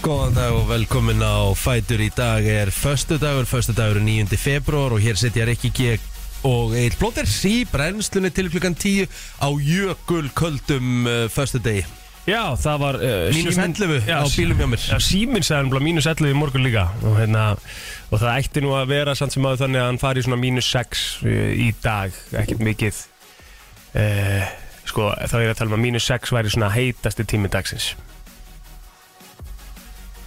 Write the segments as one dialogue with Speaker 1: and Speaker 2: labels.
Speaker 1: Góðan dag og velkomin á Fætur í dag er föstudagur, föstudagur er 9. februar og hér sitja Rikki G og Egil Blóter í brennslunni til klukkan 10 á jökul köldum uh, föstudegi
Speaker 2: Já, það var uh,
Speaker 1: Mínus 11 á eh, bílum hjá mér.
Speaker 2: Já, síminn sagði hann mínus 11 í morgun líka og, hérna, og það ætti nú að vera samt sem að þannig að hann fari í svona mínus 6 uh, í dag, ekkert mikið uh, Sko, þá er ég að tala um að mínus 6 væri svona heitasti tími dagsins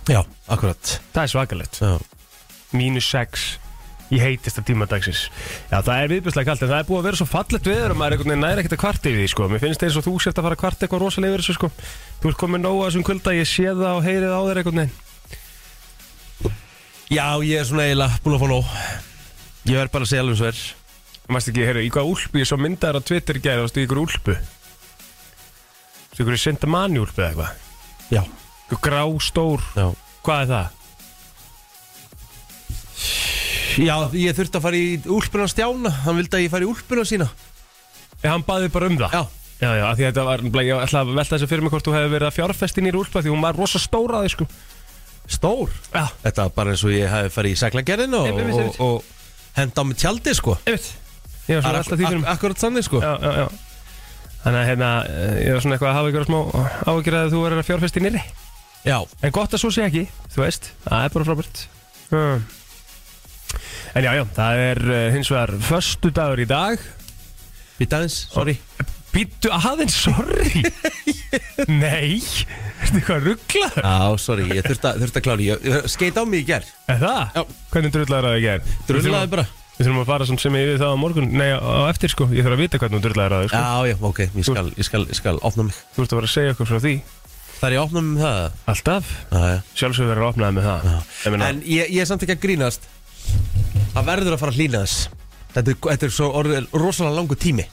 Speaker 1: Já, akkurat
Speaker 2: Það er svakalegt
Speaker 1: Já,
Speaker 2: Mínus 6 í heitasta tíma dagsins Já, það er viðbjörslega kalt en það er búið að vera svo fallegt veður og maður er einhvern veginn næri ekkert að kvarta yfir því, sko Mér finnst eins og þú sért að fara að kvarta eitthvað rosalega yfir þessu, sko Þú ert komin nóga þessum kvölda, ég sé það og heyrið á þér einhvern veginn
Speaker 1: Já ég er svona eiginlega búin að fá nóg Ég verð bara að segja alveg svo er
Speaker 2: Mæst ekki, heyrðu, í hvað úlpu ég svo myndaður á Twitter í gæri, varstu í ykkur úlpu? Svo ykkur Sintamani úlpu eða eitthvað?
Speaker 1: Já,
Speaker 2: Ykkur grá, stór,
Speaker 1: já
Speaker 2: hvað er það?
Speaker 1: Já, ég þurfti að fara í úlpuna stjána Hann vildi að ég fara í úlpuna sína
Speaker 2: Ég, hann baði bara um það?
Speaker 1: Já,
Speaker 2: Já, já, af því að þetta var, nefnilega- ég ætla að velta þessu fyrir mig hvort þú hefði verið að fjárfesta í nýri úlpu af Því hún var rosa stór að þig, sko
Speaker 1: stór
Speaker 2: Já,
Speaker 1: Þetta var bara eins og ég hef farið í seglagerðina og,
Speaker 2: Einmitt, einmitt.
Speaker 1: og, og henda á mig tjaldi sko
Speaker 2: einmitt Ég var svona alltaf því fyrir um mig
Speaker 1: Akkurat þannig sko
Speaker 2: Já, já, já Þannig að hérna, eh, ég var svona eitthvað að hafa ykkur smá áhyggjur að þú verður að fjárfesta í nýrri.
Speaker 1: Já,
Speaker 2: En gott að svo sé ekki, þú veist, það er bara frábært mm. En já, já, það er uh, hins vegar Föstu dagur í dag
Speaker 1: býta aðeins, sorry
Speaker 2: Býttu aðeins, sorry Nei Ertu eitthvað rugglaður?
Speaker 1: Já, sorry, ég þurfti að, þurfti að klára ég, ég Skeit á mig í ger,
Speaker 2: Er það?
Speaker 1: Já.
Speaker 2: Hvernig drullaður að það ger?
Speaker 1: drullaði bara
Speaker 2: Við þurfum að fara sem sem ég við það á morgun Nei, á eftir sko, ég þarf að vita hvernig þú drullaður að það sko.
Speaker 1: Já, já, ok, ég skal, ég skal, ég skal opna mig
Speaker 2: Þú ert að vera að segja okkur frá því
Speaker 1: Það er ég að opna mig með það
Speaker 2: Alltaf
Speaker 1: Já, já
Speaker 2: Sjálfsögur verður að opnaði með það Ég meina,
Speaker 1: En ég, ég er samt ekki að grínast Það verður að fara að hlýna þess Þetta, er- þetta er svo orðið rosalega langu tími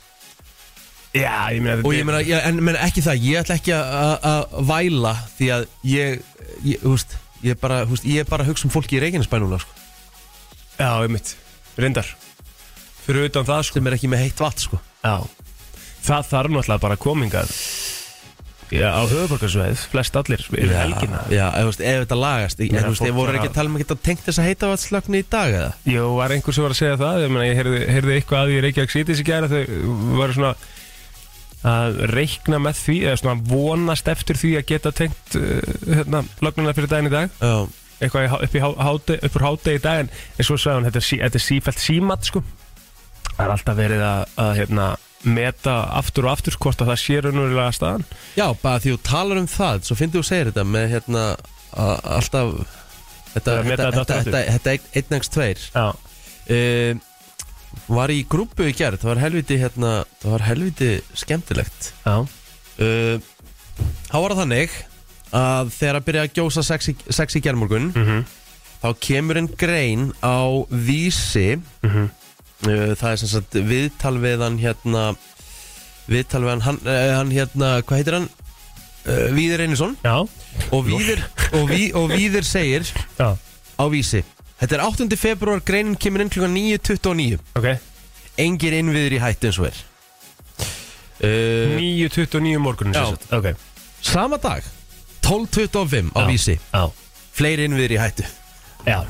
Speaker 2: Já, ég meina
Speaker 1: Og ég meina, ég, en meina ekki það, ég ætla ekki að- að að væla Því að ég, ég, þú veist, ég er bara, þú veist, ég er bara að hugsa um fólki í Reykjanesbænuna sko
Speaker 2: Já, ég mitt Rindar Fyrir utan það sko
Speaker 1: Sem er ekki með heitt vatn sko
Speaker 2: Já Það þarf náttúrulega bara komingað Já, á höfuborgarsveið, flest allir yfir helgina
Speaker 1: Já, ef, þú veist, ef þetta lagast En
Speaker 2: Meina,
Speaker 1: þú veist,
Speaker 2: fólk
Speaker 1: ég voru
Speaker 2: bara-
Speaker 1: ekki að tala um að geta tengt þess að heita vatnslögnu í dag eða?
Speaker 2: Jó, var einhver sem var að segja það Ég, meina, ég heyrði, heyrði eitthvað að því í Reykjavík Citys í gæra Þau var svona að reikna með því eða svona vonast eftir því að geta tengt uh, hérna, lögnuna fyrir daginn í dag
Speaker 1: Já,
Speaker 2: eitthvað í há- upp, í há- háde, upp úr hátegi í dag en, en svo sagði hann, þetta er, sí, þetta er sífælt símat sko. það er alltaf verið að, að hérna, meta aftur og aftur hvort að það sé raunverulega staðan
Speaker 1: já bara því þú talar um það Svo finnst þú að segja þetta með hérna að, Alltaf Þetta,
Speaker 2: Að meta þetta
Speaker 1: þetta, þetta,
Speaker 2: aftur.
Speaker 1: þetta, þetta ein- einn engst tveir
Speaker 2: Já,
Speaker 1: um, Var í grúpu í gerð Það var helviti hérna Það var helviti skemmtilegt
Speaker 2: já
Speaker 1: um, Há var það þannig Að þegar að byrja að gjósa sex í, sex í gerðmorgun
Speaker 2: Mhm.
Speaker 1: Þá kemur einn grein á vísi
Speaker 2: Mhm.
Speaker 1: Uh, það er sem sagt viðtal við hann hérna viðtal við hann, hann, eh, hann hérna, hvað heitir hann? Uh, Víðir Einarsson
Speaker 2: Já,
Speaker 1: og Víðir, og, ví, og Víðir segir
Speaker 2: já,
Speaker 1: á vísi Þetta er 8. februar, greinin kemur inn klukkan 9.29
Speaker 2: ok
Speaker 1: Engir innviður í hættu eins og er uh,
Speaker 2: 9.29 morgunin
Speaker 1: Já.
Speaker 2: sem sagt. ok
Speaker 1: Sama dag 12.25 á
Speaker 2: Já.
Speaker 1: vísi
Speaker 2: Já,
Speaker 1: Fleiri innviður í hættu
Speaker 2: já,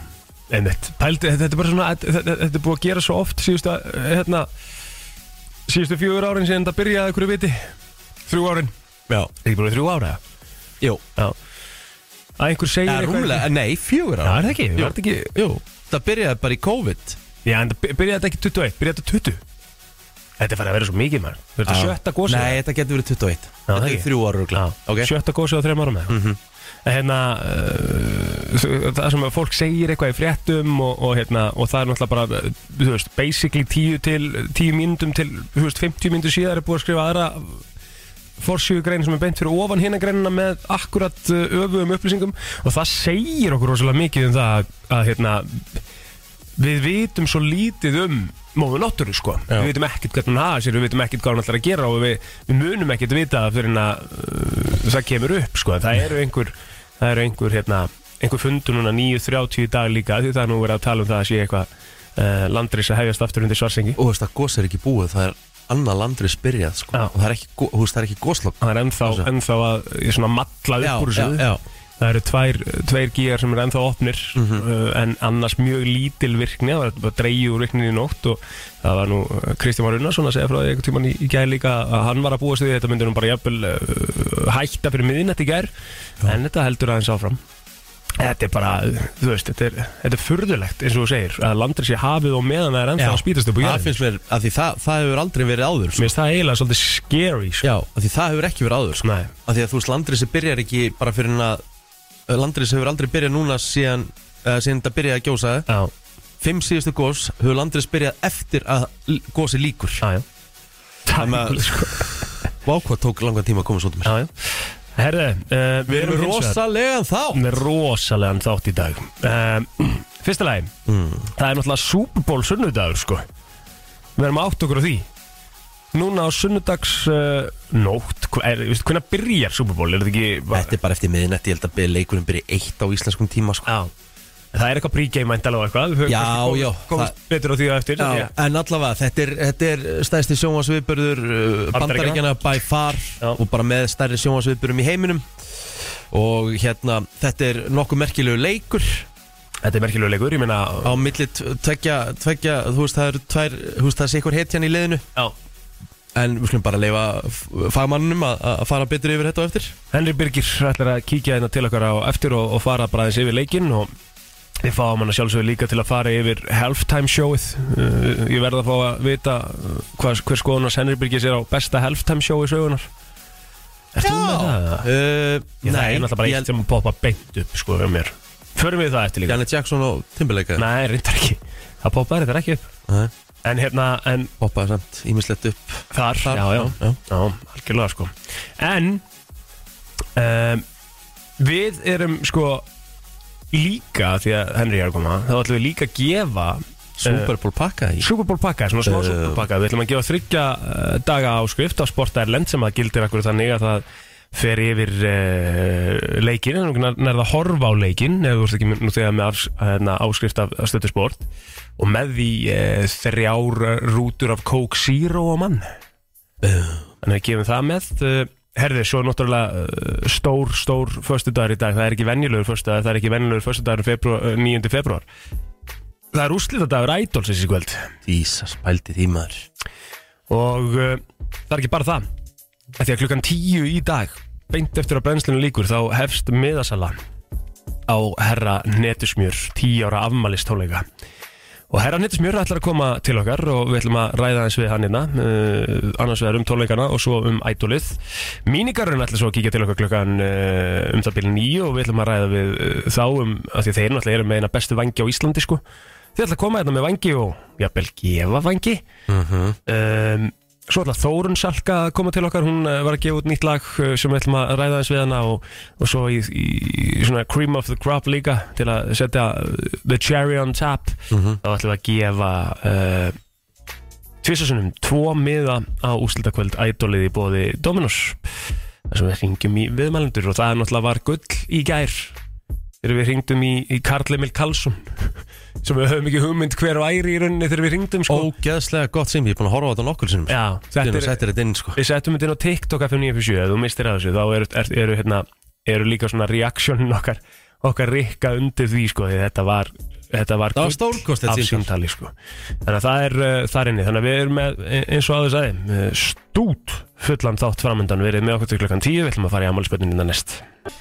Speaker 2: einmitt Pældi, þetta er bara svona, þetta- þetta þetta er búið að gera svo oft síðustu, eh, hérna síðustu fjögur árin síðan þetta byrjaði hverju viti Þrjú árin
Speaker 1: Já,
Speaker 2: Ekki búin að þrjú ára
Speaker 1: jú
Speaker 2: Já Að einhver segir
Speaker 1: Það er rúmlega, nei, fjögur
Speaker 2: Já,
Speaker 1: ára
Speaker 2: er það ekki,
Speaker 1: Jú.
Speaker 2: var þetta ekki
Speaker 1: Jú, það byrjaði bara í COVID
Speaker 2: Já, en það by- byrjaði þetta ekki 21, byrjaði þetta 20 Þetta er farið að vera svo mikið maður Þetta er
Speaker 1: Já.
Speaker 2: sjötta gósið
Speaker 1: Nei, þetta getur verið 21
Speaker 2: Já,
Speaker 1: Þetta
Speaker 2: það
Speaker 1: er
Speaker 2: ekki.
Speaker 1: þrjú ára
Speaker 2: Já,
Speaker 1: Ok.
Speaker 2: sjötta gósið á þrejum árum mm -hmm. En hérna uh, Það sem að fólk segir eitthvað í fréttum og, og, hérna, og það er náttúrulega bara uh, Þú veist, basically tíu til Tíu mínútum til, þú veist, 50 mínútur síðar er búið að skrifa aðra forsjögrein sem er beint fyrir ofan hina greinina með akkurat uh, öfugum upplýsingum og það segir okkur rosalega mikið um það að, að hérna, við vitum svo lítið um móðu náttúru sko,
Speaker 1: Já.
Speaker 2: við vitum ekkert hvernig hún hafa sér, við vitum ekkert hvað hún ætlar að gera og við, við munum ekkert vita það fyrir en að uh, það kemur upp sko, það eru einhver það eru einhver, hérna, einhver fundur núna 9.30 í dag líka, því það er nú verið að tala um það að sé eitthvað uh, landris að hefjast aftur undir svarsengi
Speaker 1: og þú veist að gos er ekki búið það er annað landris byrjað sko.
Speaker 2: Já.
Speaker 1: og það er ekki, go- þú veist, það er ekki goslokk
Speaker 2: það er ennþá,
Speaker 1: Þessu.
Speaker 2: ennþá að ég svona matla upp úr þessu
Speaker 1: já, Mhm.
Speaker 2: Það eru tvær, tveir gígar sem eru ennþá opnir uh, en annars mjög lítil virkni það var bara dreigið úr virkninni í nótt og það var nú uh, Kristján Már Unnarsson að segja frá því einhvern tímann í, í gær líka að hann var að búa sig við þetta myndi nú bara jafnvel uh, hætta fyrir miðinett í gær en þetta heldur aðeins áfram Þetta er bara, þú veist, þetta er, þetta er furðulegt eins og þú segir, að landri sér hafið og meðan það er ennþá að spýtast upp á
Speaker 1: það
Speaker 2: jörðin
Speaker 1: finnst mér að því það, það hefur aldrei verið áður
Speaker 2: Mér
Speaker 1: sko.
Speaker 2: finnst það eiginlega svolítið scary sko.
Speaker 1: Já, að því það hefur ekki verið áður sko.
Speaker 2: Nei,
Speaker 1: að því að þú veist landrisi byrjar ekki bara fyrir en að landrisi hefur aldrei byrjað núna síðan, uh, síðan þetta byrjaði að gjósa
Speaker 2: já,
Speaker 1: fimm síðustu gós hefur landrisi byrjað eftir að gósi líkur
Speaker 2: já, já
Speaker 1: að-
Speaker 2: Tæmlega, sko,
Speaker 1: Vákvað tók langan tíma að koma svo til mér
Speaker 2: já, já Herðu, uh,
Speaker 1: Við erum
Speaker 2: hins vegar-
Speaker 1: rosalega þá
Speaker 2: með rosalegan þátt í dag um, Fyrsta lagi
Speaker 1: Mm.
Speaker 2: Það er náttúrulega Super Bowl sunnudagur sko Við erum átt okkur á því Núna á sunnudags uh, nótt, hva- er, veistu, hvernig byrjar Super Bowl, er þetta ekki bara-
Speaker 1: Þetta er bara eftir miðinett, ég held að byrja leikurinn byrja eitt á íslenskum tíma sko.
Speaker 2: Já Það er eitthvað pre-game endala og eitthvað Við höfum
Speaker 1: Já,
Speaker 2: kannski komist-
Speaker 1: já,
Speaker 2: Komist betur á því á eftir
Speaker 1: Já,
Speaker 2: já.
Speaker 1: en allavega, þetta er, þetta er stærsti sjónvarsviðbörður uh,
Speaker 2: Bandaríkjanna.
Speaker 1: bandaríkjana by far
Speaker 2: Já.
Speaker 1: og bara með stærri sjónvarsviðbörðum í heiminum og hérna, þetta er nokkuð merkilegu leikur
Speaker 2: Þetta er merkilegu leikur, ég meina
Speaker 1: á milli t- tveggja, tveggja þú veist, það eru tvær, þú veist, það er sikur hetjan í liðinu
Speaker 2: já.
Speaker 1: en við skulum bara leifa fagmannum að að fara betur yfir þetta á eftir
Speaker 2: Henry Birgir ætlar að kíkja hérna til okkar á eftir og, og fara bara aðeins yfir leikinn og við fáum hann að sjálfsögðu líka til að fara yfir halftime showið uh, ég verð að fá að vita uh, hvað, hver skoðunars Henry Birgis er á besta halftime showið sögunar Ert þú með það?
Speaker 1: Uh,
Speaker 2: Ég, það
Speaker 1: nei,
Speaker 2: er náttúrulega bara
Speaker 1: ég
Speaker 2: eitt
Speaker 1: held
Speaker 2: sem poppa beint upp sko hjá mér Förum við það eftir líka?
Speaker 1: Janet Jackson og Timberlake eða?
Speaker 2: Nei, reyndar ekki Það poppaði þetta ekki upp
Speaker 1: Nei,
Speaker 2: En hérna, en
Speaker 1: poppaði samt, ímislegt upp
Speaker 2: þar,
Speaker 1: þar.
Speaker 2: já, já, já, algjörlega sko En um, Við erum sko Líka, því að Henry er að koma Þá ætlum við líka að gefa eh,
Speaker 1: Super Bowl pakka í
Speaker 2: Super Bowl pakka, svona smá
Speaker 1: Eh.
Speaker 2: Super Bowl pakka Við ætlum að gefa þryggja uh, daga áskrift á Sport Erlend sem að gildir akkur þannig að það fer yfir uh, leikin en þú nærða að horfa á leikin ef þú ert ekki nú þegar með afs, hérna, áskrift af, af stöttu sport og með því uh, þrjár eh, rútur af Coke Zero á mann Þannig að við gefum það með uh, Herði, svo er náttúrulega uh, stór, stór föstudagur í dag, það er ekki venjulegur föstudagur, það er ekki venjulegur föstudagur februar, eh, 9. februar Það er úrslitadagur Ædolsins í kvöld
Speaker 1: Ísas, pældi því maður
Speaker 2: Og uh, það er ekki bara það Af Því að klukkan tíu í dag Beint eftir að brennslinu líkur Þá hefst miðasala Á herra Netusmjör Tíu ára afmælistóleika Og herra Netusmjör ætlar að koma til okkar Og við ætlum að ræða hans við hann hérna uh, Annars vegar um tóleikana og svo um ædolið Mínigarun ætlar svo að kíkja til okkar klukkan uh, Um það byrja nýju Og við ætlum að ræða við uh, þá um af Því að þeir náttúrulega eru með eina bestu vangi á Íslandi sko Þið ætla að koma hérna með vangi og jafnvel gefa vangi um, Svo ætla Þórun Salka að koma til okkar Hún eh, var að gefa út nýtt lag eh, sem við ætlum að ræða eins við hana og, og svo í, í, í svona cream of the crop líka til að setja eh, the cherry on top þá ætlum við að gefa uh, tvisasunum tvo miða á úslitakvöld ædolið í bóði Dominos þar sem við ringjum í viðmælendur og það er náttúrulega var gull í gær þegar við ringdum í, í Karl Emil Karlsson sem við höfum ekki hugmynd hver væri í rauninni þegar við ringdum sko.
Speaker 1: Ógeðslega gott sími, ég er búin að horfa á þetta nokkur sinnum sko.
Speaker 2: Já,
Speaker 1: Þetta
Speaker 2: þetta
Speaker 1: er
Speaker 2: er,
Speaker 1: settir þetta inn sko
Speaker 2: við settum þetta inn á TikTok F957, ef þú mistir að þessu þá eru, er, eru, hérna, eru líka svona reaksjónin okkar, okkar rikka undir því sko, því þetta var þetta var,
Speaker 1: Það var
Speaker 2: gull
Speaker 1: stórkostlegt
Speaker 2: af
Speaker 1: símtal.
Speaker 2: símtali sko. þannig að það er uh, þar inni þannig að við erum með, e, eins og aður sagði uh, stút fullan þátt framöndan við erum með okkur til klokkan 10, við ætlum að fara í ammálspötunina næst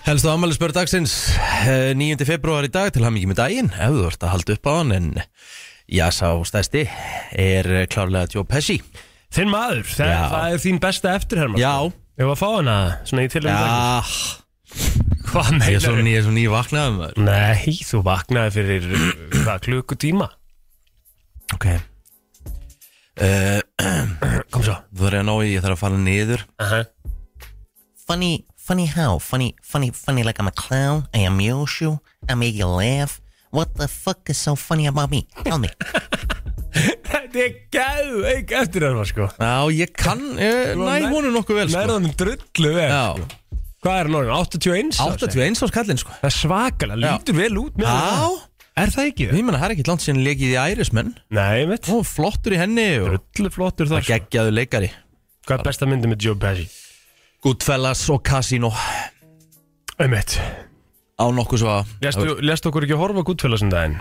Speaker 1: Helstu ámæli spörð dagsins eh, 9. februar í dag til hann mikið með daginn ef þú ert að halda upp á hann en já, sá stæsti er eh, klárlega Joe Pesci
Speaker 2: Þinn maður, það,
Speaker 1: Já.
Speaker 2: það er þín besta eftirherma
Speaker 1: Já,
Speaker 2: Ég var að fá hana, svona í tilum
Speaker 1: já
Speaker 2: Hvað
Speaker 1: Ég er svo
Speaker 2: meinar
Speaker 1: ný, ég er svo ný vaknaðum
Speaker 2: Nei, þú vaknaði fyrir uh, hvað, klukkutíma
Speaker 1: Ok uh,
Speaker 2: Kom svo
Speaker 1: Þú verður að ná í, ég þarf að fara niður
Speaker 2: uh -huh.
Speaker 3: funny, funny how? Funny, funny, funny like I'm a clown. I amuse you. I make you laugh. What the fuck is so funny about me? Tell me.
Speaker 2: Þetta er gæðu, ekki eftir það sko
Speaker 1: Já, ég kann, eh,
Speaker 2: Þú
Speaker 1: næ
Speaker 2: nær-
Speaker 1: honum nokkuð vel sko
Speaker 2: Nærðanum drullu vel
Speaker 1: Já,
Speaker 2: sko. Hvað er hann orðin? 81? sá, segir.
Speaker 1: 81 á skallin sko
Speaker 2: Það er svakalega,
Speaker 1: Já.
Speaker 2: lítur vel út með
Speaker 1: Já,
Speaker 2: hann. Er það ekki það?
Speaker 1: ég menna, það er ekkert langt síðan lekið í Ærismenn
Speaker 2: Nei, mitt
Speaker 1: Ó, flottur í henni og
Speaker 2: Drullu flottur þar sko.
Speaker 1: geggjaðu leikari
Speaker 2: Hvað er besta myndi með Joe Pesci?
Speaker 1: Goodfellas og Casino
Speaker 2: Einmitt
Speaker 1: á nokkuð svo að
Speaker 2: Lestu, lestu okkur ekki að horfa gúttfélagsinn daginn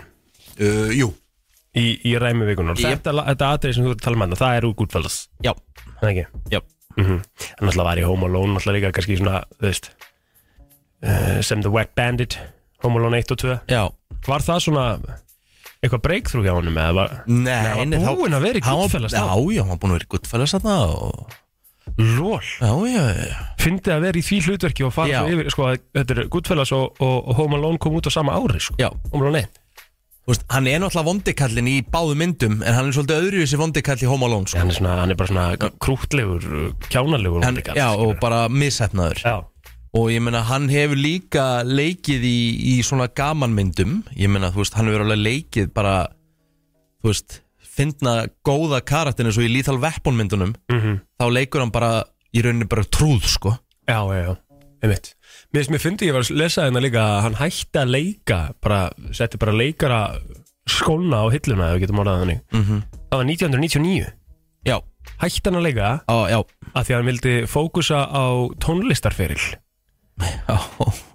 Speaker 1: uh, Jú,
Speaker 2: í, í ræmi vikunar
Speaker 1: Jep.
Speaker 2: Þetta, þetta atrið sem þú ert að tala með það er úr gúttfélags
Speaker 1: já,
Speaker 2: Það er ekki
Speaker 1: já
Speaker 2: mm Hann alltaf var í Home Alone alltaf líka kannski svona, þú veist uh, sem The Wet Bandit Home Alone 1 og 2
Speaker 1: Já,
Speaker 2: Var það svona eitthvað breakthrough hjá honum eða var
Speaker 1: nei,
Speaker 2: hann var
Speaker 1: nei, þá-
Speaker 2: búinn að vera í
Speaker 1: hann var-
Speaker 2: Goodfellas
Speaker 1: Já,
Speaker 2: þá.
Speaker 1: já, hann var búin að vera í guttfælas þarna og...
Speaker 2: lól
Speaker 1: Já, já, já,
Speaker 2: Fyndið að vera í því hlutverki og fara
Speaker 1: Já.
Speaker 2: svo yfir sko, að þetta er Goodfellas og, og, og Home Alone kom út á sama ári sko.
Speaker 1: já
Speaker 2: Home Alone 1
Speaker 1: Þú veist, hann er náttúrulega vondikallin í báðu myndum en hann er svolítið öðruvísi vondikall í Home Alone sko.
Speaker 2: hann er, svona, hann er bara svona krútlegur kjánalegur
Speaker 1: hann,
Speaker 2: vondikall,
Speaker 1: Já, og
Speaker 2: skilurðu.
Speaker 1: bara mishefnaður
Speaker 2: já,
Speaker 1: og ég meina hann hefur líka leikið í, í svona gamanmyndum ég meina þú veist hann hefur alveg leikið bara þú veist finna góða karakterin eins og í Lethal Weapon myndunum
Speaker 2: Mhm.
Speaker 1: -hmm. þá leikur hann bara í rauninni bara trúð sko
Speaker 2: já, já, já einmitt Mér finnst mér fyndi ég var að lesa hérna líka að hann hætti að leika bara, setti bara leikara skóna á hilluna ef við getum orðað þannig mm -hmm. það var 1999
Speaker 1: já,
Speaker 2: hætti hann að leika
Speaker 1: á, já,
Speaker 2: að því að hann vildi fókusa á tónlistarferil
Speaker 1: já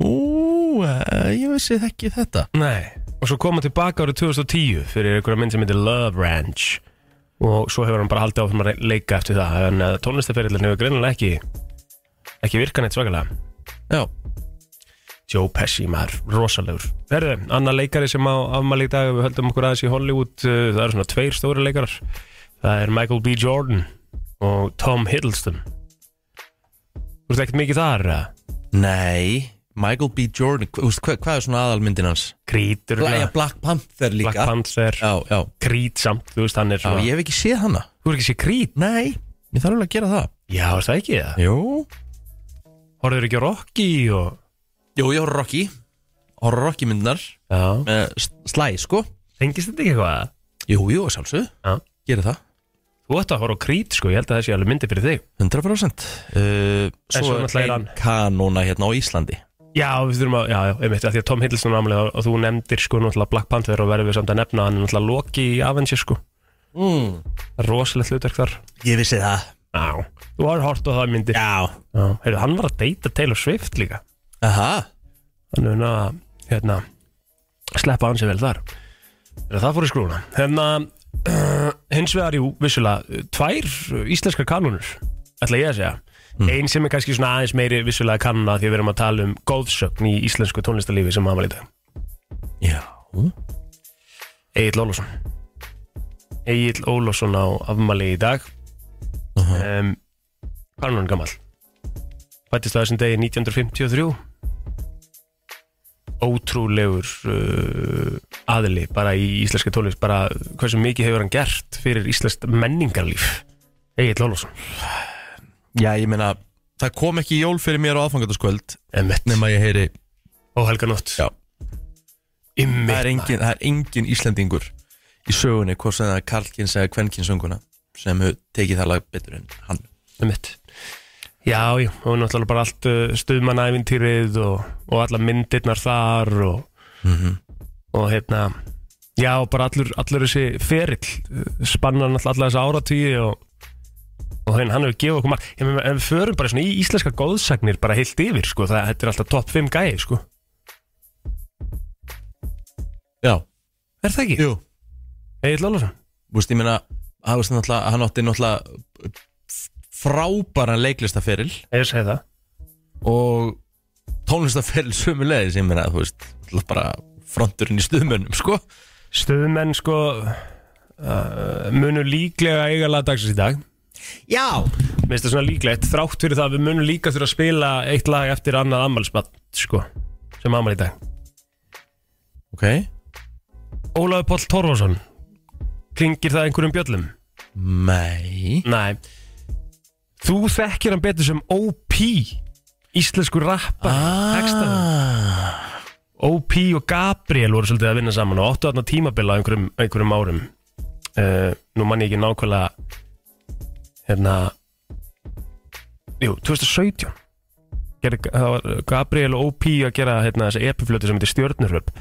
Speaker 1: ú, eh, ég vissi ekki þetta
Speaker 2: Nei og svo kom hann tilbaka árið 2010 fyrir einhverja mynd sem heitir Love Ranch og svo hefur hann bara haldið áfram að leika eftir það en eh, tónlistarferillin hefur greinilega ekki ekki virkan eitt svakalega
Speaker 1: já,
Speaker 2: Joe Pesci maður, rosalegur Herðu, annar leikari sem á afmæli í dag við höldum okkur aðeins í Hollywood uh, það eru svona tveir stóri leikarar það er Michael B. Jordan og Tom Hiddleston Þú ert ekkert mikið þar eða?
Speaker 1: nei Michael B. Jordan, hva, úst, hva, hvað er svona aðalmyndin hans?
Speaker 2: Krítur
Speaker 1: Bla, ja,
Speaker 2: Black
Speaker 1: Black Panther líka
Speaker 2: Panther,
Speaker 1: Já, já,
Speaker 2: Krít samt þú veist, hann er
Speaker 1: já,
Speaker 2: svona
Speaker 1: ég hef ekki séð hana
Speaker 2: Þú er ekki sér Krít?
Speaker 1: Nei, ég þarf alveg að gera það
Speaker 2: Já, er það ekki það?
Speaker 1: Jú,
Speaker 2: Horður ekki á Rocky og
Speaker 1: Jú, ég horf Rocky Horf Rocky myndnar
Speaker 2: Já,
Speaker 1: uh, Slæ, sko
Speaker 2: tengist þetta ekki eitthvað?
Speaker 1: Jú, jú, sjálfsög
Speaker 2: Já
Speaker 1: Gerið það
Speaker 2: Þú ætti að horfa á Krít sko, ég held að það sé alveg myndi fyrir þig
Speaker 1: 100% uh,
Speaker 2: svo
Speaker 1: Svo
Speaker 2: náttúrulega
Speaker 1: er
Speaker 2: er hann-
Speaker 1: hrein kanóna hérna á Íslandi
Speaker 2: Já, við þurfum að, já, já, einmitt, að því að Tom Hiddleston ámlega og þú nefndir sko náttúrulega Black Panther og verðum við samt að nefna hann er náttúrulega Loki í Avengers sko
Speaker 1: mm.
Speaker 2: Rosalegt hlutverk þar
Speaker 1: Ég vissi það
Speaker 2: Já, þú har hort á það myndi
Speaker 1: Já
Speaker 2: Já, heyrðu, hann var að deyta Taylor Swift líka
Speaker 1: Aha
Speaker 2: Hann er að, hérna, sleppa hann sér vel þar Þegar það fór í skrúna Hérna, hins vegar, jú, vissulega, tvær íslenskar kanunur, ætla ég að segja Ein sem er kannski svona aðeins meiri vissulega kanuna því að við erum að tala um góðsögn í íslensku tónlistarlífi sem hafa lítið
Speaker 1: Já
Speaker 2: Egil Ólafsson Egil Ólafsson á afmæli í dag um, Hvað er hann orðinn gamall? Fættist á þessum degi 1953 Ótrúlegur uh, aðli bara í íslenska tólist bara hversu mikið hefur hann gert fyrir íslenskt menningarlíf Egil Ólafsson
Speaker 1: Já, ég meina Það kom ekki jól fyrir mér á aðfangataskvöld
Speaker 2: Emmett
Speaker 1: Nefn að ég heyri
Speaker 2: og Helga Nótt
Speaker 1: Já.
Speaker 2: Ymmit
Speaker 1: Það er engin, það er engin Íslandingur í sögunni Hvort sem það er Karlkins eða Kvenkinsönguna Sem hefur tekið það lag betur en hann
Speaker 2: Einmitt. Já, já, og náttúrulega bara allt uh, stuðmanævintýrið og, og alla myndirnar þar og,
Speaker 1: Mhm.
Speaker 2: og hérna já, og bara allur, allur þessi ferill uh, spannar náttúrulega alla þessa áratýi og, og hérna, hann hefur gefið okkur marg en við förum bara svona í íslenska góðsagnir bara heilt yfir, sko, það þetta er alltaf topp 5 gæði, sko,
Speaker 1: Já
Speaker 2: er það ekki?
Speaker 1: Jú
Speaker 2: Egil Lólasson,
Speaker 1: Þú veist, ég meina, hann, veist, náttúrulega- hann átti náttúrulega frábæran leiklistaferil
Speaker 2: ég segi það
Speaker 1: og tónlistaferil sömulegis, ég meina, þú veist, náttúrulega bara fronturinn í stuðmönnum, sko.
Speaker 2: stuðmenn, sko uh, munur líklega eiga lagdagsins í dag
Speaker 1: Já!
Speaker 2: Mér finnst það svona líklegt, þrátt fyrir það að við munum líka þurfa að spila eitt lag eftir annað ammálsbann, sko, sem ammál í dag.
Speaker 1: Ok.
Speaker 2: Ólafur Páll Torfason, kringir það einhverjum bjöllum?
Speaker 1: Nei.
Speaker 2: Nei. Þú þekkir hann betur sem OP, íslensku rappar, ah. OP og Gabriel voru svolítið að vinna saman og áttu þarna tímabila á einhverjum, einhverjum árum. Uh, nú mann ég ekki nákvæmlega, hérna, jú, 2017. gerði, það var Gabriel og OP að gera hérna, þessi epiflötu sem heitir Stjörnuröp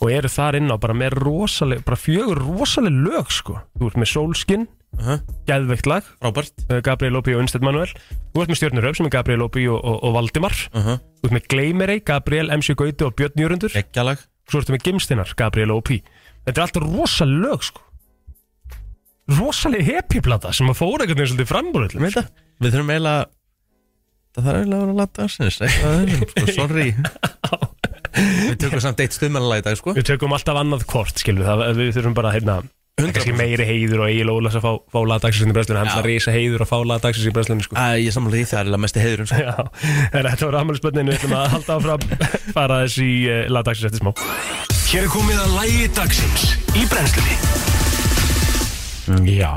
Speaker 2: og eru þar inn á bara með rosaleg bara fjögur rosaleg lög sko þú ert með Solskin,
Speaker 1: Uh -huh.
Speaker 2: Gæðveikt lag
Speaker 1: Robert.
Speaker 2: eh, Gabriel OP og Unstead Manuel þú ert með Stjörnuröp sem er Gabriel OP og, og, og Valdimar
Speaker 1: Uh -huh.
Speaker 2: Þú ert með Gleimerey, Gabriel, MC Gauti og Björn Jörundur
Speaker 1: Gekkjalag
Speaker 2: Svo ertu með Gimstinar, Gabriel og P Þetta er alltaf rosaleg lög sko Rosaleg happy-plata sem að fóra einhvern veginn svolítið fram úr öllum
Speaker 1: Við þurfum eiginlega Það þarf eiginlega að vera að lata aðsins Eitthvað að þessum, sko, sorry Við tökum samt eitt stuðmælalag í dag, sko
Speaker 2: Við tökum alltaf annað kort, skilvið það, Við þurfum bara, hérna,
Speaker 1: 100%.
Speaker 2: kannski meiri heiður og Egil Ólafs að fá, fá lagdagsins í brennslunni Hann
Speaker 1: Já.
Speaker 2: ætla að reysa heiður og fá lagdagsins í brennslunni sko.
Speaker 1: Æ, ég samlega því það er eiginlega mesti heiðurinn, sko
Speaker 2: Já, en þetta var afmælisbönnin Við ætlum að halda áfram fara þess í uh, lagdagsins eftir smá
Speaker 4: Hér er komið að lægi dagsins í brennslunni
Speaker 1: Mm, Já,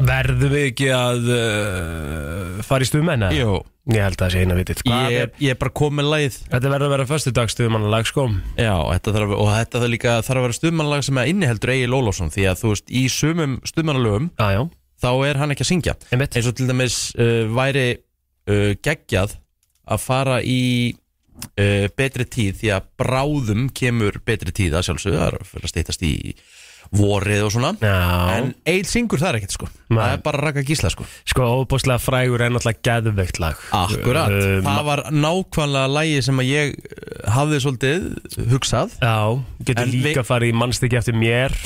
Speaker 2: Verðum við ekki að uh, fara í stuðmenn? eða?
Speaker 1: Jú.
Speaker 2: Ég held að það sé eina vitið Hvað
Speaker 1: ég,
Speaker 2: er,
Speaker 1: ég er bara komið lagið
Speaker 2: Þetta verður að vera föstudagstuðmannalag sko
Speaker 1: Já, þetta þarf, og þetta þarf líka þarf að vera stuðmannalag sem að inniheldur Egil Ólafsson því að þú veist, í sumum stuðmannalögum
Speaker 2: Já, já,
Speaker 1: þá er hann ekki að syngja
Speaker 2: einmitt
Speaker 1: eins og til dæmis uh, væri uh, geggjað að fara í uh, betri tíð því að bráðum kemur betri tíð að sjálfsögðu það er að fyrir að steytast í vorið og svona
Speaker 2: Já,
Speaker 1: en Egil syngur það er ekkert sko það er bara raka gísla sko
Speaker 2: Mm. sko óbúslega frægur er náttúrulega geðveikt lag
Speaker 1: Akkurat,
Speaker 2: Um,
Speaker 1: það var nákvæmlega lægi sem að ég uh, hafði svolítið hugsað
Speaker 2: Já,
Speaker 1: En
Speaker 2: getur
Speaker 1: við-
Speaker 2: líka farið í mannstykki eftir mér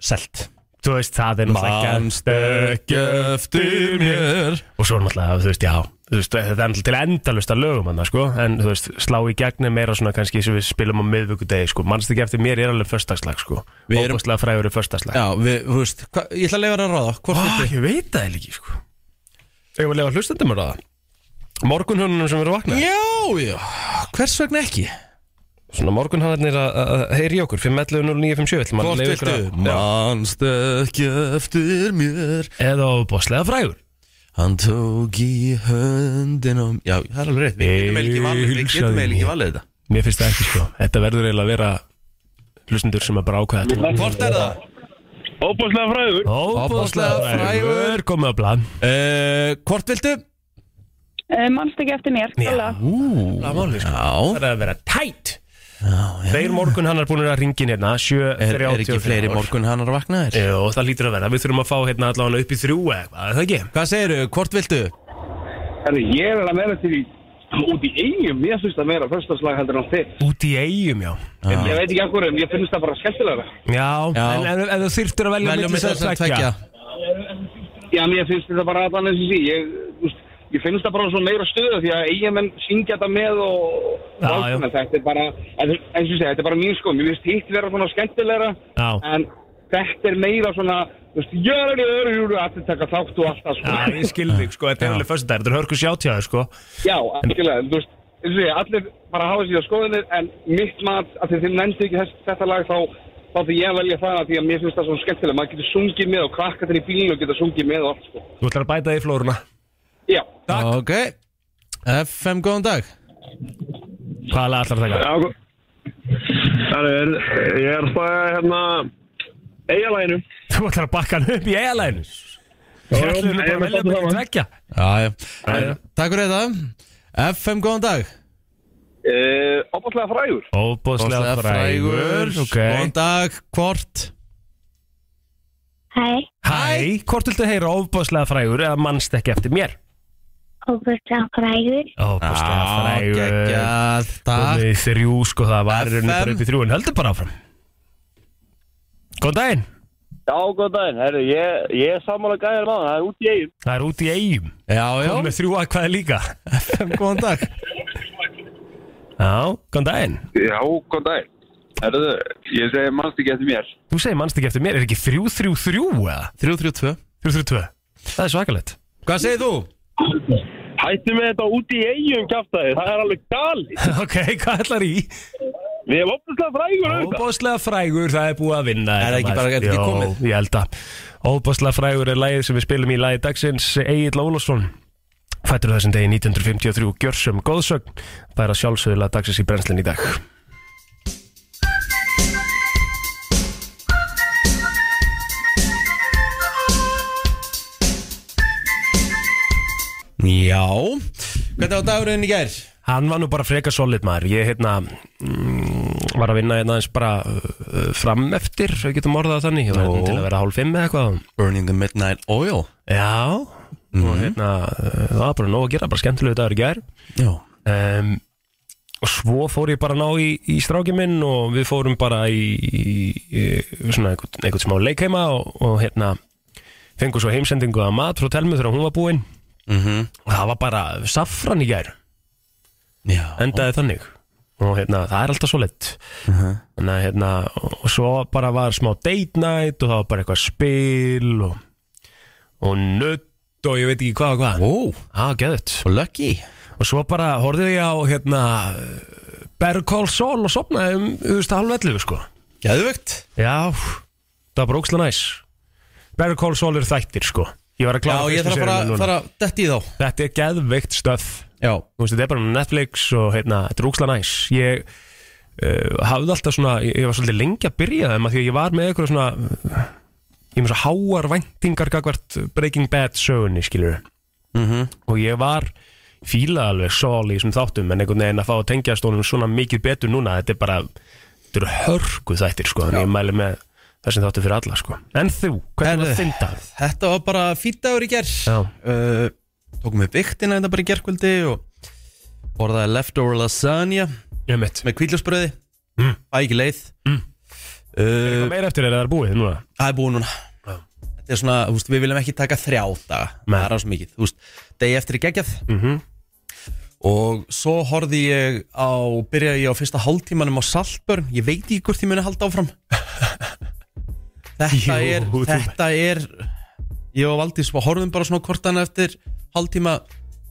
Speaker 1: Selt
Speaker 2: Þú veist, það er náttúrulega gæðstökk
Speaker 1: eftir mér
Speaker 2: Og svo náttúrulega, þú veist, já þú veist, Þetta er náttúrulega til endalust að lögum hann, sko En þú veist, slá í gegni meira svona kannski sem við spilum á miðvikudegi, sko Mannstykki eftir mér er alveg föstagslag, sko
Speaker 1: Við erum-
Speaker 2: Óbúslega frægur er föstagslag
Speaker 1: Já, við, þú veist, hva, ég ætla að leifa þér að ráða Hvort
Speaker 2: Vá,
Speaker 1: viltu?
Speaker 2: ég veit það eiginlega ekki, sko Ég var lega hlustendum að ráða Morgunhörnunum sem eru vaknað
Speaker 1: Já, já, hvers vegna ekki?
Speaker 2: Svona morgunhörnir að að heyri í okkur 5.11.09.57 ætlum að
Speaker 1: Hvort
Speaker 2: leyfa ykkur
Speaker 1: viltu?
Speaker 2: að- Já.
Speaker 1: Manstu ekki eftir mér
Speaker 2: Eða óbúslega frægur
Speaker 1: Hann tók í höndin á m- Já, það er alveg rétt Við getum eiginlega ekki valið, við
Speaker 2: Heilsaði
Speaker 1: getum eiginlega
Speaker 2: mér.
Speaker 1: ekki valið þetta
Speaker 2: Mér finnst það ekki sko Þetta verður eiginlega að vera hlustendur sem að bara ákveða þetta
Speaker 1: Hvort er það?
Speaker 5: Óbúslega fræður
Speaker 2: Óbúslega frægur Komið á blad
Speaker 1: Uh, hvort viltu?
Speaker 6: Uh, manst ekki eftir mér, Sola.
Speaker 2: Blamáli sko
Speaker 1: Já,
Speaker 2: Það er að vera tætt Þeir morgun hann er búin að ringin hérna 7,
Speaker 1: er, er ekki fleiri morgun hannar vaknaðir?
Speaker 2: Jó, það lítur að vera Við þurfum að fá hérna allavega upp í þrjú eða eitthvað, er það ekki?
Speaker 1: Hvað segirðu, hvort viltu?
Speaker 5: Herru, ég er að vera til í út í eigum, ég finnst að vera fyrstaslag heldur en þitt.
Speaker 2: Út í eigum, já Ah.
Speaker 5: Ég veit ekki akkur en ég finnst það bara skemmtilegra.
Speaker 2: Já,
Speaker 1: Já.
Speaker 2: en, en, en þú þyrftur að velja
Speaker 1: Veljum við
Speaker 2: milli
Speaker 1: þess að tvekja
Speaker 5: Já, mér finnst þetta bara að þannig sem sí. Ég, þú veist, ég finnst það bara svo meira stöðu því að eigamenn syngja þetta með og...
Speaker 2: Já,
Speaker 5: og allt
Speaker 2: já.
Speaker 5: svona. Þetta er bara, en þú- eins og segja, þetta er bara mín sko. Mér finnst hitt vera svona skemmtilegra
Speaker 2: Já,
Speaker 5: en þetta er meira svona, þú veist, jörgur, jörgur, jörgur, allir taka þátt og alltaf
Speaker 2: já
Speaker 5: sko.
Speaker 2: ég skilði þig sko Þetta er alveg fyrstu dag Þetta er hörku sjátjáði sko
Speaker 5: Já, algjörlega, en þú veist, eins og ég, allir bara hafa sér skoðinir, en mitt mat, að því þið nefndi ekki þess, þetta lag, þá, þá því ég að velja það, af því að mér finnst það svo skemmtilega, maður getur sungið með og krakkatir í bílinu og getur sungið með og allt, sko.
Speaker 2: Þú ætlar að bæta því flóruna
Speaker 5: Já.
Speaker 1: Ok, FM, góðan dag
Speaker 2: Hvaða lag ætlar að taka?
Speaker 5: Það er, ég er það, hérna, eigalæginu.
Speaker 2: Þú ætlar að bakka hann upp í eigalæðinu Ég
Speaker 5: já,
Speaker 2: ætlaði nú bara að
Speaker 5: ég er með
Speaker 2: velja
Speaker 5: stoltur
Speaker 2: mig að
Speaker 5: saman.
Speaker 2: tvekja
Speaker 1: Já, já.
Speaker 2: já.
Speaker 1: Takk fyrir þetta FM, góðan dag
Speaker 5: Uh, Opaslega frægur.
Speaker 2: Óbóðslega frægur Ok
Speaker 1: Góðan dag, hvort
Speaker 7: Hæ,
Speaker 2: Hæ, hvort viltu heyra óbóðslega frægur eða mannst ekki eftir mér?
Speaker 7: óbúslega frægur.
Speaker 2: Óbóðslega frægur
Speaker 1: Geggjað,
Speaker 2: Komið
Speaker 1: takk
Speaker 2: í þrjú sko það var í rauninni bara
Speaker 1: FM.
Speaker 2: upp í þrjú en heldur bara áfram Góðan daginn
Speaker 5: Já, góð daginn, herru, ég, ég er sammála gæðar maður, það er út í eigum.
Speaker 2: Það er út í eigum
Speaker 1: Já, já,
Speaker 2: Komið með þrjú að hvað er líka
Speaker 1: FM, góðan dag
Speaker 2: Já, góðan daginn
Speaker 5: Já, góð daginn. Herru, ég segi mannst ekki eftir mér.
Speaker 2: Þú segir mannst ekki eftir mér, er ekki þrjú þrjú þrjú eða?
Speaker 1: 332
Speaker 2: Þrjú þrjú tvö Það er svakalegt
Speaker 1: Hvað segir þú?
Speaker 5: Hættu með þetta út í eigum kjáftæði, það er alveg galið.
Speaker 2: Ok, hvað ætlar í?
Speaker 5: Við erum opaslega
Speaker 2: Óbáslega frægur,
Speaker 5: frægur auðvitað.
Speaker 2: það er búið að vinna
Speaker 1: Er það ekki bara- er þetta ekki komið?
Speaker 2: Jó, ég held að Óbáslega frægur er lagið sem við spilum í lagið dagsins Egil Ólafsson Fættur þessum degi 1953 Gjörsum góðsögn Það er að sjálfsögulega dagsins í brennslinn í dag
Speaker 1: Já Hvernig á dagurinn í gær?
Speaker 2: Hann var nú bara freka solid maður Ég hérna mm, var að vinna hérna aðeins bara uh, fram eftir Svo við getum orðað það þannig Ég var hérna til að vera hálf fimm eða eitthvað
Speaker 1: Burning the Midnight Oil Mhm.
Speaker 2: Já Og hérna uh, það var bara nóg að gera Bara skemmtilegu dagur í gær
Speaker 1: Já
Speaker 2: um, og svo fór ég bara að ná í, í stráki minn og við fórum bara í, í, í svona einhvern, einhvern smá leikheima og, og hérna fengum svo heimsendingu að mat frá telmu þegar hún var búin og það var bara safran í gær
Speaker 1: Já.
Speaker 2: endaði þannig og hérna, það er alltaf svo lett þannig að hérna, og, og svo bara var smá date night og það var bara eitthvað spil og, og nutt og ég veit ekki hvað og hvað
Speaker 1: Ó,
Speaker 2: það var geðut
Speaker 1: og lucky
Speaker 2: og svo bara horfði ég á hérna Bergkól Sol og sopnaði um, þú veist, halvvellu, sko
Speaker 1: Geðvögt
Speaker 2: já, það var bara ókslega næs Bergkól Sol eru þættir, sko ég var að
Speaker 1: Já,
Speaker 2: klára
Speaker 1: ég
Speaker 2: fyrstu
Speaker 1: þarf að fara,
Speaker 2: seríuna núna.
Speaker 1: fara detti í þá
Speaker 2: þetta er geðveikt stöf
Speaker 1: Já,
Speaker 2: þú veist, þetta er bara um Netflix og hérna, þetta er ókslega næs ég uh, hafði alltaf svona, ég, ég var svolítið lengi að byrja þeim að því að ég var með eitthvað svona uh, ég með svo háar væntingar gagvart Breaking Bad sögunni, skilur -hmm. og ég var fílað alveg sól í þessum þáttum en einhvern veginn að fá að tengja stónum svona mikið betur núna þetta er bara, þetta eru hörgu þættir sko, þannig ég mæli með þessum þáttum fyrir alla sko, en þú, hvernig var
Speaker 1: Herðu.
Speaker 2: þinn dag?
Speaker 1: þetta var bara fýtt dagur í gerð
Speaker 2: Já,
Speaker 1: uh, Tókum við bygtina þetta bara í gerðkvöldi og borðaði leftover lasagna
Speaker 2: ég mitt
Speaker 1: með kvíljusbröði
Speaker 2: Mm.
Speaker 1: Fæ ekki leið
Speaker 2: Mm.
Speaker 1: uh,
Speaker 2: Meir eftir er það er búið núna
Speaker 1: Það er búið núna Þetta er svona, þú veist, við viljum ekki taka þrjá daga
Speaker 2: Nei.
Speaker 1: Það er alveg mikið, þú veist, degi eftir í geggjað
Speaker 2: mm
Speaker 1: Og svo horfði ég á, byrjaði ég á fyrsta hálftímanum á Saltbörn Ég veit ekki hvort ég muni halda áfram Þetta
Speaker 2: Jú,
Speaker 1: er,
Speaker 2: þú-
Speaker 1: þetta er Ég og Valdís var horfðum bara svona hvort hann eftir hálftíma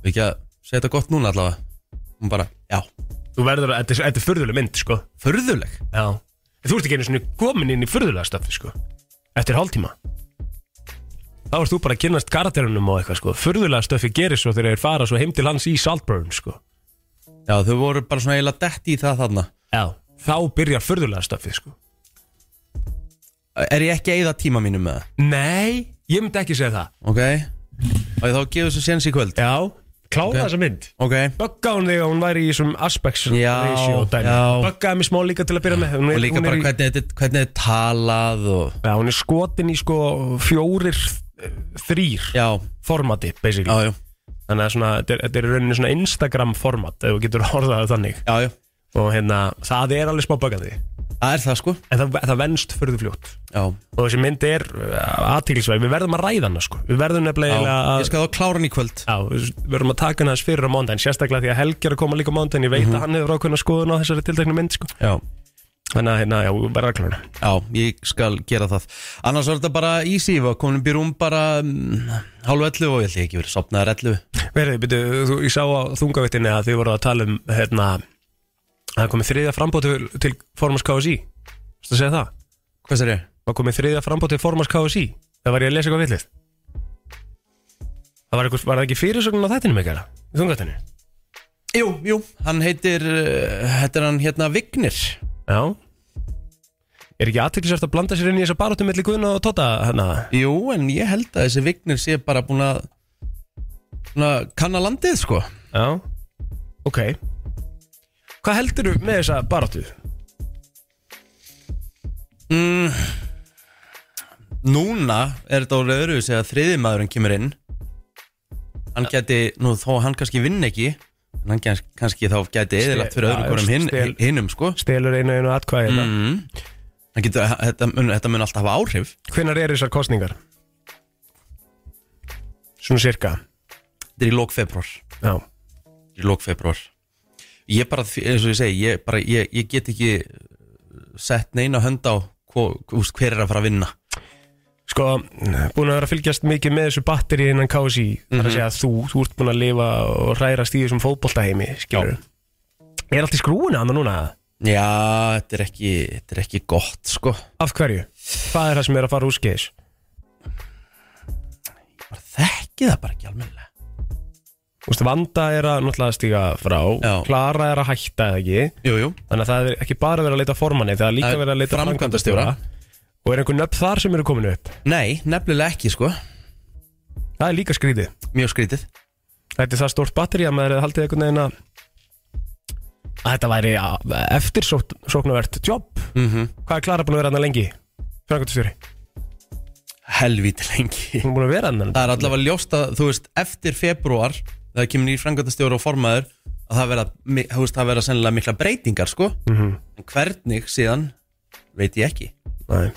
Speaker 1: Við ekki að segja þetta gott núna allavega Hún bara, já,
Speaker 2: Þú verður að, þetta er- þetta er furðuleg mynd, sko
Speaker 1: furðuleg
Speaker 2: Já Þú ert ekki einu svona komin inn í furðulega stöfi, sko Eftir hálftíma Þá ert þú bara að kynnast karakterunum og eitthvað, sko Furðulega stöfi gerir svo þegar þeir fara svo heim til hans í Saltburn, sko
Speaker 1: Já, þau voru bara svona eiginlega detti í það þarna
Speaker 2: Já Þá byrjar furðulega stöfi, sko
Speaker 1: Er ég ekki að eyða tíma mínum með það?
Speaker 2: Nei Ég myndi ekki segja það
Speaker 1: Ok Og þá gefur þessu séns í kvöld
Speaker 2: Já Kláða þessa mynd
Speaker 1: Ok
Speaker 2: Bögga hún þig að hún væri í þessum aspects
Speaker 1: Já,
Speaker 2: ratio dæmi.
Speaker 1: já.
Speaker 2: Böggaði mig smá líka til að byrja með hún
Speaker 1: og líka bara
Speaker 2: í-
Speaker 1: hvernig þetta hvernig þetta er talað og
Speaker 2: Já, hún er skotin í sko fjórir eh, þrír
Speaker 1: já,
Speaker 2: formati, basically
Speaker 1: já, já,
Speaker 2: þannig að svona, þetta er- þetta er í rauninni svona Instagram format ef þú getur orðað það þannig
Speaker 1: já, já
Speaker 2: og hérna, það er alveg smá bögandi en
Speaker 1: það er það sko
Speaker 2: það, það venst fyrir fljótt
Speaker 1: já,
Speaker 2: og þessi mynd er aðtílisvæg, við verðum að ræða hana sko. við verðum
Speaker 1: já.
Speaker 2: nefnilega að
Speaker 1: ég skal þá klára hann í kvöld
Speaker 2: Já, við verðum að taka hana hans fyrir á mándaginn sérstaklega því að Helgi er að koma líka á mándaginn ég
Speaker 1: Mhm.
Speaker 2: veit að hann hefur ákveðna skoðun á þessari tilteknu mynd sko.
Speaker 1: já,
Speaker 2: þannig að hérna, já, við verðum að klára hana.
Speaker 1: já, ég skal gera það annars var þetta bara easy, við komum upp í rúm bara um, hálf 11 og ég ætli ekki verið sopnaðar 11
Speaker 2: Verði, byrju, þú, ég sá á þungavittinni að þið voru að tala um hérna, að það komið þriðja frambóð til, til formans KSI Þú að segja það?
Speaker 1: hvað sér ég?
Speaker 2: var komið þriðja frambóð til formans KSI það var ég að lesa eitthvað villið það var, eitthvað, var það ekki fyrirsögnum á þættinum eitthvað í þungatinu
Speaker 1: Jú, jú, hann heitir uh, þetta er hann hérna Vignir
Speaker 2: já er ekki aðtýrlisvært að blanda sér inn í þessa baróttu milli Guðna og hérna? Tóta hana
Speaker 1: jú, en ég held að þessi Vignir sé bara búin að svona kanna landið sko
Speaker 2: já ok hvað heldur þú með þessa baróttu?
Speaker 1: Mm. núna er þetta orðið öðruvísi að þriði maðurinn kemur inn hann geti, nú þó hann kannski vinn ekki en hann gans- kannski þá geti eðilagt fyrir
Speaker 2: já,
Speaker 1: öðrum hverjum hinn,
Speaker 2: stel-
Speaker 1: hinnum sko
Speaker 2: stelur einu einu atkvæði mm.
Speaker 1: mm. Hann getur, þetta, mun, þetta mun alltaf hafa áhrif
Speaker 2: hvenar er þessar kostningar? svona cirka
Speaker 1: þetta er í lók februar
Speaker 2: já
Speaker 1: í lók februar ég bara, því- eins og ég segi, ég, bara, ég, ég get ekki uh, sett neina hönd á hvo, úst, hver er að fara að vinna
Speaker 2: Sko, búin að vera að fylgjast mikið með þessu batteri innan KSI þar að segja að þú, þú ert búin að lifa og hrærast í þessum fótboltaheimi, skilur Er allt í skrúinu annað núna?
Speaker 1: já, þetta er ekki, þetta er ekki gott sko
Speaker 2: Af hverju? Hvað er það sem er að fara úr skeiðis?
Speaker 1: bara þekki það bara ekki almennilega
Speaker 2: Þú veist, Vanda er að náttúrulega stíga frá
Speaker 1: Já.
Speaker 2: Klara er að hætta eða ekki
Speaker 1: jú, jú,
Speaker 2: Þannig að það er ekki bara verið að leita að formanni Það er líka
Speaker 1: Það er
Speaker 2: verið að leita að
Speaker 1: framkvæmdastjóra.
Speaker 2: framkvæmdastjóra. Og er einhver nöfn þar sem eru komin upp
Speaker 1: nei, nefnilega ekki sko
Speaker 2: Það er líka skrítið
Speaker 1: mjög skrítið
Speaker 2: Þetta er það stórt batteri að maður hefði haldið einhvern veginn að að þetta væri eftir sóknavert jobb
Speaker 1: mm
Speaker 2: Hvað er Klara búin að vera hann lengi? Frangatustjóri,
Speaker 1: helvíti lengi
Speaker 2: hún er búin að vera hann
Speaker 1: Það er allavega ljóst að þú veist eftir februar þegar kemur nýr frangatastjóri og formaður að það verða, mi- þú veist, það verða sennilega mikla breytingar sko en hvernig síðan veit ég ekki
Speaker 2: Nei.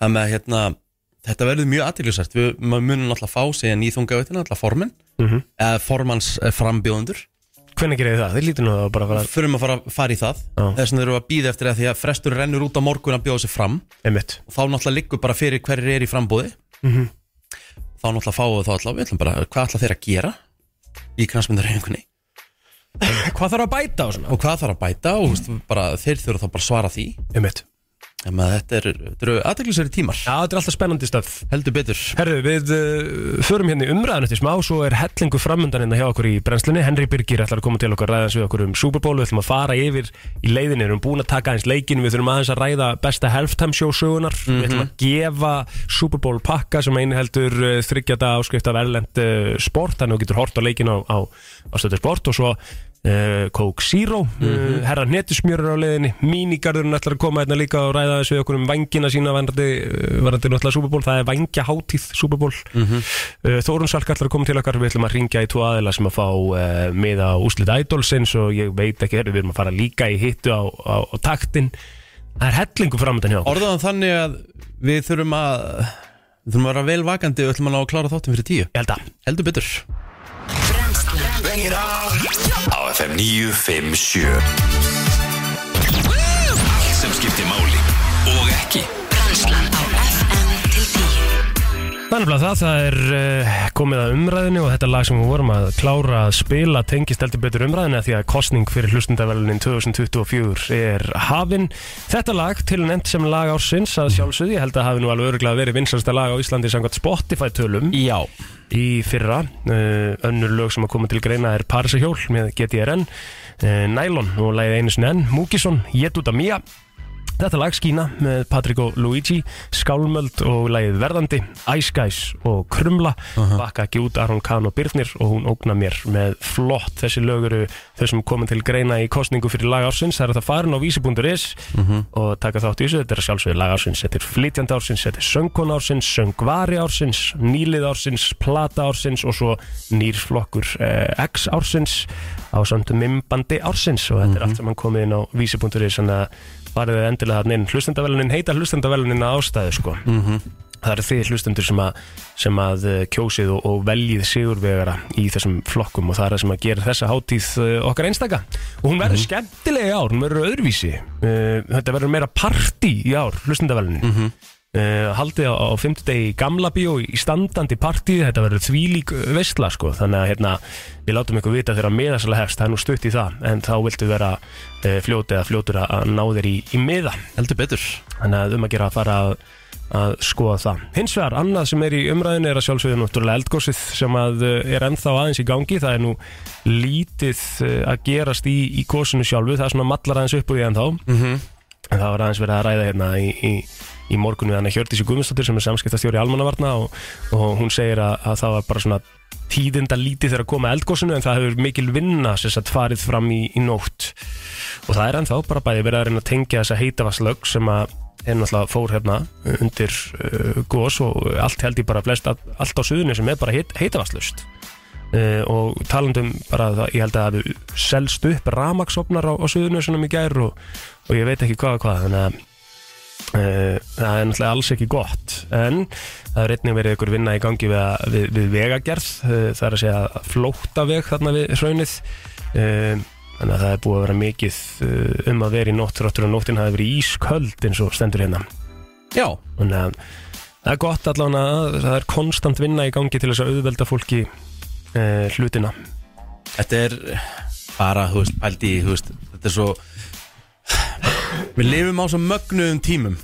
Speaker 1: það með að hérna þetta verður mjög aðtiljósært við maður munum alltaf fá síðan í þungaveitina alltaf formin
Speaker 2: Mhm.
Speaker 1: eða formans eh, frambjóðundur
Speaker 2: Hvernig gerir þið það? Þið lítur nú að bara fara
Speaker 1: förum að fara, fara í það
Speaker 2: Já.
Speaker 1: þess vegna erum við að býða eftir það því að frestur rennur út á morgun að bjóða sig fram
Speaker 2: Einmitt
Speaker 1: og þá náttúrulega liggur bara fyrir hverjir er í frambúði
Speaker 2: Mhm.
Speaker 1: þá náttúrulega fáum við þá allavega við ætlum bara, hvað ætla þeir að gera í knastmyndarhefingunni
Speaker 2: Hvað þarf að bæta á svona?
Speaker 1: og hvað þarf að bæta og þú veist, bara, þeir þurfa þá bara að svara því
Speaker 2: Einmitt
Speaker 1: Þannig að þetta eru þetta eru aðteglisari tímar
Speaker 2: Já, þetta er alltaf spennandi stöf
Speaker 1: heldur betur
Speaker 2: Herðu, við uh, förum hérna í umræðan eftir smá, svo er hellingu framöndan hérna hjá okkur í brennslunni. Henry Birgir ætlar að koma til okkar ræðans við okkur um Super Bowl, við ætlum að fara yfir í leiðinni, við erum búin að taka aðeins leikin, við þurfum aðeins að ræða besta halftime show sögunar,
Speaker 1: Mhm.
Speaker 2: við ætlum að gefa Super Bowl pakka sem einu heldur uh, þryggjata áskrift af erlend uh, sport, þannig að þú getur hort á leikin á, á, á stöðu sport og svo uh, Coke Zero, uh, herra netusmjörur á leiðinni, mínigarðurinn ætlar að koma hérna líka og ræða þessu við okkur um vangina sína varandi, uh, varandi náttúrulega Super Bowl, það er vangja hátíð Super Bowl mm -hmm. uh, Þórun Salk ætlar að koma til okkar, við ætlum að ringja í tvo aðila sem að fá uh, miða á úslit Idolsins og ég veit ekki, heyrðu, við erum að fara líka í hittu á, á, á taktin það er hellingu framöndan hjá okkur
Speaker 1: orðaðan þannig að við þurfum að við þurfum að vera vel vakandi og ætlum að ná að klára þáttum fyrir tíu
Speaker 2: ég held að,
Speaker 1: heldur betur
Speaker 4: Bengir á Á FM 957 Allt sem skiptir máli Og ekki
Speaker 2: Þannig að það, það er uh, komið að umræðinu og þetta lag sem við vorum að klára að spila tengist heldur betur umræðinu af því að kostning fyrir hlustundavælunin 2024 er hafin. Þetta lag til nefnt sem lag ársins að sjálfsögði, ég held að hafi nú alveg öruglega verið vinsalsta lag á Íslandi samkvæmt Spotify tölum
Speaker 1: já
Speaker 2: í fyrra uh, önnur lög sem að koma til greina er Parisahjól með GTRN uh, Nylon og lagið einu sinni enn Múkisson, Jetuta Mía Þetta lag skína með Patrik og Luigi Skálmöld og lagið Verðandi Ice Guys og Krumla Vakka ekki út Aron Kahn og Birnir og hún ógna mér með flott þessi lög eru þau sem komin til greina í kostningu fyrir lagársins, það er þetta farin á vísi.is og taka þátt í þessu þetta er að sjálfsögðu lagársins, þetta er flytjandi ársins þetta er söngkona ársins, söngvari ársins nýlið ársins, plata ársins og svo nýrflokkur eh, X ársins á samt mimbandi ársins og þetta er allt sem hann komið inn á vísi.is þannig að farið þið endilega þarna inn hlustendavelunin heita hlustendavelunin að ástæðu sko það eru þið hlustendur sem að, sem að eh, kjósið og, og veljið sigurvegara í þessum flokkum og það er það sem að gera þessa hátíð eh, okkar einstaka og hún
Speaker 1: Mhm.
Speaker 2: verður skemmtilega í ár, hún verður öðruvísi Eh, þetta verður meira partí í ár hlustendavelunin mm
Speaker 1: Mhm.
Speaker 2: haldið á, á fimmtudegi í gamla bíó í standandi partíð, þetta verður þvílík veistla sko, þannig að hérna við látum ykkur vita þegar miðasala hefst, það er nú stutt í það en þá viltu vera eh, fljótið að fljótur að- að ná þér í, í miða
Speaker 1: heldur betur
Speaker 2: þannig að um að gera að fara að, að skoða það. Hins vegar, annað sem er í umræðinu er að sjálfsögðu náttúrulega eldgósið sem að uh, er ennþá aðeins í gangi það er nú lítið uh, að gerast í, í gósinu sjálfu, það er svona mallar aðeins upp úr því ennþá mm það var aðeins verið að ræða hérna í, í í morgunu þannig Hjördísi Guðmundsdóttir sem er samskiptastjóri almannavarna og, og hún segir að, að það var bara svona tíðinda lítið þegar að koma eldgósinu en það hefur mikil vinna sem sagt farið fram í, í nótt og það er ennþá bara bæði verið að reyna að tengja þessa heitavastlögg sem að er náttúrulega fór hérna undir uh, gos og allt held ég bara flest að- allt á suðunni sem er bara heit, heitavastlust uh, og talandum bara það, ég held að það hafi selst upp ramaksopnar á, á suðunni sem í gær og, og ég veit ekki hvað og hvað þannig að uh, það er náttúrulega alls ekki gott en það er einnig verið ykkur vinna í gangi við, að- við, við vegagerð uh, það er að segja flóttaveg þarna við hraunið um, þannig að það er búið að vera mikið uh, um að vera í nótt þráttur og nóttin hafi verið ísköld eins og stendur hérna
Speaker 1: já
Speaker 2: þannig að það er gott allan að það er konstant vinna í gangi til þess að auðvelda fólki uh, hlutina
Speaker 1: þetta er bara, þú veist, pældi í, þú veist, þetta er svo við lifum á svo mögnuðum tímum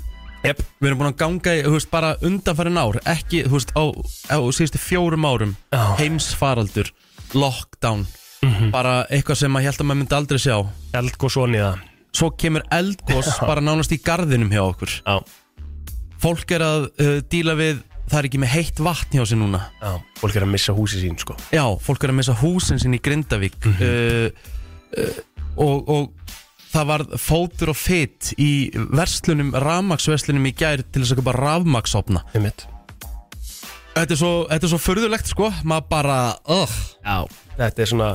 Speaker 1: yep. við erum búin að ganga, í, þú veist, bara undanfærin ár ekki, þú veist, á, á síðustu fjórum árum
Speaker 2: Já.
Speaker 1: heimsfaraldur, lockdown bara eitthvað sem maður held að maður myndi aldrei sjá
Speaker 2: eldgóð svona í það
Speaker 1: svo kemur eldgós bara nánast í garðinum hjá okkur
Speaker 2: Já.
Speaker 1: fólk er að uh, díla við það er ekki með heitt vatn hjá sér núna
Speaker 2: Já, fólk er að missa húsi sín sko
Speaker 1: Já, fólk er að missa húsin sín í Grindavík uh, uh, og, og það var fótur og fit í verslunum, rafmaksverslunum í gær til þess að köpa rafmaksopna
Speaker 2: Einmitt.
Speaker 1: Þetta er svo, þetta er svo furðulegt sko, maður bara uh,
Speaker 2: þetta er svona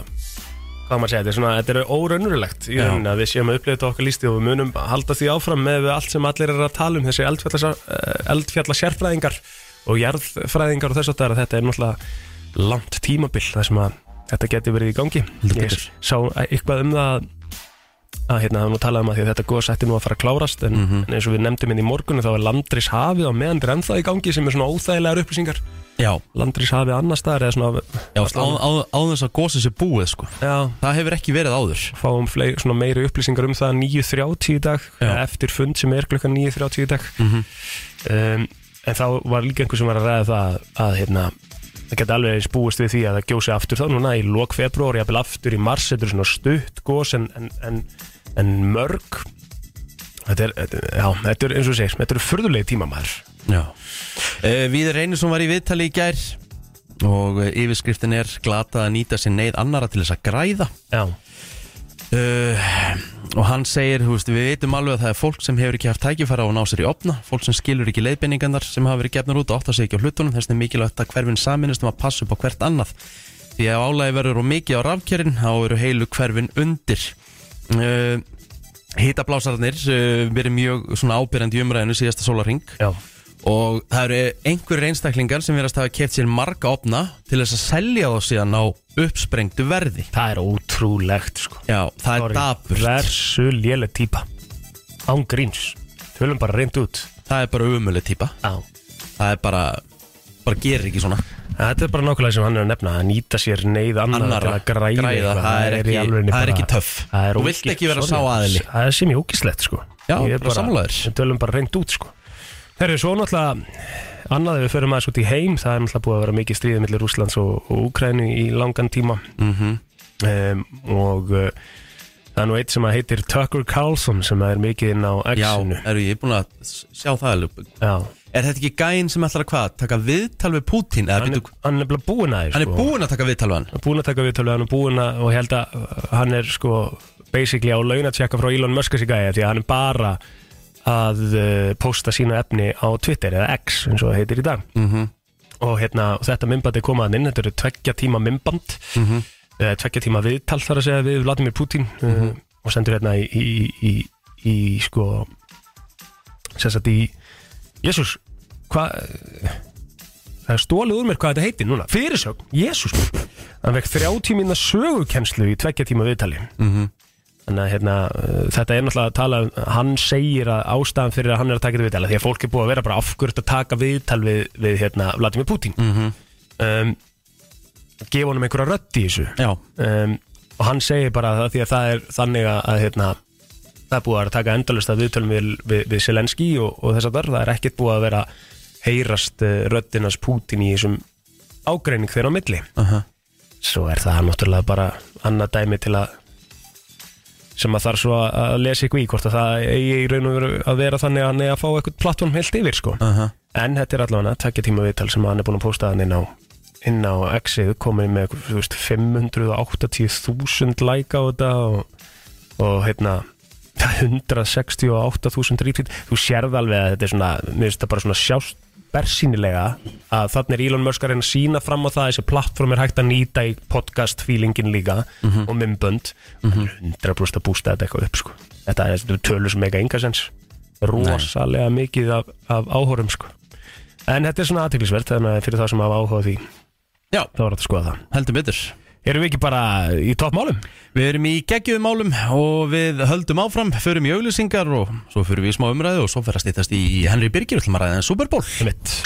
Speaker 2: hvað maður segja, þetta er svona, þetta er óraunurlegt í rauninni að við séum að upplifa þetta á okkar lísti og við munum halda því áfram með við allt sem allir er að tala um þessi eldfjalla, eldfjalla sérfræðingar og jarðfræðingar og þess að það er að þetta er náttúrulega langt tímabil þar sem að þetta geti verið í gangi
Speaker 1: Heldur
Speaker 2: Ég
Speaker 1: betur.
Speaker 2: sá eitthvað um það að hérna, það var nú talað um að, því að þetta góðs ætti nú að fara að klárast en,
Speaker 1: Mhm.
Speaker 2: en eins og við nefndum inn í morgunu þá er landris hafið á meðan er ennþá í gangi sem er svona óþægilegar upplýsingar
Speaker 1: Já,
Speaker 2: landris hafið annar staðar eða svona
Speaker 1: já á, á, á þess að gósið sé búið sko
Speaker 2: já,
Speaker 1: Það hefur ekki verið áður
Speaker 2: fáum fleiri, svona meiri upplýsingar um það 9.30 í dag,
Speaker 1: Já. Mhm.
Speaker 2: eftir fund sem er klukkan 9.30 í dag um, en þá var líka einhver sem var að ræða það að hérna það geti alveg eins búist við því að það gjósi aftur þá núna í lok februar, jafnvel aftur í mars þetta er svona stutt gos en, en, en, en mörg þetta er, þetta er- já, þetta er eins og þú segir þetta eru furðulegi tíma maður
Speaker 1: Já uh, Víður Einarsson var í viðtali í gær og eh, yfirskriftin er glatað að nýta sér neyð annara til þess að græða
Speaker 2: já,
Speaker 1: uh, og hann segir, þú veist, við veitum alveg að það er fólk sem hefur ekki haft tækifæra á að ná sér í opna fólk sem skilur ekki leiðbeiningarnar sem hafa verið gefnur út og átt að segja ekki á hlutunum þess að mikilvægt að hverfin saminist um að passa upp á hvert annað því að álægi verður og mikið á rafkjörin þá eru heilu hverfin undir uh, Hitablásararnir uh, verið mjög svona ábyrjandi í umræðinu síðasta sólarring
Speaker 2: já,
Speaker 1: og það eru einhverjir einstaklingar sem verðast að hafa keft sér marga opna til þess að selja þá síðan á uppsprengdu verði
Speaker 2: það er ótrúlegt sko.
Speaker 1: Já, það er
Speaker 2: Sorry.
Speaker 1: daburt
Speaker 2: versu léleg típa án gríns, tölum bara reynd út
Speaker 1: Það er bara umölu típa
Speaker 2: já
Speaker 1: Það er bara, bara gerir ekki svona
Speaker 2: Þetta er bara nákvæmlega sem hann er að nefna að nýta sér neyð annara,
Speaker 1: Annarra,
Speaker 2: til að græða,
Speaker 1: græða,
Speaker 2: eitthvað.
Speaker 1: það er
Speaker 2: í
Speaker 1: ekki-
Speaker 2: alvörunni
Speaker 1: það er
Speaker 2: bara-
Speaker 1: ekki töff.
Speaker 2: það er
Speaker 1: Þú vilt
Speaker 2: ógilt-
Speaker 1: ekki vera
Speaker 2: sorry,
Speaker 1: sá aðili.
Speaker 2: Það er sem ég ógislegt sko
Speaker 1: Já,
Speaker 2: Ég er
Speaker 1: bara sammálaður.
Speaker 2: Við tölum bara reynd út sko Þegar svo náttúrulega annað ef við förum aðeins út í heim það er náttúrulega búið að vera mikið stríðið millir Rúslands og, og Úkrænu í langan tíma um, og uh, það er nú eitt sem að heitir Tucker Carlson sem er mikið inn á
Speaker 1: Já,
Speaker 2: X-inu
Speaker 1: eru ég búin að s- sjá það alveg
Speaker 2: Já,
Speaker 1: Er þetta ekki gæinn sem ætlar að hvað? Taka viðtal við Pútín? Eða,
Speaker 2: hann er,
Speaker 1: hann, er,
Speaker 2: hann er bara búin aðeins
Speaker 1: hann er búinn að taka viðtal við hann
Speaker 2: búin að taka viðtölu sko. hann er búin að og ég held að uh, hann er sko basically á launatjekka frá Elon Musk þessi gæja því að hann er bara að uh, posta sína efni á Twitter eða X eins og það heitir í dag
Speaker 1: Mhm.
Speaker 2: og hérna og þetta mymbandi komaðan inn þetta eru tveggja tíma mymband mm -hmm. tveggja tíma viðtal þar að segja við Vladimir Putin uh, og sendur hérna í, í, í, í, í sko sem sagt í Jésús hvað Það er stólið úr mér hvað þetta heitir núna Fyrirsögn, Jésús Hann vekk 30 minna sögukenslu í tveggja tíma viðtali -hmm. Þannig að hérna, uh, þetta er náttúrulega að tala um- Hann segir að ástæðan fyrir að hann er að taka þetta viðtali Því að fólk er búið að vera bara afgjörð að taka viðtal við, við hérna, Vladimir Putin mm -hmm. um, Gefa honum einhverja rödd í þessu
Speaker 1: Já,
Speaker 2: um, og hann segir bara það því að það er þannig að, að hérna, það er búið að vera að taka endalust að viðtölum við, við, við Selenski og, og þess að það er ekkert búið að vera heyrast uh, röddinas Pútin í þessum ágreining þeirra á milli
Speaker 1: Aha.
Speaker 2: svo er það náttúrulega bara annað dæmi til að sem að þarf svo að- að lesa ykkur í hvort að það eigi í raun og veru að vera þannig að hann eigi að fá eitthvað plattform heilt yfir sko.
Speaker 1: Aha.
Speaker 2: en þetta er allavega takkja tíma viðtal sem hann er búin að posta hann inn á inn á X-ið komið með eitthvað, þú veist, 580.000 like á þetta og, og hérna 168.000 retweet þú sérð alveg að þetta er svona mér finnst þetta bara svona sjást bersýnilega að þarna er Elon Musk að reyna að sína fram á það þessi plattform er hægt að nýta í podcast feelingin líka og mymbönd mm
Speaker 1: Mhm.
Speaker 2: -hmm. 100% að bústa þetta eitthvað upp sko. þetta er þetta eru tölur sem eiga engasens rosalega mikið af, af áhórum sko. en þetta er svona aðtiklisvert þannig að fyrir það sem hafa áhuga á því
Speaker 1: Já.
Speaker 2: þá er þetta skoða það
Speaker 1: heldur betur
Speaker 2: erum við ekki bara í toppmálum?
Speaker 1: Við erum í geggjum málum og við höldum áfram, förum í auglýsingar og svo förum við í smá umræðu og svo fer að stýttast í Henry Birgir, ætlum að ræða en Super Bowl
Speaker 2: Einmitt.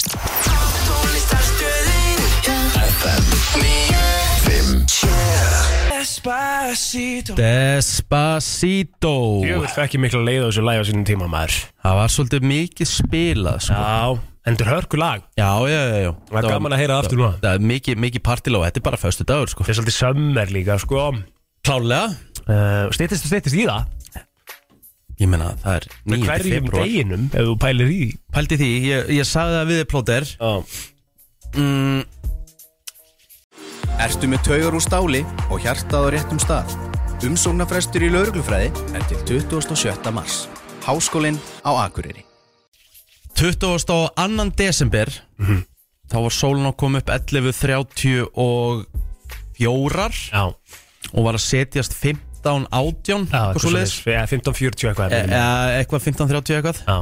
Speaker 1: Despacito
Speaker 2: Ég vil ekki mikla leið á þessu læg á sínum tíma maður
Speaker 1: Það var svolítið mikið spilað sko.
Speaker 2: Já, en þetta er hörku lag
Speaker 1: Já, já, já, já.
Speaker 2: Það er gaman að heyra aftur núna
Speaker 1: Það er mikið, mikið partilá, þetta er bara föstu dagur sko.
Speaker 2: Það er svolítið sömmer líka sko uh,
Speaker 1: Klálega,
Speaker 2: Stýttist og stýttist í það
Speaker 1: ég meina það er 9.
Speaker 2: Hverjum
Speaker 1: februar
Speaker 2: deginum ef þú pælir í
Speaker 1: Pældi því, ég, ég sagði það við þér, plóter
Speaker 2: Já
Speaker 8: Mm. Ertu með taugar úr stáli og hjartað á réttum stað? Umsóknarfrestur í lauruglufræði er til 27. mars. Háskólinn á Akureyri.
Speaker 1: 20. og 2. desember
Speaker 2: Mhm.
Speaker 1: Þá var sólun að koma upp 11.34
Speaker 2: Já
Speaker 1: og var að setjast 15 átján
Speaker 2: eitthvað
Speaker 1: og svo leiðis
Speaker 2: svoleiðis. Já, 15.40
Speaker 1: Eh,
Speaker 2: eitthvað er það.
Speaker 1: eitthvað 15-30 eitthvað
Speaker 2: Já,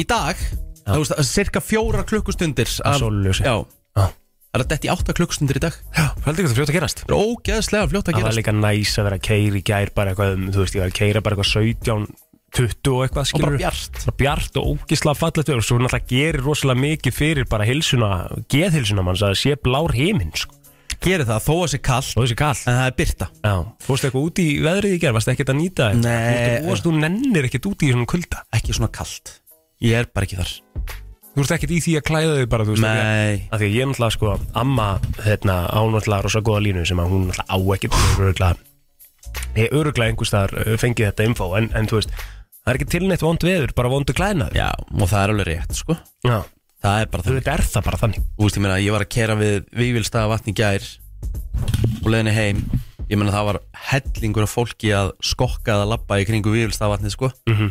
Speaker 1: í dag, þú veist, cirka fjóra klukkustundir af,
Speaker 2: sólarljósi.
Speaker 1: já,
Speaker 2: Já.
Speaker 1: það er að detti átta klukkustundir í dag
Speaker 2: já, heldur ekki það fljótt að gerast
Speaker 1: það er ógeðslega fljótt að
Speaker 2: Það var
Speaker 1: gerast
Speaker 2: líka næs að vera að keira í gær bara eitthvað, um, þú veist, ég var að keira bara eitthvað 17, 20 og eitthvað,
Speaker 1: og
Speaker 2: skilur
Speaker 1: bara bjart
Speaker 2: bara bjart og ógislega fallegt og svo náttúrulega gerir rosalega mikið fyrir bara hilsuna, geðhilsuna manns að sé blár heiminn, sko,
Speaker 1: gerir það þó að sé kall
Speaker 2: og þessi kall
Speaker 1: en það er byrta
Speaker 2: Já, fórstu eitthvað út í veðrið í gerð, varstu ekkert að nýta þetta?
Speaker 1: Nei.
Speaker 2: Þú veist, þú nennir ekkert út í svona kulda
Speaker 1: ekki svona kallt ég er bara ekki þar
Speaker 2: Þú ert ekkert í því að klæða þig bara, þú veist af því að-
Speaker 1: Nei.
Speaker 2: Af því að ég er náttúrulega, sko, amma, hérna, án náttúrulega rosa góða línu sem að hún náttúrulega á ekkert Hún er öruglega, ég öruglega einhvers þar fengið þetta info en, en þú veist, það er ekki tilnætt vond veður, bara vondu klæðnaður
Speaker 1: já, og það er alveg rétt, sko
Speaker 2: Já,
Speaker 1: það er bara
Speaker 2: þú
Speaker 1: það
Speaker 2: veit, er það bara þannig
Speaker 1: þú veist, ég meina, ég var að kera við Vívilstaða vatn í gær og leiðinni heim ég meina, það var hellingur af fólki að skokka eða labba í kringu Vívilstaða vatni, sko
Speaker 2: Mhm.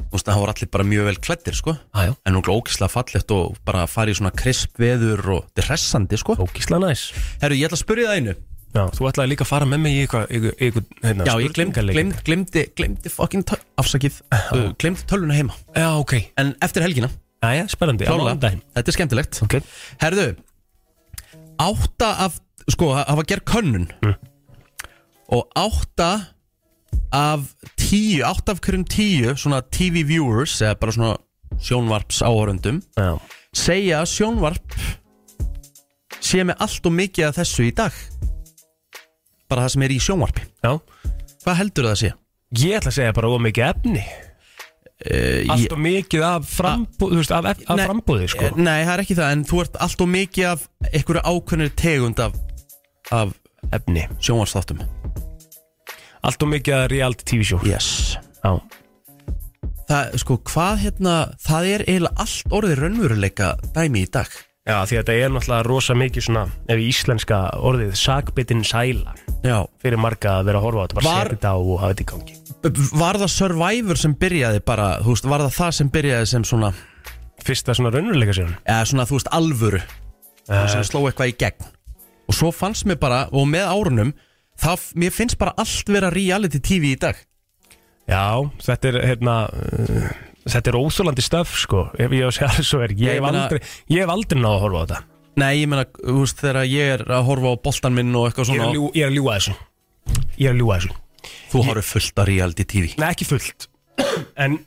Speaker 2: Ah,
Speaker 1: þú veist, það var allir bara mjög vel klættir, sko
Speaker 2: Aðjó,
Speaker 1: en hún glókislega fallegt og bara farið í svona krisp veður og þetta er hressandi, sko
Speaker 2: ógísla næs
Speaker 1: Herru, ég ætla að spyrja það einu
Speaker 2: Já, þú ætlaði líka að fara með mig í eitthvað eitthvað- eitthvað, hérna,
Speaker 1: Já, ég glemdi,
Speaker 2: spurningaleik.
Speaker 1: glemdi, glemdi, glemdi fucking töl, afsakið, uh, glemdi tölvuna heima
Speaker 2: Já, ok
Speaker 1: en eftir helgina,
Speaker 2: Jæja, spennandi, á
Speaker 1: klála,
Speaker 2: mánudaginn
Speaker 1: þetta er skemmtilegt
Speaker 2: Ok,
Speaker 1: Herðu Átta af Sko, ha- hafa gerð könnun
Speaker 2: Mm.
Speaker 1: Og átta Af tíu Átta af hverjum tíu Svona TV viewers Eða bara svona sjónvarps áhörundum
Speaker 2: já
Speaker 1: Segja að sjónvarp Sé með allt og mikið af þessu í dag Bara það sem er í sjónvarpi
Speaker 2: Já,
Speaker 1: Hvað heldur það að sé?
Speaker 2: ég ætla að segja bara of mikið efni
Speaker 1: Uh,
Speaker 2: Allt og mikið af, frambú, veist, af, ef- af
Speaker 1: Nei. eh,
Speaker 2: frambúði sko.
Speaker 1: Nei, það er ekki það En þú ert allt og mikið af Einhverju ákveðnir tegund af, af
Speaker 2: Efni
Speaker 1: sjónvarpsþáttum
Speaker 2: Allt og mikið af reality tv show
Speaker 1: Yes
Speaker 2: Já,
Speaker 1: það, sko, hvað hérna, það er eiginlega allt orðið raunveruleika dæmi í dag.
Speaker 2: já því að þetta er náttúrulega rosa mikið svona Ef í íslenska orðið Sakbitin sæla
Speaker 1: Já.
Speaker 2: Fyrir marga að vera að horfa á þetta Bara
Speaker 1: Var-
Speaker 2: setja þetta á og hafa þetta í gangi
Speaker 1: Var það Survivor sem byrjaði bara, þú veist, var það það sem byrjaði sem svona,
Speaker 2: Fyrsta svona Eh. raunurleika sér
Speaker 1: eða svona, þú veist, alvöru, sem sló eitthvað í gegn. Og svo fannst mér bara, og með árunum, það, mér finnst bara allt vera reality tv í dag.
Speaker 2: Já, þetta er hérna uh, Þetta er óþólandi stöf sko Ef ég á að segja alveg svo er Ég,
Speaker 1: Ég
Speaker 2: hef
Speaker 1: meina-
Speaker 2: aldrei, ég hef aldrei náða að horfa á þetta
Speaker 1: Nei, ég meina, þú veist, þegar ég er að horfa á boltan minn og eitthvað
Speaker 2: Ég er
Speaker 1: svona,
Speaker 2: að ljú- ég er að ljúa þessu Ég er að ljúa þessu
Speaker 1: þú horfir fullt af reality tv.
Speaker 2: Nei, ekki fullt En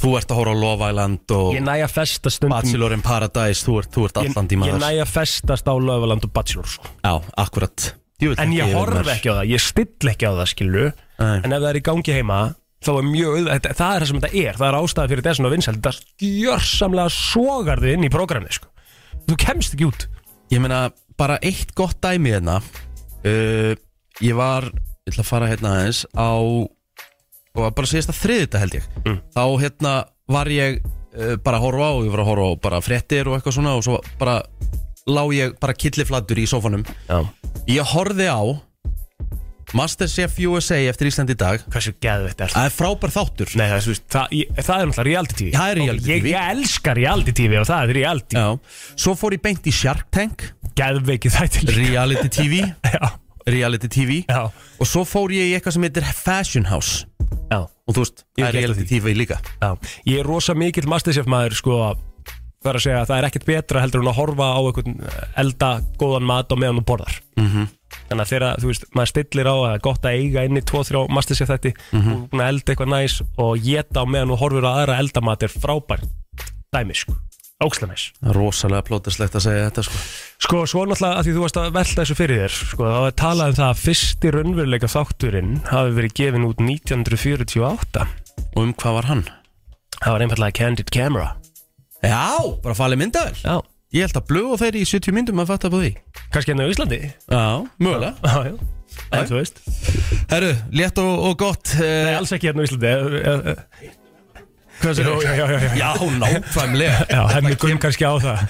Speaker 1: Þú ert að horfa á Love Island
Speaker 2: ég
Speaker 1: og
Speaker 2: næ að festa stundum
Speaker 1: Bachelor in Paradise, þú ert, þú ert
Speaker 2: Ég,
Speaker 1: allan
Speaker 2: ég
Speaker 1: tíma
Speaker 2: næ
Speaker 1: þar.
Speaker 2: að festast á löfaland og bachelor sko.
Speaker 1: Já, akkurat. Djöfull
Speaker 2: En ég
Speaker 1: þekki
Speaker 2: horf
Speaker 1: maður.
Speaker 2: ekki á það, ég still ekki á það skilu
Speaker 1: Nei.
Speaker 2: En ef það er í gangi heima Þá er mjög auðvitað, þetta- það er það sem þetta er Það er ástæða fyrir þessan og vinsæld Það gjörsamlega sogar þið inn í prógramið sko. Þú kemst ekki út
Speaker 1: Ég meina, bara eitt gott dæmi hérna uh, Ég var, ég ætla að fara hérna aðeins á og var bara síðast að þriðið held ég
Speaker 2: Mm.
Speaker 1: þá hérna var ég uh, bara að horfa á, ég var að horfa á bara fréttir og eitthvað svona og svo bara lá ég bara killiflatur í sófanum
Speaker 2: Já.
Speaker 1: Ég horfði á Masterchef USA eftir Ísland í dag
Speaker 2: Hversu geðveitt er það?
Speaker 1: Það er frábær þáttur
Speaker 2: Nei, það, er, þú veist, það, ég, það er náttúrulega reality TV
Speaker 1: Það er reality
Speaker 2: ég,
Speaker 1: TV.
Speaker 2: Ég elska reality TV og það er reality
Speaker 1: Já. Svo fór ég beint í Shark Tank
Speaker 2: Geðveikið þættir líka.
Speaker 1: Reality TV
Speaker 2: Já,
Speaker 1: Reality TV
Speaker 2: já,
Speaker 1: Og svo fór ég í eitthvað sem heitir Fashion House
Speaker 2: já,
Speaker 1: Og þú veist,
Speaker 2: Ég
Speaker 1: það er
Speaker 2: hef gert
Speaker 1: reality TV líka
Speaker 2: já Ég er rosa mikill masterchef maður sko Það er að segja að það er ekkert betra heldur en að horfa á einhvern eh, elda góðan mat og meðan þú borðar mm
Speaker 4: Mhm.
Speaker 2: -hmm. Þannig að þegar, þú veist, maður stillir á að gott að eiga inn í 2-3 masterchef þætti
Speaker 1: Mhm.
Speaker 2: mm -hmm. og elda eitthvað næs og geta á meðan þú horfir á aðra eldamat er frábært dæmi sko, ókslega næs
Speaker 1: Það er Rosalega plóterslegt að segja þetta sko
Speaker 2: Sko, svo náttúrulega að því þú varst að velta þessu fyrir þér Sko, þá er talað um það að fyrsti raunveruleika þátturinn hafi verið gefin út 1948
Speaker 1: Og um hvað var hann?
Speaker 2: Það var einfallega Candid Camera
Speaker 1: Já, bara falið myndaður
Speaker 2: Já
Speaker 1: Ég held að blöð og þeir í 70 myndum að fatta på því
Speaker 2: Kannski hérna á Íslandi
Speaker 1: Já, mögulega
Speaker 2: Já, já En þú veist
Speaker 1: Herru, létt og, og gott
Speaker 2: Nei,
Speaker 1: uh,
Speaker 2: alls ekki hérna á Íslandi
Speaker 1: Hvað
Speaker 2: Já, já, já, já, já
Speaker 1: Já, nákvæmlega
Speaker 2: Já, henni kom kannski á það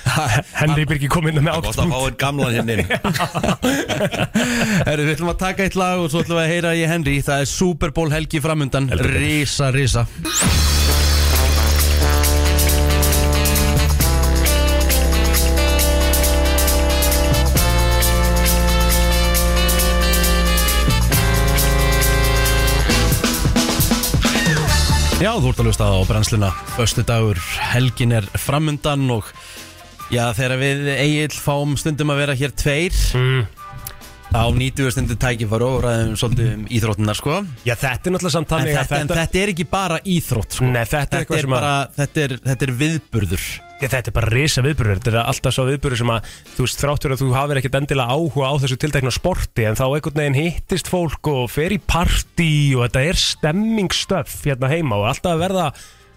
Speaker 2: Henni byrgi kom inn með átt
Speaker 1: að fá einn gamlan hérna inn Herru, við ætlum að taka eitt lag og svo ætlum við að heyra í Henry Það er Super Bowl helgi framundan
Speaker 2: Heldur betur.
Speaker 1: Risa, risa Já, þú ert að lusta á brennsluna Föstu dagur, helgin er framundan og já, þegar við Egil fáum stundum að vera hér tveir
Speaker 2: Mm.
Speaker 1: þá nýtum við stundum tækifar og ræðum svolítið um íþróttina sko
Speaker 2: Já, þetta er náttúrulega samt
Speaker 1: en
Speaker 2: þannig
Speaker 1: þetta,
Speaker 2: að
Speaker 1: en þetta er ekki bara íþrótt sko.
Speaker 2: Nei, þetta er
Speaker 1: þetta,
Speaker 2: eitthvað
Speaker 1: er
Speaker 2: sem að
Speaker 1: bara, þetta, er, þetta er viðburður
Speaker 2: Ég, þetta er bara risa viðburður, þetta er alltaf svo viðburður sem að þú veist þráttur að þú hafir ekkert endilega áhuga á þessu tiltekna sporti en þá einhvern veginn hittist fólk og fer í partí og þetta er stemmingstöf hérna heima og alltaf að verða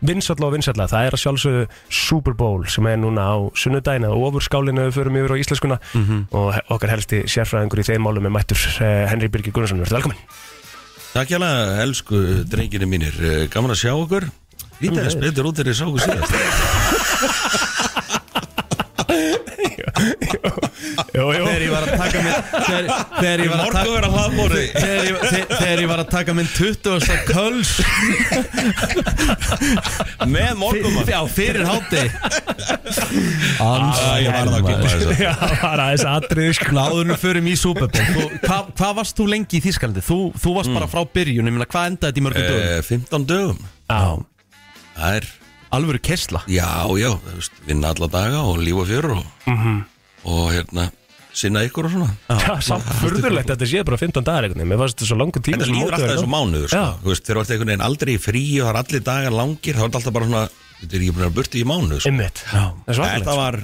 Speaker 2: vinsalla og vinsalla, það er að sjálfsögðu Super Bowl sem er núna á sunnudagina og ofur skálinu við förum yfir á íslenskuna
Speaker 1: Mhm.
Speaker 2: og he- okkar helsti sérfræðingur í þeim málum er mættur eh, Henry Birgir Gunnarsson, verður velkomin
Speaker 9: Takk hjá það, elsku drenginu mínir Eh, Gaman að sjá okkur Lítið þess betur út þegar ég sá okkur síðast
Speaker 2: Jó, jó,
Speaker 1: þegar ég var að taka minn þegar, þegar ég var að taka
Speaker 9: Morgu er að hlaðbóri
Speaker 1: Þegar ég, þe- þegar ég var að taka minn 20. köls
Speaker 9: Með morgumann
Speaker 1: Já, fyrir hátti
Speaker 9: Æ, ég varð að koma þess
Speaker 2: já, bara þess atrið sko
Speaker 1: Náðunum förum í Super Bowl Þú- Hvað hva varst þú lengi í Þískalandi? Þú, þú varst
Speaker 9: Mm.
Speaker 1: bara frá byrjun, ég meina hvað endaði þetta í mörgum dögum?
Speaker 9: að 15 dögum
Speaker 2: Já,
Speaker 9: Það er,
Speaker 1: Alvöru kessla
Speaker 9: já, já, þú veist, vinna alla daga og lífa fjör og, og hérna, sinna ykkur og svona
Speaker 2: Mhm. Já, samt furðurlegt að þetta sé bara 15 dagar einhvern veginn, mér fannst þetta svo langur tíma
Speaker 9: Þetta
Speaker 2: sem
Speaker 9: líður
Speaker 2: mótið
Speaker 9: alltaf
Speaker 2: var í
Speaker 9: þessu
Speaker 2: gangi.
Speaker 9: mánuður sko.
Speaker 2: Já.
Speaker 9: Þú veist, þegar þú ert einhvern veginn aldrei í frí og það er allir dagar langir þá er þetta alltaf bara svona, þetta er ég búin að vera burti í mánuð sko.
Speaker 2: Einmitt, það er sko. svakalegt
Speaker 9: Þetta var,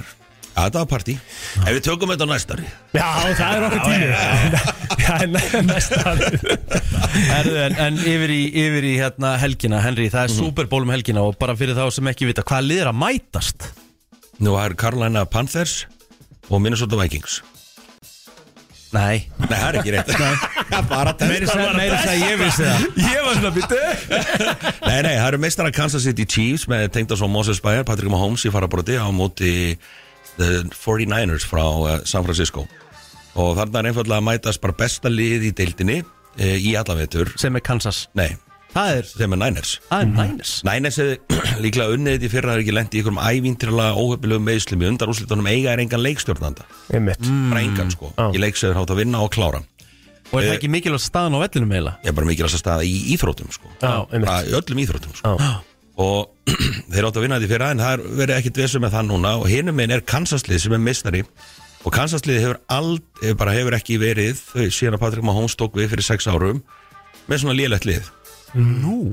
Speaker 9: ja, þetta var partí Ef við tökum þetta á næstari
Speaker 2: Já, það er okkur tími Það er næ- næsta árið.
Speaker 1: Herðu, en, en yfir í, yfir í hérna, helgina, Henry, það
Speaker 9: Mhm.
Speaker 1: er Super Bowl um helgina og bara fyrir þá sem ekki vita, hvað liðir að mætast?
Speaker 9: Nú það er Carolina Panthers og Minnesota Vikings
Speaker 1: Nei
Speaker 9: Nei, það er ekki rétt Nei, bara
Speaker 1: Meiri
Speaker 9: testa
Speaker 1: sem að ég vissi það
Speaker 2: Ég var svona býttu
Speaker 9: Nei, nei, það eru meistarar Kansas City Chiefs með tengda svo Moses Bayer, Patrick Mahomes í farabroti á móti the 49ers frá uh, San Francisco og þarna er einfallega að mætast bara besta lið í deildinni uh, í allavetur
Speaker 1: Sem er Kansas
Speaker 9: Nei,
Speaker 1: Það er,
Speaker 9: sem er Niners
Speaker 1: það er Mhm. Niners
Speaker 9: Niners hefði líklega unnið þetta í fyrra það er ekki lent í einhverjum ævintirlega óhefnilegum meðslum í undarúslitunum eiga er engan leikstjórnanda
Speaker 2: Einmitt Mm.
Speaker 9: bara engan sko,
Speaker 2: Já.
Speaker 9: í leiksöður hátt að vinna og klára
Speaker 1: Og er það ekki mikilvægt staðan á vellinu meila?
Speaker 9: ég er Eh, bara mikilvægt að staða í íþrótum sko.
Speaker 2: Já, einmitt
Speaker 9: Bara í öllum íþrótum sko.
Speaker 2: Já.
Speaker 9: og þeir áttu að vinna þetta í fyrra en það er verið ekkit vesum með það núna og hinum minn er Kansaslið sem er mistari og Kansaslið hefur, ald, hefur, bara hefur ekki verið þau, síðan að Patrick Mahomes tók við fyrir sex árum með svona lélegt lið Nú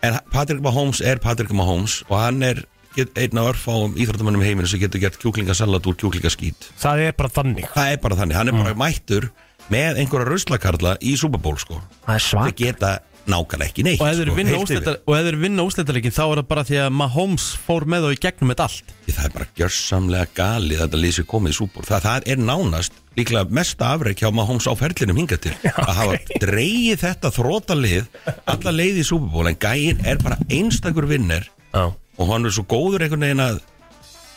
Speaker 9: En Patrick Mahomes er Patrick Mahomes og hann er get- einn af örfáum íþróttamönnum í heiminu sem getur gert kjúklingasalat úr kjúklingaskít
Speaker 2: Það er bara þannig Mm.
Speaker 9: Það er bara þannig, hann er bara mættur með einhverja ruslakarla í Superból sko
Speaker 2: Það er
Speaker 9: Þeir
Speaker 2: svak
Speaker 9: geta nákvæmlega ekki neitt
Speaker 1: Og ef þeir
Speaker 9: sko,
Speaker 1: vinna
Speaker 9: heilt yfir.
Speaker 1: úrslita- og ef þeir vinna úrslitaleikin þá er það bara því að Mahomes fór með þá í gegnum þetta allt
Speaker 9: Því Það er bara gjörsamlega galið að þetta lýsi komið í súbúr. Það, það er nánast líklega mesta afreik hjá Mahomes á ferlinum hingað til. Að hafa dreigið þetta þrótalið alla leið í súbúrból en gæin er bara einstakur vinner
Speaker 2: Já,
Speaker 9: og hann er svo góður einhvern veginn að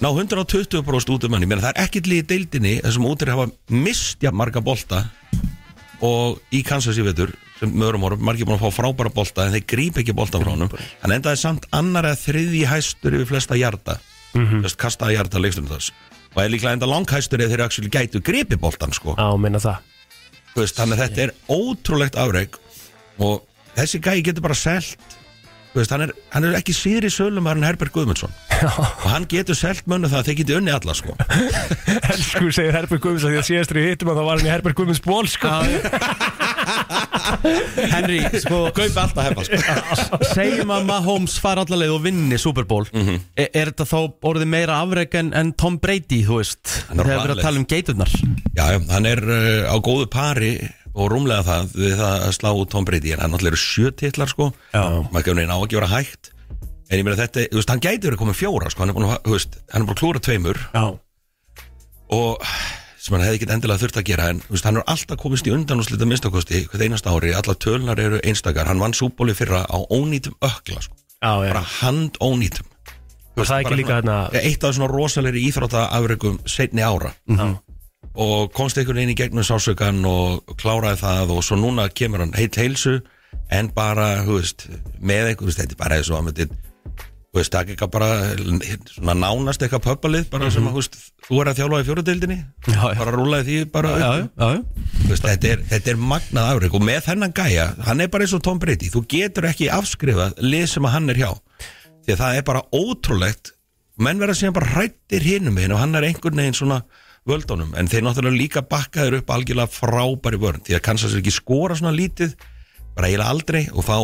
Speaker 9: ná 120% út um hann. Ég meina það er ekkit lið í deildinni þessum útir hafa mistja marga bolta og í Kansas í vetur sem mögurum orðum, margir búin að fá frábæra bolta en þeir gríp ekki bolta frá honum hann endaði samt annar eða þriðji hæstur yfir flesta jarda mm
Speaker 2: Mhm.
Speaker 9: -hmm. kastaði jarda leikstunum þess og er líklega enda langhæstur eða þeir actually gætu grípi boltan sko.
Speaker 2: á, minna það
Speaker 9: Þú veist, þannig að þetta er ótrúlegt afreg og þessi gæi getur bara selt Þú veist, hann, er, hann er ekki síðri sölum en Herbert Guðmundsson og hann getur selt mönnu það að þeir geti unni alla sko.
Speaker 2: Elsku segir Herbjörg Guðmunds að því að síðast þegar við hittum að þá var hann í Herbjörg Guðmunds ból sko
Speaker 1: Henry, sko,
Speaker 9: kaupa alltaf hefa sko.
Speaker 1: segjum að Mahomes far allarleið og vinni Super Bowl
Speaker 9: Mhm.
Speaker 1: er, er þetta þá orðið meira afreg en, en Tom Brady, þú veist
Speaker 9: Hann er
Speaker 1: þegar við erum að
Speaker 9: planlaus.
Speaker 1: tala um geiturnar
Speaker 9: Já, já, hann er uh, á góðu pari og rúmlega það við það að slá út Tom Brady en hann náttúrulega eru sjö titlar sko
Speaker 1: Já.
Speaker 9: maður kemur inn á ekki að vera hægt en ég meina þetta, þú veist, hann gæti verið komið fjóra sko, hann er búin að, þú veist, hann er búin að klúra tveimur
Speaker 1: Já,
Speaker 9: og sem hann hefði ekkert endilega þurft að gera en þú veist, hann er alltaf komist í undan og slita minnstakosti hvert einasta ári, alla tölunar eru einstakar hann vann súbóli fyrra á ónýtum ökla sko,
Speaker 2: Já, já
Speaker 9: bara hand ónýtum
Speaker 2: Og það er ekki líka hérna- þarna
Speaker 9: eitt af svona rosalegri íþrótta afrekum seinni ára
Speaker 2: Já.
Speaker 9: og komst einhvern veginn í gegnum sásugan og kláraði það og svo núna kemur hann heitt heilsu en bara, þú veist, með einhvern veist, þetta er bara eins og að myndi þú veist, það er eitthvað bara svona nánast eitthvað pöppalið bara sem að, þú veist, þú er að þjálfa í fjóruðdeildinni bara rúlaði því bara já, já, já. Veist, þetta, er, þetta er magnað afreg og með þennan gæja, hann er bara eins og Tom Brady þú getur ekki afskrifað lið sem að hann er hjá því að það er bara ótrúlegt menn verða síðan bara hrættir hinum einu og hann er einhvern veginn svona völdunum en þeir náttúrulega líka bakkaður upp algjörlega frábæri vörn því að Kansas er ekki skora svona lítið bara eiginlega aldrei og fá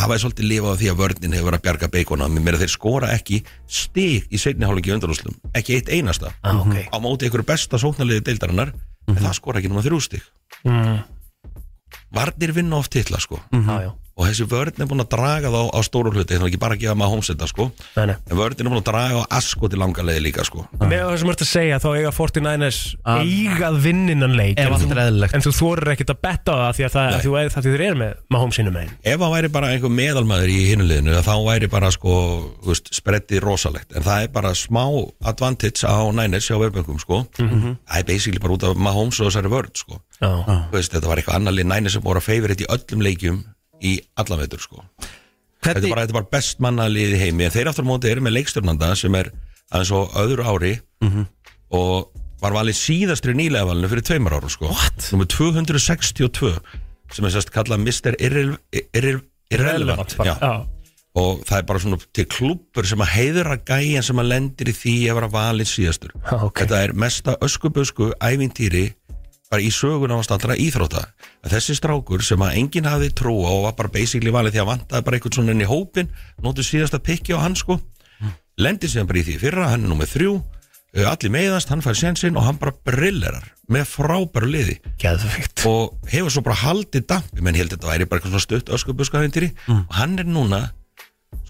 Speaker 9: hafaði svolítið lifað á því að vörnin hefur verið að bjarga beikona mér að þeir skora ekki stig í seinni hálfingi undanúslum, ekki eitt einasta ah, okay. á móti einhverju besta sóknarliði deildarinnar
Speaker 2: Mhm.
Speaker 9: en það skora ekki núna þrjú stig
Speaker 1: Mm-hmm.
Speaker 2: mm.
Speaker 9: varnir vinna oft titla sko
Speaker 2: Mhm. Já, já.
Speaker 9: og þessi vörn er búin að draga þá á stóru hluti, þannig ekki bara að gefa maður hómsetta sko
Speaker 2: Nei, nei.
Speaker 9: en vörn er búin að draga á asko til langa leiði líka sko
Speaker 2: Með það sem ert að segja þá eiga 49ers eigað vinninnan leik
Speaker 9: Ef
Speaker 2: en
Speaker 9: allt
Speaker 2: þú-
Speaker 9: er eðlilegt.
Speaker 2: En þú þorir ekkert að betta á það því að það, því að það þér er með Mahomes innum einn
Speaker 9: ef hann væri bara einhver meðalmaður í hinuleginu þá væri bara sko þú veist, spreadið rosalegt en það er bara smá advantage á Niners hjá weböngum sko
Speaker 1: Mm-hmm.
Speaker 2: Mhm.
Speaker 9: það er basically bara út af Mahomes og þessari vörð sko
Speaker 2: Já.
Speaker 9: Þú veist, þetta var eitthvað annar lið Niners sem voru að favorite í öllum leikjum í allan veitur sko þetta, er bara, þetta er bara best manna liði heimi en þeir aftur á móti eru með leikstjórnanda sem er aðeins og öðru ári og var valið síðastri nýlega valinu fyrir tveimur árum sko What? Númer 262 sem er sérst kallað Mr. Irrel- Irrel- Irrelevant
Speaker 2: bara.
Speaker 9: já. og það er bara svona til klúpur sem að heiðra gæjan sem að lendir í því að vera valið síðastur okay. þetta er mesta öskubösku ævintýri bara í sögunafast allra íþróta að þessi strákur sem að enginn hafði trú á og var bara basically valið því að vantaði bara einhvern svona inn í hópin nóttu síðasta pikki á hann sko lendir síðan bara í því í fyrra, hann er nummið þrjú uh, allir meiðast, hann fær sénsinn og hann bara brillerar með frábæru liði
Speaker 2: Geðvikt.
Speaker 9: og hefur svo bara haldið dampi, menn heldur þetta væri bara eitthvað svona stutt öskubuskavindiri mm. og hann er núna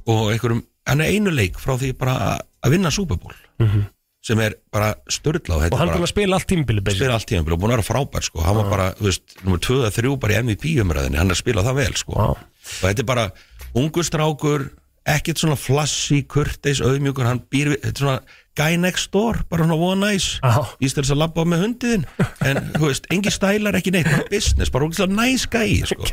Speaker 9: sko einhverjum, hann er einu leik frá því bara að- að vinna Super Bowl
Speaker 2: Mhm.
Speaker 9: sem er bara störðla
Speaker 2: Og hann búin að spila allt tímbilið
Speaker 9: spila allt tíma og búin að vera frábær sko. hann var bara, þú veist, nummer 2 að 3 bara í MVP umræðinni, hann er að spila það vel sko. og þetta er bara ungu strákur ekkert svona flassi kurteis, auðmjúkur, hann býr við þetta er svona guy next door, bara svona one nice í stælis að labba með hundiðin en þú veist, engi stælar, ekki neitt bara business, bara ógislega nice guy sko.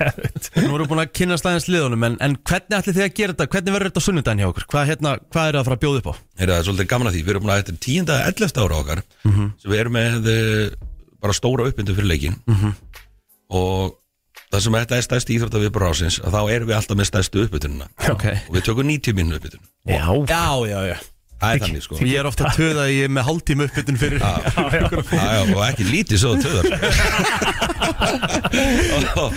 Speaker 1: Nú erum við búin að kynna staðins liðunum en, en hvernig ætli þið að gera þetta? Hvernig verður þetta á sunnudaginn hjá okkur? Hvað, hérna, hvað er það að fara að bjóða upp á?
Speaker 9: Heyrðu, það er svolítið gaman að því, við erum búin að þetta tíunda eða 11. ára okkar
Speaker 1: Mhm.
Speaker 9: sem við erum með eh, bara stóra uppbyndu fyrir leikin
Speaker 1: Mhm.
Speaker 9: og það sem þetta er stærsti íþrótta við brásins að þá erum við alltaf með stærstu uppbytununa
Speaker 1: okay.
Speaker 9: og við tökum 90 minn
Speaker 2: já.
Speaker 9: uppbytun
Speaker 1: já, já, já
Speaker 9: Það er þannig sko
Speaker 1: Ég er ofta að töða að ég er með hálftíma uppbytun fyrir
Speaker 9: já, já, og ekki lítið svo það töðar og,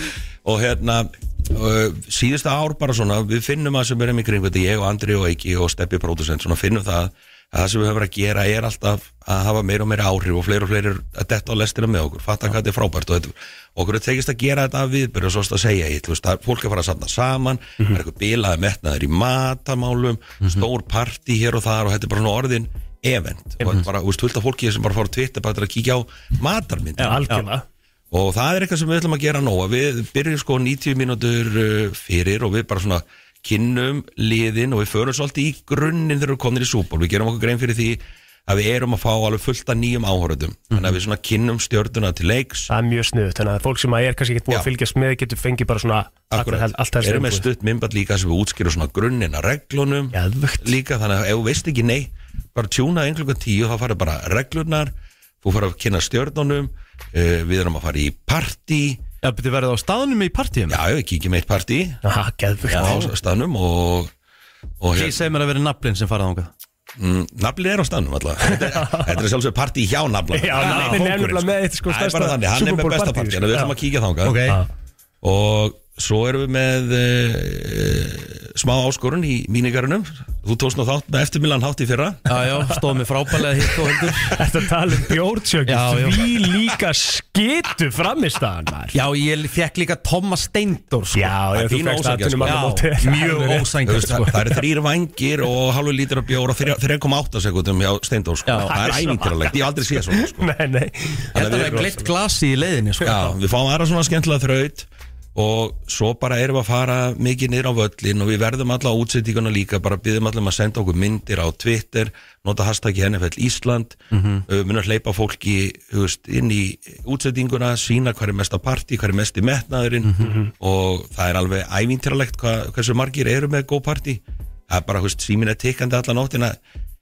Speaker 9: og hérna uh, síðusta ár bara svona við finnum að sem erum í kring þetta ég og Andri og Eiki og Steppi Pródusent svona finnum það að það sem við höfum verið að gera er alltaf að hafa meira og meira áhrif og fleiri og fleiri að detta á lestina með okkur fatta hvað þetta er frábært og þetta, okkur er tekist að gera þetta að viðbyrja svo að segja ég, þú veist, það er fólk að fara að safna saman
Speaker 2: Mhm.
Speaker 9: það er eitthvað bilaði metnaður í matamálum stór partí hér og þar og þetta er bara svona orðin
Speaker 2: Mhm.
Speaker 9: event og þetta er bara, þú veist, fullt af fólki sem bara fara á Twitter bara til að kíkja á matarmynd
Speaker 2: Já, algjörlega.
Speaker 9: og það er eitthvað sem við ætlum að gera nóga við byrjum sko 90 mínútur uh, fyrir og við bara svona kynnum liðin og við förum svolítið í grunninn þegar við komum í súból, við gerum okkur grein fyrir því að við erum að fá alveg fullt af nýjum áhörðum þannig að við svona kynnum stjórnuna til leiks
Speaker 2: Það er mjög snuð Þannig að fólk sem er kannski ekkert búið að
Speaker 9: Já.
Speaker 2: fylgjast með getur fengið bara svona allar-
Speaker 9: Akkurat,
Speaker 2: allt það sem
Speaker 9: erum með stutt minnbætt líka sem við útskýrum svona grunninn að reglunum Jadvögt. líka þannig að ef þú veist ekki nei bara tjúna einn klukkan tíu þá farið bara reglurnar þú farið að kynna stjórnunum uh, við erum að fara í partí Já, byrju verið á staðnum í partíum? Já, ég kíkjum eitt partí
Speaker 2: Aha, geðvögt
Speaker 9: á staðnum og, og hérna-
Speaker 1: Ég segi mér að vera naflinn sem farað ánga
Speaker 9: Mm, naflið er á staðnum alltaf Þetta þetta er sjálfsög partí hjá naflan
Speaker 2: Já, naflinn er nefnilega með eitt, sko,
Speaker 9: Það er bara
Speaker 2: stærsta
Speaker 9: þannig, hann er
Speaker 2: Super Bowl
Speaker 9: með besta
Speaker 2: partíið,
Speaker 9: partí
Speaker 2: sko.
Speaker 9: Þannig að við ætlum
Speaker 2: Já.
Speaker 9: að kíkja þangað
Speaker 2: Ok. Já.
Speaker 9: Og svo erum við með uh, smá áskorun í mínigarunum Þú tókst nú þátt með eftirmilan hátt í fyrra
Speaker 1: Já, já, stóð mér frábælega hitt og hendur
Speaker 2: Þetta tala um bjórnsjöki Því líka skitu framistæðan var
Speaker 1: Já, ég fekk líka Thomas Steindor sko.
Speaker 2: Já,
Speaker 9: Það er pínu ósanngjarnt, sko.
Speaker 1: Já, Mjög sko.
Speaker 9: Þú
Speaker 1: ósængjart
Speaker 9: veist, það- Það eru þrýr vangir og halvu lítur af bjór og þrjá- 3,8 sekundum hjá Steindór sko.
Speaker 1: Já.
Speaker 9: Það er ævintýralegt, ég hef aldrei séð svona sko.
Speaker 2: Nei, nei
Speaker 1: Þetta var gleitt glasi í leiðinni sko.
Speaker 9: Já, við fáum aðra svona skemmtilega þraut og svo bara erum við að fara mikið niður á völlin og við verðum alla á útsettinguna líka, bara byggðum allum að senda okkur myndir á Twitter, nota hashtaggi NFL Ísland, mm -hmm. munum að hleypa fólki þú veist, inn í útsettinguna, sína hver er mesta partí, hver er mesti metnaðurinn og það er alveg ævintýralegt hva, hversu margir eru með góð partí það er bara, þú veist, símin er tikkandi allan nóttina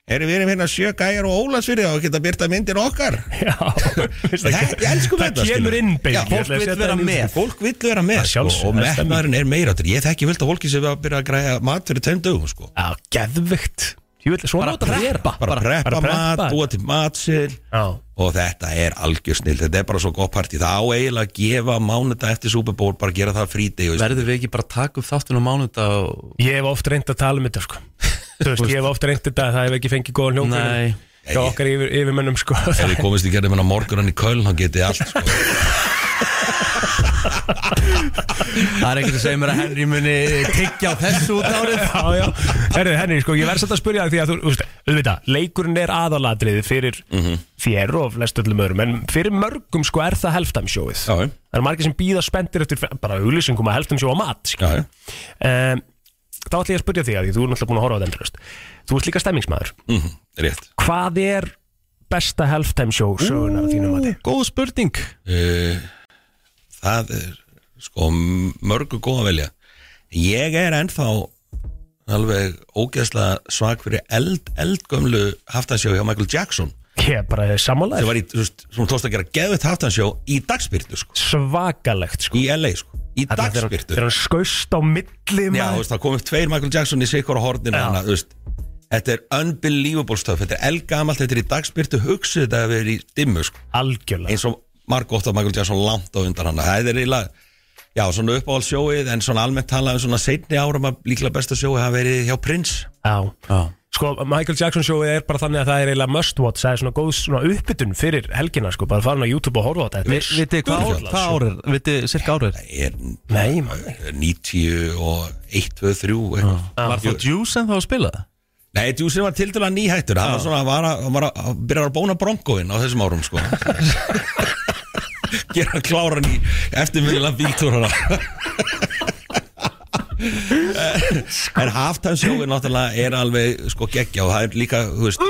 Speaker 9: Erum við erum hérna sjö gæjar og Ólasfyrir og geta byrta myndir okkar
Speaker 2: Já
Speaker 9: Það, ég elsku
Speaker 2: Það
Speaker 9: þetta,
Speaker 2: kemur
Speaker 9: skilur.
Speaker 2: inn, baby.
Speaker 9: Já,
Speaker 2: Ég
Speaker 9: fólk
Speaker 2: ætla að
Speaker 9: vill
Speaker 2: setja
Speaker 9: vera
Speaker 2: það inn í
Speaker 9: með
Speaker 2: þessu.
Speaker 9: Fólk vill vera með
Speaker 2: Það
Speaker 9: sko,
Speaker 2: sjálfsögð,
Speaker 9: Og
Speaker 2: það er
Speaker 9: metnaðurinn er meira áttur Ég þekki vilt að fólki sem við að byrja að græja mat fyrir tveim dögum sko.
Speaker 2: Já, geðvikt Jú, svona átt að vera
Speaker 9: Bara preppa mat,
Speaker 2: þetta.
Speaker 9: búa til matsil
Speaker 2: Já.
Speaker 9: Og þetta er algjör snill Þetta er bara svo gott partí Það á eiginlega að gefa mánudag eftir Super Bowl Bara gera það sko. frídegi
Speaker 1: Verður við ekki bara að taka upp þáttun á mánudag og...
Speaker 2: Ég hef oft reynd að tala um þetta sko Þú veist, ég hef oft reynd þetta að það hef ekki fengið góða hljókvæðin
Speaker 1: Nei.
Speaker 2: Hjá okkar yfir, yfirmönnum sko
Speaker 9: Ef við komist í gerðum hennar morgunan í Köln Þá getið allt sko.
Speaker 1: Það er ekkert að segja mér að Henry muni tiggja á þessu út árið
Speaker 2: Já, já, herri, henni, sko, ég verð satt að spyrja þig því að þú, þú veist, auðvitað, leikurinn er aðalatriði fyrir
Speaker 9: Mhm.
Speaker 2: þér og flest öllum öðrum, en fyrir mörgum, sko, er það helftamsjóið.
Speaker 9: Já, já.
Speaker 2: Það eru margir sem býða spendir eftir bara auglýsingum að helftamsjóa mat,
Speaker 9: Já, já.
Speaker 2: skilja. Um, þá ætla ég að spyrja þig að því, þú er náttúrulega búin að horfa á þetta endurist. Þú ert líka stemmingsmaður.
Speaker 9: Mhm, Rétt
Speaker 2: Hvað er besta helftamsjó sögunar að þínum að þið?
Speaker 3: Góð spurning
Speaker 9: Eh, það er sko mörgu góð að velja ég er ennþá alveg ógeðslega svag fyrir eld, eldgömlu haftansjó hjá Michael Jackson
Speaker 2: Ég er bara
Speaker 9: sem
Speaker 2: sammálaður.
Speaker 9: var í, þú veist, sem tókst að gera geðvitt haftansjó í dagspyrtu sko,
Speaker 2: Svakalegt, sko.
Speaker 9: í LA sko, í
Speaker 2: Þarna þegar-
Speaker 9: dagspyrtu
Speaker 2: Þegar hann skaust á milli,
Speaker 9: Já,
Speaker 2: maður.
Speaker 9: þú veist, það kom upp tveir Michael Jackson í sikkur á horninu
Speaker 2: Já.
Speaker 9: hana, þú veist, þetta er unbelievable stöf, þetta er eldgamalt, þetta er í dagspyrtu hugsið þetta að vera í dimmu sko
Speaker 2: Algjörlega.
Speaker 9: eins og margótt af Michael Jackson langt á undan hann það er eiginlega, já svona uppáhald sjóið en svona almennt talað um svona seinni árum að líklega besta sjóið hafa verið hjá Prince
Speaker 2: Já.
Speaker 1: Já.
Speaker 2: Sko, Michael Jackson sjóið er bara þannig að það er eiginlega must watch, það er svona góð svona uppbytun fyrir helgina, sko, bara farin á YouTube og horfa á þetta.
Speaker 1: Vi- Vitið þið hvað ár-
Speaker 2: Sturlað,
Speaker 1: hvað
Speaker 2: sko.
Speaker 1: ár er? Vitið þið cirka ár er?
Speaker 9: er
Speaker 2: Nei, maður.
Speaker 9: 90 og 1, 2, 3 eitthvað.
Speaker 1: Var það Juice en þá að spila Ah. það?
Speaker 9: Nei, Juicy var tildulega nýhættur hann var svona, hann var að, hann var að, að byrja að bóna bronkoinn á þessum árum sko gera kláran í eftirmiðlan bíltúrana en halftime sjóin náttúrulega er alveg sko geggja og það er líka, þú veist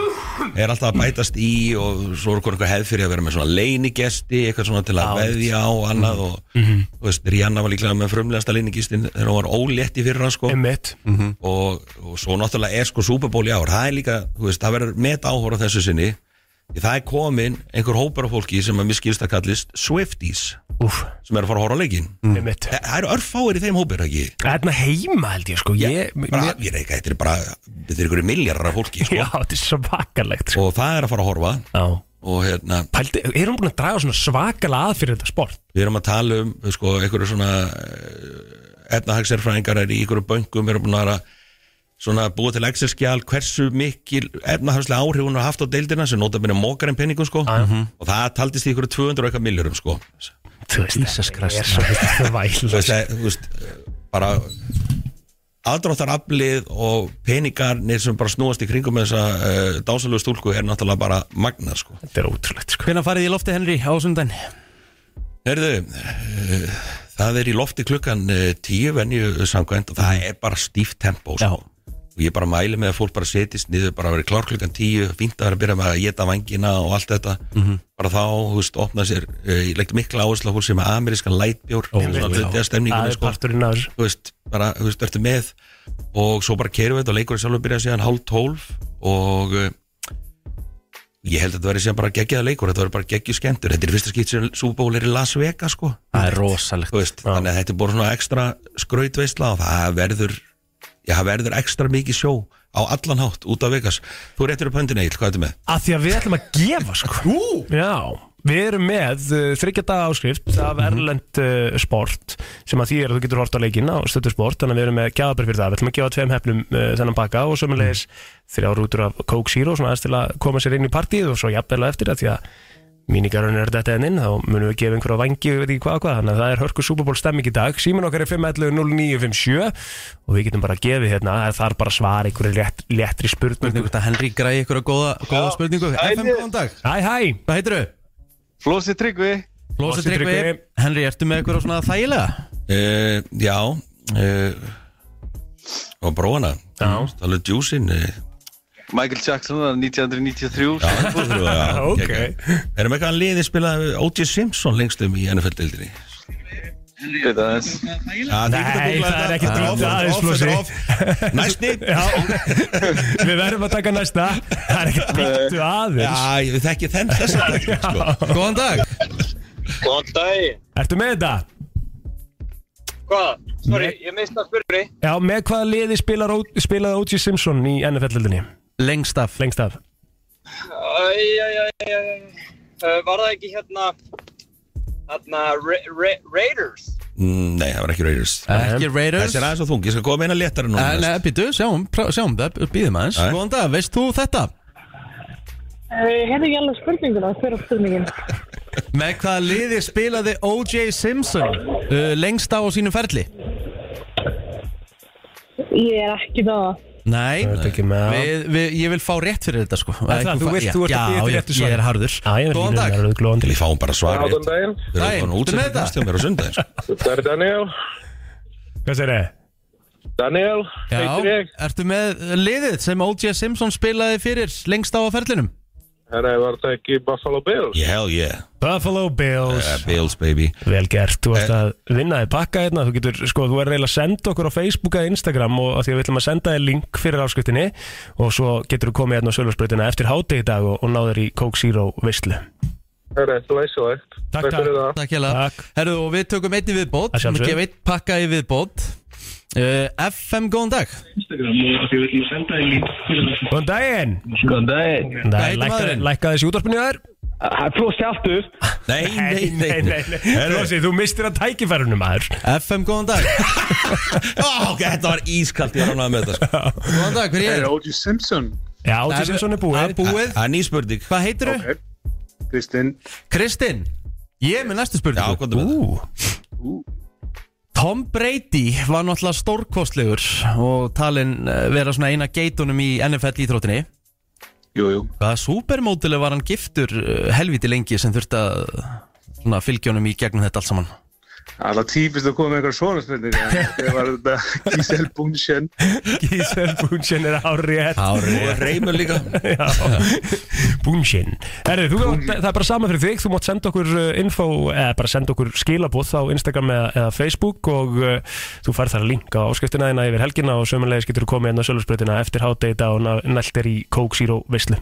Speaker 9: er alltaf að bætast í og svo er eitthvað hefð fyrir að vera með svona leinigesti eitthvað svona til að veðja á og annað og þú veist, Rihanna var líklega með frumlegasta leinigistin þegar hún var ólétt í fyrra sko
Speaker 2: Einmitt.
Speaker 9: og, og svo náttúrulega er sko Super Bowl í ár, það er líka, þú veist, það verður met áhóra þessu sinni, því það er komin einhver hópur af fólki sem að mér skilst að kallist Swifties,
Speaker 2: Úf,
Speaker 9: sem er að fara að horfa á leikin
Speaker 2: Mhm. einmitt.
Speaker 9: Þa, það eru örfáir í þeim hópur, ekki?
Speaker 2: Þarna heima held ég, sko, ég...
Speaker 9: bara,
Speaker 2: mér-
Speaker 9: ég er ekki, þetta er bara þetta er einhverju miljardar af fólki, sko
Speaker 2: Já, þetta er svakalegt, sko.
Speaker 9: og það er að fara að horfa
Speaker 2: Já.
Speaker 9: og hérna,
Speaker 2: Pældi, er hún búin að draga svona svakala að fyrir þetta sport?
Speaker 9: við erum að tala um sko, einhverju svona efnahagserfræðingar er í einhverju böngum við erum búin að vera svona búa til exerskjál hversu mikil efnahagslega áhrif hún har haft á deildina sem nota minni mókar en penningum sko og það taldist í einhverju 200 og eitthvað miljurum sko
Speaker 2: Þú veist, þetta er svo þetta
Speaker 9: þú
Speaker 2: væl.
Speaker 9: veist, það, þú veist bara aðdráttaraflið og peningarnir sem bara snúast í kringum með þessa uh, dásalögu stúlku er náttúrulega bara magnað sko
Speaker 2: Þetta er ótrúlegt, sko.
Speaker 3: Hvenær farið í lofti Henry á sundan?
Speaker 9: Herðu, uh, það er í lofti klukkan uh, tíu venju samkvæmt og það er bara stíft tempó sko. og ég bara mæli með að fólk bara setjist niður bara að vera klár klukkan tíu, fínt að vera að byrja með að geta vangina og allt þetta
Speaker 3: Mhm.
Speaker 9: bara þá, þú veist, opna sér uh, ég legg mikla áherslu á fólk sem er með amerískan lætbjór oh,
Speaker 2: Einmitt.
Speaker 9: svona þetta
Speaker 2: Það
Speaker 9: stemningunni
Speaker 2: er
Speaker 9: sko
Speaker 2: parturinn af þessu.
Speaker 9: þú veist, bara, þú veist, ertu með og svo bara keirum við þetta og leikurinn sjálfur byrja síðan hálf tólf og uh, ég held að þetta verði síðan bara geggjaða leikur, þetta verði bara geggju skemmtur þetta er fyrsta skipt sem Super Bowl er í Las Vegas sko,
Speaker 3: Það er rosalegt
Speaker 9: þú veist, þannig að þetta er bara svona ekstra skrautveisla og það verður já, það verður ekstra mikið sjó á allan hátt út af Vegas þú réttir upp höndin Egil, hvað ertu með?
Speaker 2: að því að við ætlum að gefa sko. Já, við erum með uh, þryggja daga áskrift af
Speaker 1: Mhm.
Speaker 2: Erlend uh, Sport sem að því er að þú getur hort á leikinn á stöttu sport þannig að við erum með gjafabrið fyrir það við ætlum að gefa tveim hefnum uh, þennan pakka og sömulegis
Speaker 1: Mhm.
Speaker 2: þrjár útur af Coke Zero svona aðeins til að koma sér inn í partíð og svo jafnvel á eftir að því að mínigarun er þetta enn inn, þá munum við gefa einhverja vangi og ég veit ekki hvað og hvað, þannig að það er hörku Super Bowl stemming í dag, símin okkar er 511-0957 og við getum bara gefið hérna, það er bara svar einhverju létt, léttri spurningu
Speaker 3: Þetta Henry græði ykkur að góða, góða spurningu FM,
Speaker 5: ég-
Speaker 3: góðan dag
Speaker 2: Hæ, hæ!
Speaker 3: Hvað heitir þau?
Speaker 5: Flósi Tryggvi
Speaker 3: Flósi
Speaker 2: Flosi
Speaker 3: Tryggvi
Speaker 2: Tryggvi.
Speaker 3: Henry, ertu með ykkur á svona þægilega?
Speaker 9: Uh, já uh, og bróðana
Speaker 2: Já.
Speaker 9: talaðu djúsin uh,
Speaker 5: Michael Jackson 1993
Speaker 9: Já,
Speaker 2: Ah, Ok.
Speaker 9: ok Erum eitthvað að liði spila O.J. Simpson lengstum í NFL-dildinni?
Speaker 10: Býtu aðeins.
Speaker 9: Ah,
Speaker 2: Nei, það er ekkert býta aðeins Flósi Næsti Við verðum að taka næsta Það er ekkert býta aðeins
Speaker 9: Já, ég þekki þenn þess að sko.
Speaker 1: Góðan dag
Speaker 10: Góðan dag.
Speaker 2: Ertu með þetta?
Speaker 10: Hvað? Sorry, ég misti að spurningu.
Speaker 2: Já, með hvaða liði spilar, Ó- spilaði O.J. Simpson í NFL-lildinni?
Speaker 1: Lengst af
Speaker 2: Lengst af
Speaker 10: Æj, æj, æj, æj. Var það ekki hérna, hérna, Ra- Ra- Raiders?
Speaker 9: Mm, Nei, það var ekki Raiders
Speaker 1: Ekki Raiders.
Speaker 9: Þessi er aðeins og þung, ég skal koma meina léttara núna
Speaker 1: Eh, Nei, nei, býtu, sjáum, prá- sjáum það, býðum aðeins
Speaker 9: Jæja.
Speaker 1: Góðan dag, veist þú þetta?
Speaker 11: Hefði ég Eh, hérna alveg spurninguna, hver á spurningin?
Speaker 1: Með hvaða liði spilaði O.J. Simpson uh, lengst af á sínum ferli?
Speaker 11: Ég er ekki það.
Speaker 1: Nei, við, við, ég vil fá rétt fyrir þetta sko
Speaker 2: Er það,
Speaker 1: Ekki
Speaker 2: þú
Speaker 1: fá-
Speaker 2: veist,
Speaker 1: já,
Speaker 2: þú ert að bíða eftir
Speaker 1: já,
Speaker 2: réttu
Speaker 1: ég- Ég er
Speaker 2: svari.
Speaker 1: harður Góðan dag
Speaker 2: dag
Speaker 9: Til ég fáum bara svar
Speaker 1: Góðan daginn.
Speaker 9: Við
Speaker 1: Daginn,
Speaker 9: erum
Speaker 1: ertu
Speaker 9: búin að
Speaker 1: með þetta?
Speaker 9: útsenda mér á sundaginn sko.
Speaker 1: Það er Daniel
Speaker 2: Hvað sér þið?
Speaker 1: Daniel, heitir ég Ertu með liðið sem O.J. Simpson spilaði fyrir lengst á að ferlinum?
Speaker 12: Herra, var það ekki Buffalo Bills?
Speaker 9: Yeah, hell yeah
Speaker 2: Buffalo Bills
Speaker 1: Eh,
Speaker 9: uh, Bills, baby
Speaker 2: Vel gert, þú ert að vinna þig pakka hérna Þú getur, sko, þú er reyla að senda okkur á Facebook eða Instagram og af því að við ætlum að senda þig link fyrir afskriftinni og svo getur þú komið hérna á Sölursbreytina eftir hádegi í dag og, og náður í Coke Zero veistlu
Speaker 12: Herra, glæsilegt.
Speaker 2: Takk, takk.
Speaker 12: fyrir það.
Speaker 1: Takk hérlega Herðu, og við tökum einni viðbót
Speaker 2: Að
Speaker 1: Við
Speaker 2: sjálfsögðu.
Speaker 1: gefum einn pakka í viðbót uh, FM, góðan dag
Speaker 2: Góðan daginn
Speaker 13: Góðan daginn
Speaker 2: Hvað heitir maðurinn? Lækkaði þessi útvarpinu þær?
Speaker 13: Flósi aftur
Speaker 9: Nei,
Speaker 2: nei, nei, nei. Flósi, þú mistir að tækifærunum maður
Speaker 1: FM, góðan dag
Speaker 9: Ó, ok, þetta var ískalt, ég ránaði með þetta sko.
Speaker 1: Góðan dag, hver
Speaker 5: ég?
Speaker 1: er
Speaker 5: O.J. Simpson
Speaker 2: Já,
Speaker 1: Nei,
Speaker 2: Simpson er búið.
Speaker 1: hann er búið.
Speaker 9: Það er ný spurning
Speaker 1: Hvað heitir
Speaker 5: þau? Kristinn
Speaker 1: Kristinn, ég er með næstu spurningu Já,
Speaker 9: hvað er
Speaker 1: Tom Brady var náttúrulega stórkostlegur og talinn eh, vera svona eina geitunum í NFL ítrótinni
Speaker 5: Jú, jú
Speaker 1: Hvaða supermótileg var hann giftur eh, helviti lengi sem þurfti að svona, fylgja honum í gegnum þetta allt saman
Speaker 5: Alla típist að koma með einhver svona spurningar Þetta var þetta Giselle Bunchen
Speaker 2: Gísel Búnsjen er árið
Speaker 1: Hárrétt.
Speaker 9: Og reymur líka
Speaker 2: Búnsjen Herri, þú, það er bara sama fyrir þig, þú mátt senda okkur uh, info, eða bara senda okkur skilabóð á Instagram eða, eða Facebook og uh, þú fær þar að linka á áskriftina þína yfir helgina og sömulegis getur þú komið hérna á sölusbreytina eftir hátdeita og næltir í Coke Zero Vislu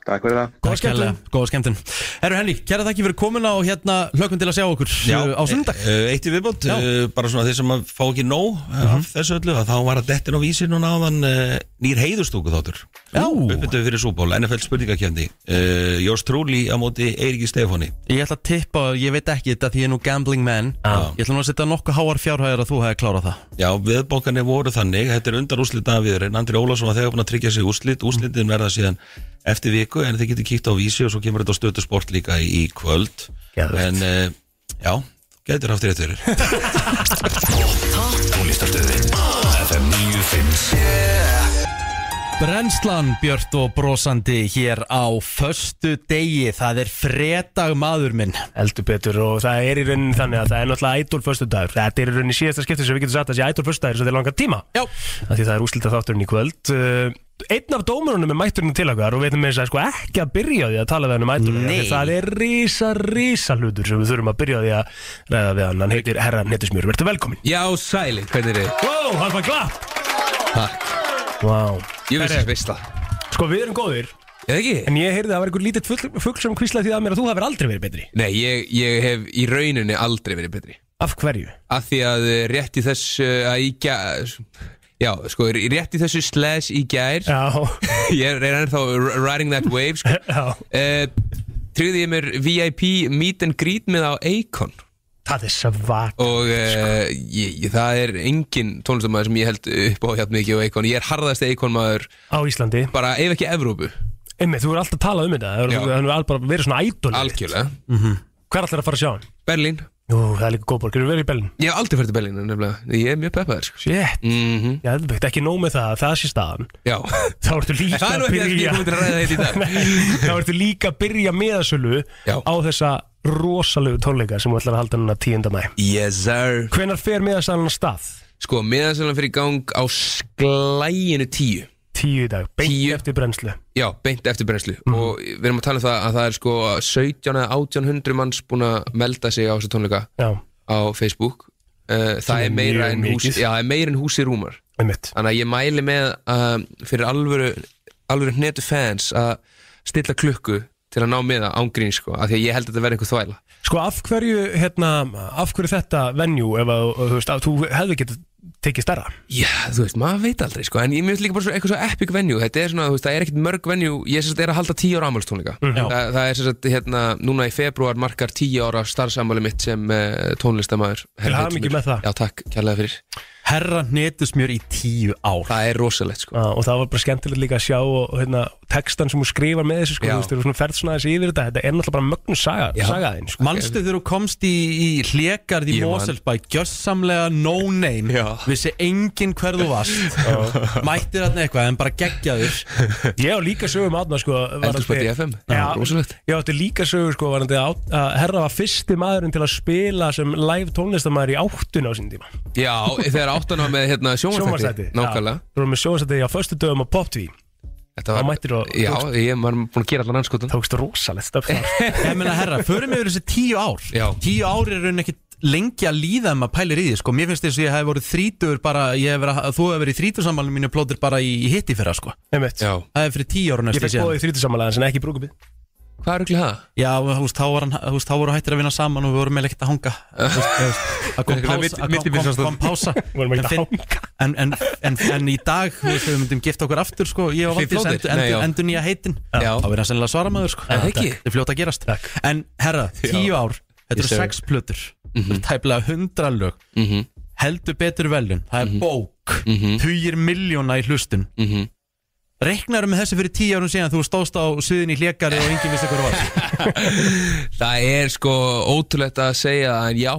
Speaker 5: Takk fyrir það
Speaker 1: Góða skemmtun Góða skemmtun Herru Henry, kæra þakki fyrir komuna og hérna hlökkum til að sjá okkur eh, á sundag
Speaker 9: e- e- Eitt í viðbót,
Speaker 1: Já.
Speaker 9: e, bara svona þeir sem að fá ekki nóg
Speaker 2: Mhm.
Speaker 9: af þessu öllu að þá var að dettin á vísi núna áðan e, nýr heiðustúku þáttur uppbyttuð fyrir súból, NFL spurningakefni e, Jós Trúli á móti Eiríki Stefáni
Speaker 1: Ég ætla að tippa, ég veit ekki þetta því ég er nú gambling man Ég ætla nú að setja nokkuð háar fjárhæðar að þú hefði klárað það
Speaker 9: Já, viðbókanir voru þannig, þetta er undan úrslitaða viðurinn, Andri Ólafsson var þegar búin að tryggja sig úrslit, úrslitin verða síðan eftir viku en þið getur kíkt á vísi og svo kemur þetta á stötu sport líka í kvöld
Speaker 2: Geðvegt.
Speaker 9: en e, já, getur haft rétt fyrir
Speaker 1: Mm-hmm.
Speaker 14: Tónlistarstöðin FM 957
Speaker 1: Brennslan Björt og brosandi hér á föstu degi, það er fredag maður minn
Speaker 2: Eldur betur og það er í rauninni þannig að það er náttúrulega ædol föstudagur Þetta er í rauninni síðasta skipti sem við getum sagt að það sé ædol föstudagur svo til langan tíma
Speaker 1: Já
Speaker 2: Af Því það er úslita þátturinn í kvöld Uh, Einn af dómurunum er mætturinn til okkar og við veitum með þess að sko ekki að byrja á því að tala við hann um ædol
Speaker 1: Nei.
Speaker 2: Það er rísa, rísa hlutur sem við þurfum að byrja á því að ræða við hann Hann heitir Herra Netusmjör, verður velkomin
Speaker 15: Já, sæli, hvernig er þið?
Speaker 2: Wow, hann fann glapp
Speaker 15: Takk
Speaker 2: Wow
Speaker 15: Ég vissi
Speaker 2: Herri.
Speaker 15: þess veist það
Speaker 2: Sko við erum góðir
Speaker 15: Eða ekki?
Speaker 2: En ég heyrði að það var einhver lítill fugl, fugl sem kvíslaði því að mér að þú hefur aldrei verið betri
Speaker 15: Nei, ég, ég hef í rauninni aldrei verið betri
Speaker 2: Af hverju?
Speaker 15: Af því að eh, rétt í þess eh, að í gær Já, sko, rétt í þessu slash í gær
Speaker 2: Já
Speaker 15: Ég er er ennþá r- riding that wave, sko
Speaker 2: Já
Speaker 15: uh, Tryggði ég mér VIP meet and greet með á Akon
Speaker 2: Það er svak
Speaker 15: Og uh, ég, ég- það er engin tónlistamæður sem ég held upp á hjá mikið á Akon Ég er harðasti Akon maður
Speaker 2: Á Íslandi
Speaker 15: Bara ef ekki Evrópu
Speaker 2: Einmitt, þú er alltaf að tala um þetta Það
Speaker 15: Já.
Speaker 2: er- hann er alveg bara verið svona ædol
Speaker 15: Algjörlega
Speaker 2: Hver allir að fara að sjá hann?
Speaker 15: Berlín
Speaker 2: Jú, það er líka góð borg, erum við verið í Berlín?
Speaker 15: Ég hef aldrei farið til Berlín nefnilega Ég er mjög peppaður sko.
Speaker 2: Shit
Speaker 15: mm -hmm.
Speaker 2: Já, þetta ekki nóg með það, það sé staðan
Speaker 15: Já
Speaker 2: Þá ertu líka
Speaker 15: Það er nú ekki það sem ég kom til að ræða þetta í dag.
Speaker 2: Nei, Þá ertu líka að byrja meðasölu
Speaker 15: Já.
Speaker 2: Á þessa rosalegu tónleika sem þú ætlar að halda núna 10. mæ
Speaker 15: Yes sir
Speaker 2: Hvenar fer meðasölan af stað?
Speaker 15: Sko, miðansalan fyrir gang á sklæginu tíu
Speaker 2: 10 í dag, beint Mhm. eftir brennslu
Speaker 15: Já, beint eftir brennslu Og við erum að tala um það að það er sko 17 eða 1800 manns búin að melda sig á þessu tónleika
Speaker 2: Já
Speaker 15: Á á Facebook
Speaker 2: Sem
Speaker 15: uh, það
Speaker 2: er
Speaker 15: er meira,
Speaker 2: mjög
Speaker 15: en hús,
Speaker 2: mikið.
Speaker 15: já, það er meira en húsi rúmar
Speaker 2: Einmitt.
Speaker 15: þannig að ég mæli með uh, fyrir alvöru alvöru hnetu fans að stilla klukku til að ná með það ángrín sko, af því að ég held að þetta verði einhver þvæla
Speaker 2: Sko af hverju, hérna, af hverju þetta venue ef að, þú veist, að þú hefði getið tekið stærra?
Speaker 15: Já, þú veist, maður veit aldrei sko En ég myndi líka bara svo eitthvað svo epic venue Þetta er svona, þú veist, það er ekkert mörg venue Ég sérst er að halda tíu ára afmælstónleika
Speaker 2: Mhm. Já.
Speaker 15: Þa, Það er sérst, hérna, núna í februar markar tíu ára starfsamæli mitt sem uh, tónlistamæður
Speaker 2: Til hamingju með það.
Speaker 15: Já, takk, kærlega fyrir
Speaker 1: Herra hnetusmjör í tíu ár
Speaker 15: Það er rosalegt sko
Speaker 2: og það var bara skemmtilegt líka að sjá og, hérna, textan sem hún skrifar með þessu sko,
Speaker 15: Já.
Speaker 2: þú veist, þegar þú svona ferð svona þessi yfir þetta þetta er náttúrulega bara mögnu saga, saga þín sko.
Speaker 1: Manstu þegar þú komst í, í hlekarð í
Speaker 2: Ég man.
Speaker 1: Moselsbæ Gjörsamlega no name Já. Vissi engin hver þú varst Mættir þarna eitthvað en bara geggjaður
Speaker 2: Ég á líka sögum átna sko
Speaker 1: Eldhúsbæti
Speaker 2: varðandi-
Speaker 1: FM,
Speaker 2: Já,
Speaker 1: það var rosalegt.
Speaker 2: Ég átti líka sögur sko varandi að að herra var fyrsti maðurinn til að spila sem live tónlistamæður í áttun á sín tíma
Speaker 15: Já, þegar áttan var með hérna, sjónvarstætti
Speaker 2: Sjónvarpsþætti, já.
Speaker 15: Nákvæmlega
Speaker 2: Þú erum með sjónvarsætti á föstu dögum á poptví
Speaker 15: Þetta var,
Speaker 2: mættir og
Speaker 15: já, ég var búin að gera allan anskotan
Speaker 2: Tókst rosalegt stöf
Speaker 1: Ég meina herra, förum yfir þessi tíu ár
Speaker 15: Já.
Speaker 1: Tíu ár er raun ekkit lengi að líða um að pælir í því sko. Mér finnst þess að ég hef voru þrítur bara, ég hef verið, Þú hef verið í þrítursammálinu mínu plótir bara í, í hitti fyrra sko.
Speaker 2: Einmitt.
Speaker 1: Það er fyrir tíu ára
Speaker 2: Ég
Speaker 1: næstu
Speaker 2: fekk bóðið í þrítusammalega en ekki í brúkubið
Speaker 15: Hvað er auðvitað það?
Speaker 1: Já, þú veist, þá var hann- þú veist, þá voru hættir að vinna saman og við vorum eiginlega ekkert að hanga Þú veist, þú veist, Það kom
Speaker 15: Einhverja
Speaker 1: pása-
Speaker 15: milli-
Speaker 1: það kom- kom-
Speaker 15: millibilsástand.
Speaker 1: kom pása
Speaker 2: Vorum ekkert að
Speaker 1: En finn- En, en, en, en í dag, þú veist, við myndum gifta okkur aftur sko, ég og
Speaker 15: Þið
Speaker 1: Valdís
Speaker 15: flóðir?
Speaker 1: endur,
Speaker 15: Nei,
Speaker 1: endur,
Speaker 15: já.
Speaker 1: endur nýja heitin
Speaker 15: Já.
Speaker 1: þá verður hann sennilega svara maður sko.
Speaker 15: Já, það ekki.
Speaker 1: er fljóta að gerast en herra, tíu ár,
Speaker 15: Ég Mhm.
Speaker 1: þetta eru
Speaker 15: sé.
Speaker 1: sex plötur þetta eru tæplega hundra lög heldur betur velun, það er
Speaker 15: Mhm.
Speaker 1: bók mm -hmm. tugir miljóna í hlustun mm -hmm. reiknarum með þessu fyrir tíu árum síðan þú stóðst á suðin í hlékari og enginn vissi hvað það var
Speaker 15: Það er sko ótrúlegt að segja það en já,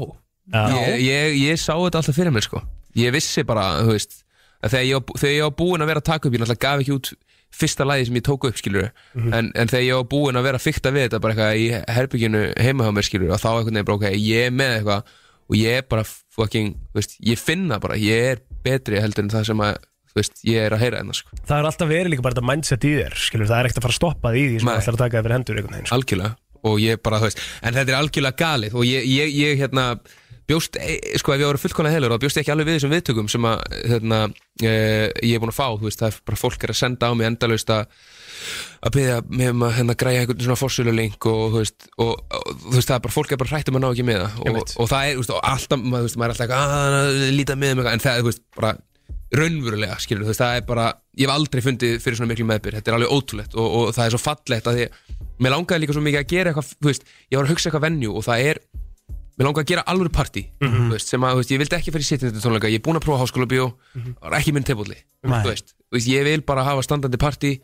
Speaker 2: Já.
Speaker 15: Ég, ég, ég sá þetta alltaf fyrir mér sko Ég vissi bara, þú veist að þegar, ég, var bú- þegar ég var búinn að vera að taka upp Ég náttúrulega gaf ekki út fyrsta lagi sem ég tók upp skilur
Speaker 2: Mhm.
Speaker 15: en, en þegar ég var búinn að vera að fykta við þetta bara eitthvað í herbygginu heima hjá mér skilur og þá einhvern veginn bara ok, ég er með eitthvað og ég er bara fucking, þú veist, ég finna bara ég er betri heldur en það sem að þú veist, ég er að heyra hennar sko
Speaker 2: Það er alltaf verið líka bara þetta mindset í þér skilur, það er ekkert að fara að stoppa því því sem
Speaker 15: Nei.
Speaker 2: ætlar að taka þér fyrir hendur einhvern veginn sko.
Speaker 15: algjörlega og ég bara, þú veist, en þetta er algjörlega galið og ég, ég, ég hérna bjóst, e- sko ef ég voru fullkona heilur þá bjóst ég ekki alveg við þessum viðtökum sem að hérna, e, ég er búin að fá, þú veist, það er bara fólk er að senda á mig endalaust að að byrja með um að hérna græja einhvern svona fórsölu og, þú veist, og, og þú veist, það er bara fólk er bara hrætt um að ná ekki með það og, og það er, þú veist, og alltaf, maður, þú veist, maður er alltaf eitthvað að líta með um eitthvað, en það, er, þú veist, bara raunverulega, skilur, þú veist, það er bara ég hef aldrei fundið fyrir svona miklu meðbyr þetta er alveg ótrúlegt og, og það er svo fallegt að því, mér langaði líka svo mikið að gera eitthvað þú veist, ég var að hugsa eitthvað venju og það er mér langaði að gera alveg partí
Speaker 2: Mhm.
Speaker 15: þú veist, sem að, þú veist, ég vildi ekki fyrir sittin þetta tónleika ég er búin að prófa háskóla bíó, var ekki minn tefulli
Speaker 2: Mhm. Nei.
Speaker 15: þú veist, þú veist, ég vil bara hafa standandi partí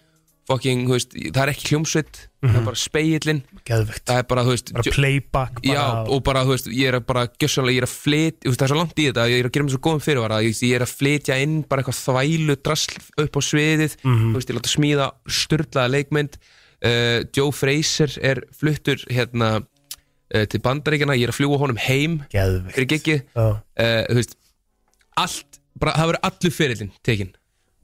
Speaker 15: fucking, þú veist, það er ekki hljómsveit það er bara speillin
Speaker 2: Geðvegt.
Speaker 15: það er bara, þú veist,
Speaker 2: Mhm. bara
Speaker 15: djö-
Speaker 2: playback bara,
Speaker 15: Já, og bara, þú veist, ég er að bara gjössanlega, ég er að flytja, þú veist, það er svo langt í þetta ég er að gera mér svo góðum fyrirvara, ég, ég er að flytja inn bara eitthvað þvælu drasl upp á sviðið
Speaker 2: Mhm.
Speaker 15: þú veist, ég láta smíða styrlaða leikmynd uh, Joe Fraser er fluttur hérna uh, til bandaríkjana, ég er að fljúa honum heim
Speaker 2: Geðveikt.
Speaker 15: fyrir gigið,
Speaker 2: Já.
Speaker 15: uh, þú veist allt, bara, það verður allur fyrirlin tekin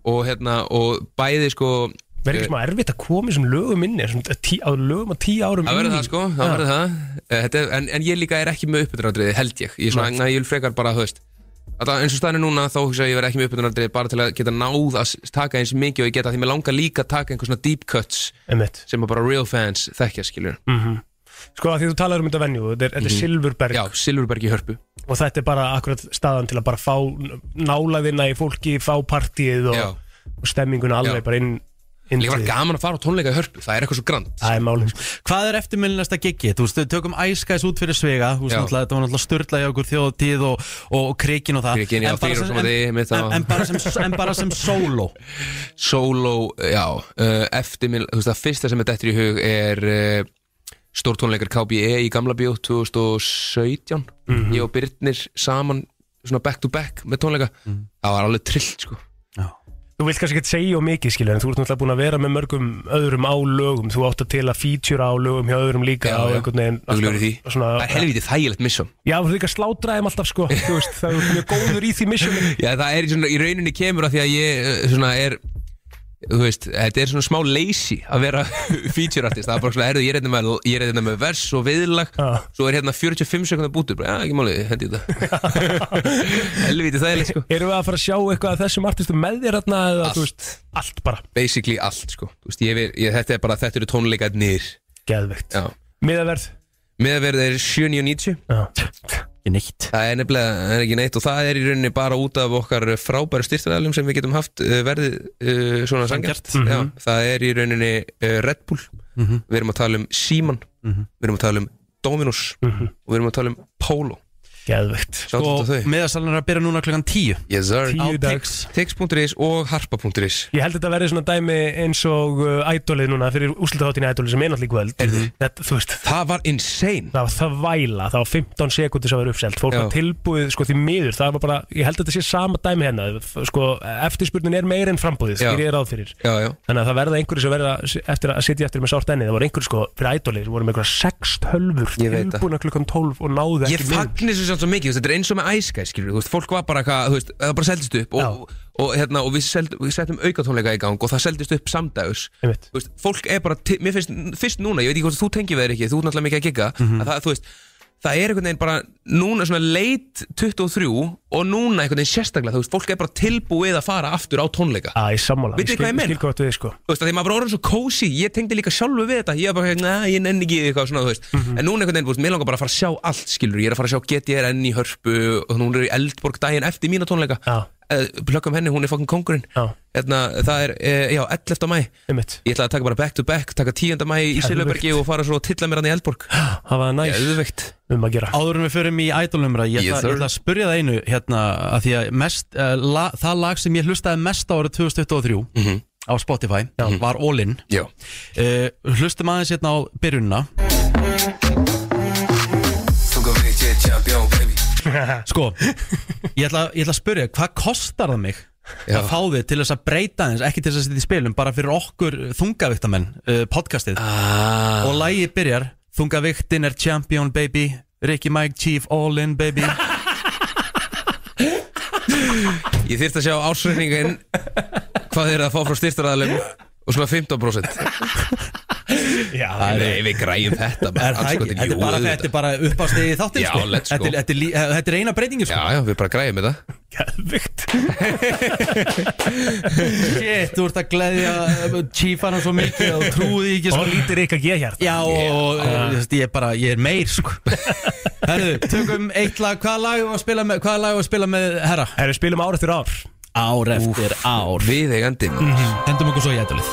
Speaker 15: og hérna, og bæði sko
Speaker 2: Verður ekki
Speaker 15: eh,
Speaker 2: smá erfitt að koma í svona lögum inni svona tí, á lögum á tíu árum
Speaker 15: Það verður
Speaker 2: inni?
Speaker 15: það sko, það
Speaker 2: Já.
Speaker 15: verður það Eh, þetta, er- en, en ég líka er ekki með uppbytunardriði, held ég Ég, er svona, na, ég vil frekar bara, þú veist að það- eins og staðinu núna þá hugsa ég að ég verð ekki með uppbytunardriði bara til að geta náð að s- taka eins mikið og ég geta því mér langar líka að taka einhver svona deep cuts
Speaker 2: Einmitt.
Speaker 15: sem að bara real fans þekkja skilur
Speaker 2: Mhm. Sko að því þú talar um þetta venju þetta er, þetta er
Speaker 15: Mhm.
Speaker 2: Silfurberg
Speaker 15: Já, Silfurberg í hörpu
Speaker 2: og þetta er bara akkurat staðan til að bara fá nálaðina í fólki, fá partíið
Speaker 15: Já.
Speaker 2: og, og stemminguna alveg bara inn, inn
Speaker 15: Líka bara
Speaker 2: til-
Speaker 15: gaman að fara á tónleika í hörpu, það er eitthvað svo grand
Speaker 2: Það er málið
Speaker 1: Hvað er eftirminnilegasta giggið? Þú veist, við tökum æskæs út fyrir svega Þú veist,
Speaker 15: Já.
Speaker 1: náttúrulega, þetta var náttúrulega störla í okkur þjóðtíð og, og, og krikin og það
Speaker 15: Krikin, já,
Speaker 1: En bara
Speaker 15: þrír á
Speaker 1: sem-
Speaker 15: sama degi,
Speaker 1: en,
Speaker 15: mitt á-
Speaker 1: en, en, bara sem, en bara sem solo
Speaker 15: Solo, já uh, Eftir minn, þú veist það fyrsta sem er dettur í hug er uh, stórtónleikar KBE í Gamla Bíó 2017
Speaker 2: Mhm.
Speaker 15: Ég og Byrnir saman svona back to back með tónleika
Speaker 1: Mhm.
Speaker 15: Það var alveg trillt sko
Speaker 2: Þú vilt kannski ekki segja og mikið skilur en þú ert náttúrulega búin að vera með mörgum öðrum á lögum þú átt að til að feature á lögum hjá öðrum líka
Speaker 15: Já,
Speaker 2: á
Speaker 15: já.
Speaker 2: einhvern veginn
Speaker 15: Þú glöfur í því
Speaker 2: svona,
Speaker 15: Það er helvítið þægilegt missum
Speaker 2: Já, þú ert líka að slátra þeim alltaf sko þú veist, það er mjög góður í því mission
Speaker 15: Já, það eh, er í svona, í rauninni kemur að því að ég uh, svona er þú veist, þetta er svona smá lazy að vera feature artist, það er bara svona herðu, ég er hérna með, ég er hérna með vers og viðlag svo er hérna 45 sekundar bútur bara, já, ekki máli, hendi í þetta helviti það er sko
Speaker 2: Erum við að fara að sjá eitthvað af þessum artistum með þér hérna eða, þú veist, allt bara
Speaker 15: basically allt, sko, þú veist, ég, er- ég, þetta er bara þetta eru tónleikarnir
Speaker 2: Geðveikt.
Speaker 15: já,
Speaker 2: miðaverð
Speaker 15: miðaverð er 7.90
Speaker 1: ekki neitt
Speaker 15: það er nefnilega það er ekki neitt og það er í rauninni bara út af okkar frábæru styrtaðalum sem við getum haft uh, verðið uh, svona sangjart
Speaker 1: Sanngjarnt.
Speaker 15: Já,
Speaker 1: Mhm.
Speaker 15: það er í rauninni uh, Red Bull
Speaker 1: Mhm.
Speaker 15: við erum að tala um Seaman
Speaker 1: Mhm.
Speaker 15: við erum að tala um Dominus
Speaker 2: Mhm.
Speaker 15: og við erum að tala um Polo
Speaker 2: Geðvegt
Speaker 1: Sko, meðasalinn er að byrja núna klukkan 10
Speaker 15: yes, sir.
Speaker 2: Tíu
Speaker 15: Á
Speaker 2: dags.
Speaker 15: Tix- Tix.is og Harpa.is
Speaker 2: Ég held að þetta verði svona dæmi eins og uh, ædolið núna fyrir úrslutaháttinni ædolið sem er náttúrulega í kvöld þetta, þú veist
Speaker 15: Það var insane
Speaker 2: Það var það væla, það var 15 sekundir sem var uppselt fólk
Speaker 15: Já.
Speaker 2: var tilbúið, sko því miður það var bara, ég held að þetta sé sama dæmi hérna f- sko, eftirspurnin er meir en frambúðið
Speaker 15: Já.
Speaker 2: skýr ég ráð fyrir,
Speaker 15: já, já.
Speaker 2: þannig að það verða einhverju sem verða s- eftir að sitja eftir með sárt enni það voru einhverju sko, fyrir ædolið, það voru með einhverja 6 tölfur
Speaker 15: Ég veit það.
Speaker 2: tilbúna klukkan 12 og náðu
Speaker 15: Ég
Speaker 2: ekki miður.
Speaker 15: fagnis þessu samt svo mikið, þú veist, þetta er eins og með æskæð, skilur, þú veist, fólk var bara eitthvað, þú veist, það bara seldist upp og, og, hérna, og við, seld, við settum aukatónleika í gang og það seldist upp samdags,
Speaker 2: Einmitt.
Speaker 15: þú veist, fólk er bara, ti- mér finnst, fyrst núna, ég veit ekki hvort þú tengir við þér ekki, þú ert náttúrulega mikið að gigga,
Speaker 2: Mhm.
Speaker 15: að það, þú veist, það er einhvern veginn bara núna svona late 23 og núna einhvern veginn sérstaklega, þú veist, fólk er bara tilbúið að fara aftur á tónleika.
Speaker 2: Æ, sammála,
Speaker 15: Vitið hvað ég meina?
Speaker 2: skil hvað þú veist sko
Speaker 15: Þú veist, að því maður bara orðin svo kósi, ég tengdi líka sjálfu við þetta, ég var bara, hérna, "Nei, ég nenni ekki eitthvað svona, þú veist.
Speaker 2: Mhm.
Speaker 15: En núna einhvern veginn, þú veist, mér langar bara að fara að sjá allt, skilur, ég er að fara að sjá GTRN í Hörpu og hún er í Eldborg daginn eftir mína tónleika.
Speaker 2: Já.
Speaker 15: Plökkum henni, hún er fucking kongurinn.
Speaker 2: Já.
Speaker 15: Hérna, það er, eh, já, 11. mæ.
Speaker 2: Einmitt.
Speaker 15: Ég ætlaði að taka bara back to back, taka 10. mæ í
Speaker 2: Geðveikt.
Speaker 15: Silvabergi og fara svo að tilla mér hann í Eldborg.
Speaker 2: Það var næst
Speaker 15: Geðveikt.
Speaker 2: um að gera
Speaker 1: Áður en við förum í ædolnumra ég,
Speaker 15: Yes,
Speaker 1: yes,
Speaker 15: sir.
Speaker 1: ég ætla að spurja það einu hérna, að því að mest, uh, la, það lag sem ég hlustaði mest á árið 2023 á Spotify var All In
Speaker 15: Mhm. Já.
Speaker 1: uh, Hlustum aðeins hérna á byrjunina Sko, ég ætla, ég ætla að spurja hvað kostar það mig
Speaker 15: Já.
Speaker 1: að fá þið til þess að breyta aðeins ekki til þess að setja í spilum, bara fyrir okkur þungaviktamenn, uh, podcastið
Speaker 15: ah.
Speaker 1: og lagið byrjar, þungaviktin er champion baby, Ricky Mike Chief all in baby
Speaker 15: Ég þyrfti að sjá ásreikningin hvað þeir eru að fá frá styrtaræðalum og svona 15%.
Speaker 2: Já,
Speaker 15: Nei, við græjum þetta
Speaker 1: Er
Speaker 15: bara.
Speaker 1: það ekki?
Speaker 15: andskotinn,
Speaker 1: Þetta
Speaker 15: jú,
Speaker 1: er bara,
Speaker 15: auðvitað.
Speaker 1: þetta er bara uppástegið þáttir
Speaker 15: Já,
Speaker 1: sko.
Speaker 15: let's go.
Speaker 1: Þetta er- Þetta er, lí- þetta er eina breytingin sko.
Speaker 15: Já, já, við bara græjum þetta
Speaker 1: Shit, þú ert að gleðja Chiefana eh, svo mikið og trúði ekki
Speaker 2: og
Speaker 1: sko.
Speaker 2: lítir ekki að ég hérna
Speaker 1: Já, og eh, þú veist, ég er bara, ég er meir sko. Herru, tökum eitt lag Hvaða lag var að spila með, hvaða lag var að spila með herra?
Speaker 2: Herru, spilum ár eftir ár
Speaker 1: Ár eftir ár Mhm.
Speaker 15: Við eigandi
Speaker 1: Hendum okkur svo í ætlið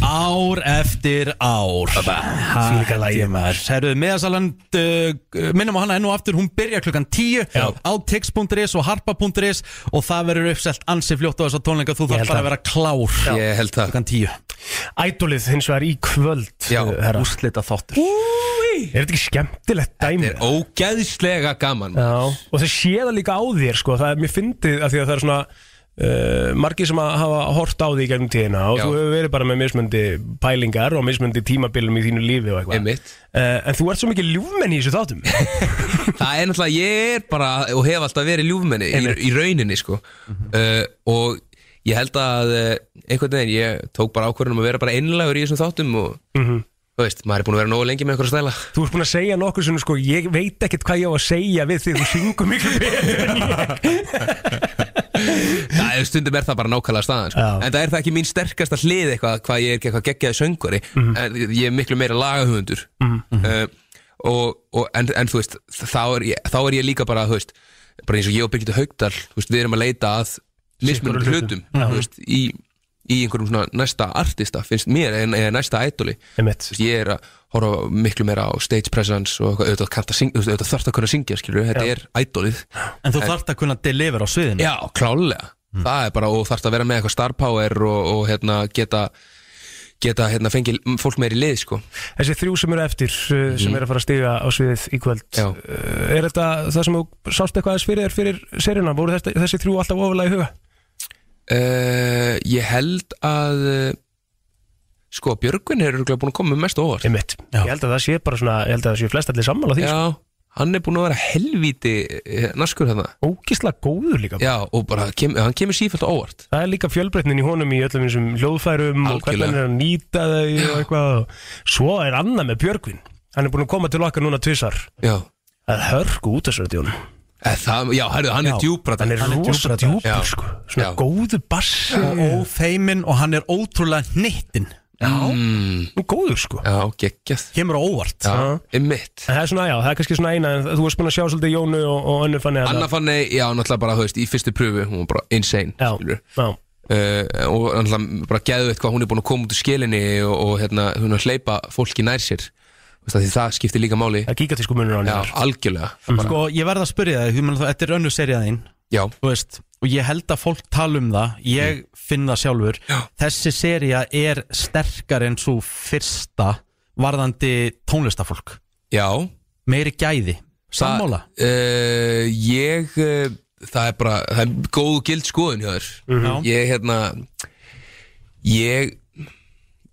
Speaker 1: Ár eftir ár
Speaker 2: Þvílíka lagi.
Speaker 1: Herru, meðasaland uh, Minnum á hana enn og aftur, hún byrja klukkan 10
Speaker 2: Já.
Speaker 1: Á tix.is og harpa.is Og það verður uppselt ansi fljótt á þessa tónleika Þú
Speaker 2: held
Speaker 1: þarf bara
Speaker 2: það.
Speaker 1: að vera klár
Speaker 15: Ég held það
Speaker 1: Klukkan 10
Speaker 2: Ædolið hins vegar í kvöld
Speaker 15: Já,
Speaker 2: uh, herra.
Speaker 1: Úrslita þáttur
Speaker 2: Er þetta ekki skemmtilegt dæmi?
Speaker 15: Þetta er ógeðslega gaman maður.
Speaker 2: Já, og það sé það líka á þér sko, það er mér fyndið að því að það er svona uh, margir sem að hafa hort á því í gegnum tíðina og
Speaker 15: Já.
Speaker 2: þú hefur verið bara með mismöndi pælingar og mismöndi tímabilum í þínu lífi og eitthvað
Speaker 15: Einmitt.
Speaker 2: uh, En þú ert svo mikið ljúfmenni í þessu þáttum
Speaker 15: Það er náttúrulega, ég er bara og hef alltaf verið ljúfmenni í,
Speaker 2: Einmitt.
Speaker 15: í rauninni sko. uh, og ég held að uh, einhvern veginn, ég tók bara ákvörðunum að vera bara einlægur í þessum þáttum og þú veist, maður er búin að vera nógu lengi með einhverja stæla
Speaker 2: Þú ert búin að segja nokkur sem sko, ég veit ekkert hvað ég á að segja við því þú syngur miklu betur en ég
Speaker 15: Það er stundum er það bara nákvæmlega staðan sko.
Speaker 2: Já.
Speaker 15: en það er það ekki mín sterkasta hlið eitthvað hvað ég er ekki eitthvað geggjaði söngvari
Speaker 2: Mhm.
Speaker 15: en ég er miklu meira lagahöfundur uh, og, og en, en þú veist þá er, ég, þá er ég líka bara þú veist, bara eins og ég og Birgitta Haugdal þú veist, við erum að leita að mismunandi
Speaker 2: Sikkur
Speaker 15: hlutum,
Speaker 2: hlutum.
Speaker 15: þú veist, í, í einhverjum svona næsta artista finnst mér, en, en næsta idoli
Speaker 2: Einmitt.
Speaker 15: Þú veist, ég er að horfa miklu meira á stage presence og eitthvað, auðvitað, kanntu að syngja- þú veist, auðvitað þarft að kunna syngja skilur, þetta er idolið
Speaker 1: En þú þarft að kunna deliver á sviðinu Mm.
Speaker 15: Já, klálega Það er bara, og þarfst að vera með eitthvað star power og, og hérna, geta geta, hérna, fengið fólk meir í lið, sko
Speaker 2: Þessi þrjú sem eru eftir uh, sem eru að fara að stiga á sviðið í kvöld
Speaker 15: Mhm. Já.
Speaker 2: uh, Er þetta það sem þú sást eitthvað aðeins fyrir þér fyrir serjuna? Voru þetta, þessi þrjú alltaf ofalega í huga?
Speaker 15: Uh, ég held að eh, sko, Björgvin er örugglega búin að koma með mest á óvart
Speaker 2: Einmitt. ég held að það sé bara svona ég held að það sé flest allir sammála því sko.
Speaker 15: Já, hann er búin að vera helvíti eh, naskur þarna
Speaker 2: Ógislega góður líka
Speaker 15: Já, og bara, kem, hann kemur sífælt á óvart
Speaker 2: Það er líka fjölbreytnin í honum í öllum þessum hljóðfærum og hvernig hann er að nýta þau og eitthvað Svo er annað með Björgvin Hann er búin að koma til okkar núna tvisar
Speaker 15: Já
Speaker 2: Það er hörku út þessu röddjónu
Speaker 15: það, Já, herrðu, hann er djúbrat
Speaker 2: Hann er rosa djúbur sko Svona góðu bass
Speaker 1: Og ófeimin og hann er ótrúlega nittin
Speaker 15: Já mm.
Speaker 2: Góður sko
Speaker 15: Já, geggjast
Speaker 1: Kemur á óvart
Speaker 15: Já, einmitt
Speaker 2: Það er svona, já, það er kannski svona eina en þú varst búin að sjá svolítið Jónu og, og önnu fannig að
Speaker 15: Anna fann nei, já, náttúrulega bara, þú veist, í fyrstu pröfu hún var bara insane já,
Speaker 2: já.
Speaker 15: og náttúrulega bara geðu eitthvað hún er búin að koma út úr skilinni og, og hérna, hún er að hleypa fólki nær sér Þú veist, af því það skiptir líka máli
Speaker 2: Það kíka til sko munur á Mhm.
Speaker 15: henni Já, algjörlega
Speaker 1: Sko, ég verð að spyrja þig, þú menn það, þetta er önnu seriða þín
Speaker 15: Já Mm.
Speaker 1: Þú veist, og ég held að fólk tala um það Ég finn það sjálfur Já. Þessi seriða er sterkar en svo fyrsta varðandi tónlistafólk
Speaker 15: Já
Speaker 1: Meiri gæði Sammála
Speaker 15: uh, Ég, uh, það er bara það er góð gild skoðun hjá þér
Speaker 1: Mhm.
Speaker 15: Ég, hérna ég,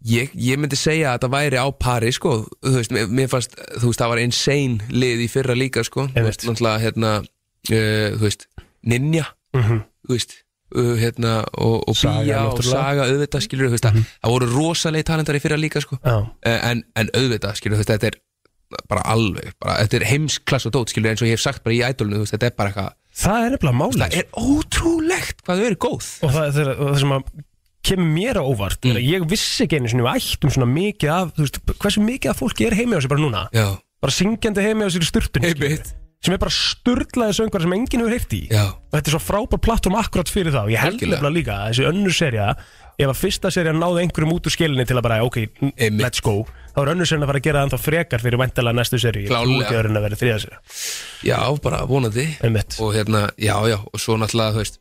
Speaker 15: ég ég myndi segja að það væri á pari sko, þú veist, mér, mér fannst þú veist, það var insane lið í fyrra líka sko, þú veist, náttúrulega, hérna uh, þú veist, Ninja
Speaker 2: Mhm.
Speaker 15: þú veist, uh, hérna og, og
Speaker 2: Saga,
Speaker 15: Bía og
Speaker 2: náttúrulega.
Speaker 15: Saga, auðvitað skilur, þú veist, mm það voru rosalegi talentar í fyrra líka sko,
Speaker 2: Mhm. Já.
Speaker 15: Eh, en, en auðvitað skilur, þú veist, þetta er bara alveg, bara, þetta er heimsklass og dót skilur, eins og ég hef sagt bara í ædolinu, þú veist, þetta er bara eitthvað
Speaker 2: Það er nefnilega máli
Speaker 15: Það er ótrúlegt hvað þau eru góð
Speaker 2: Og það, það, og það sem að kemur mér á óvart mm. Ég vissi ekki einu sinni við ættum svona mikið af þú veist, Hversu mikið af fólki er heimi á sér bara núna
Speaker 15: Já.
Speaker 2: Bara syngjandi heimi á sér í sturtun Sem er bara sturdlaði söngar sem enginn hefur heyrt í
Speaker 15: Já.
Speaker 2: Og þetta er svo frábær plattform akkurat fyrir þá Ég held
Speaker 15: Algjörlega.
Speaker 2: nefnilega líka að þessi önnur serja Ef að fyrsta serja náði einhverjum út úr skilinni til að bara Ok, Einmitt. let's go Þá er önnur serja að fara að gera það ennþá frekar fyrir væntalega næstu serju
Speaker 15: Klárlega.
Speaker 2: Ég er að vera þriða serja
Speaker 15: Já, bara vonandi
Speaker 2: Einmitt.
Speaker 15: Og hérna, já, já, og svo náttúrulega, þú veist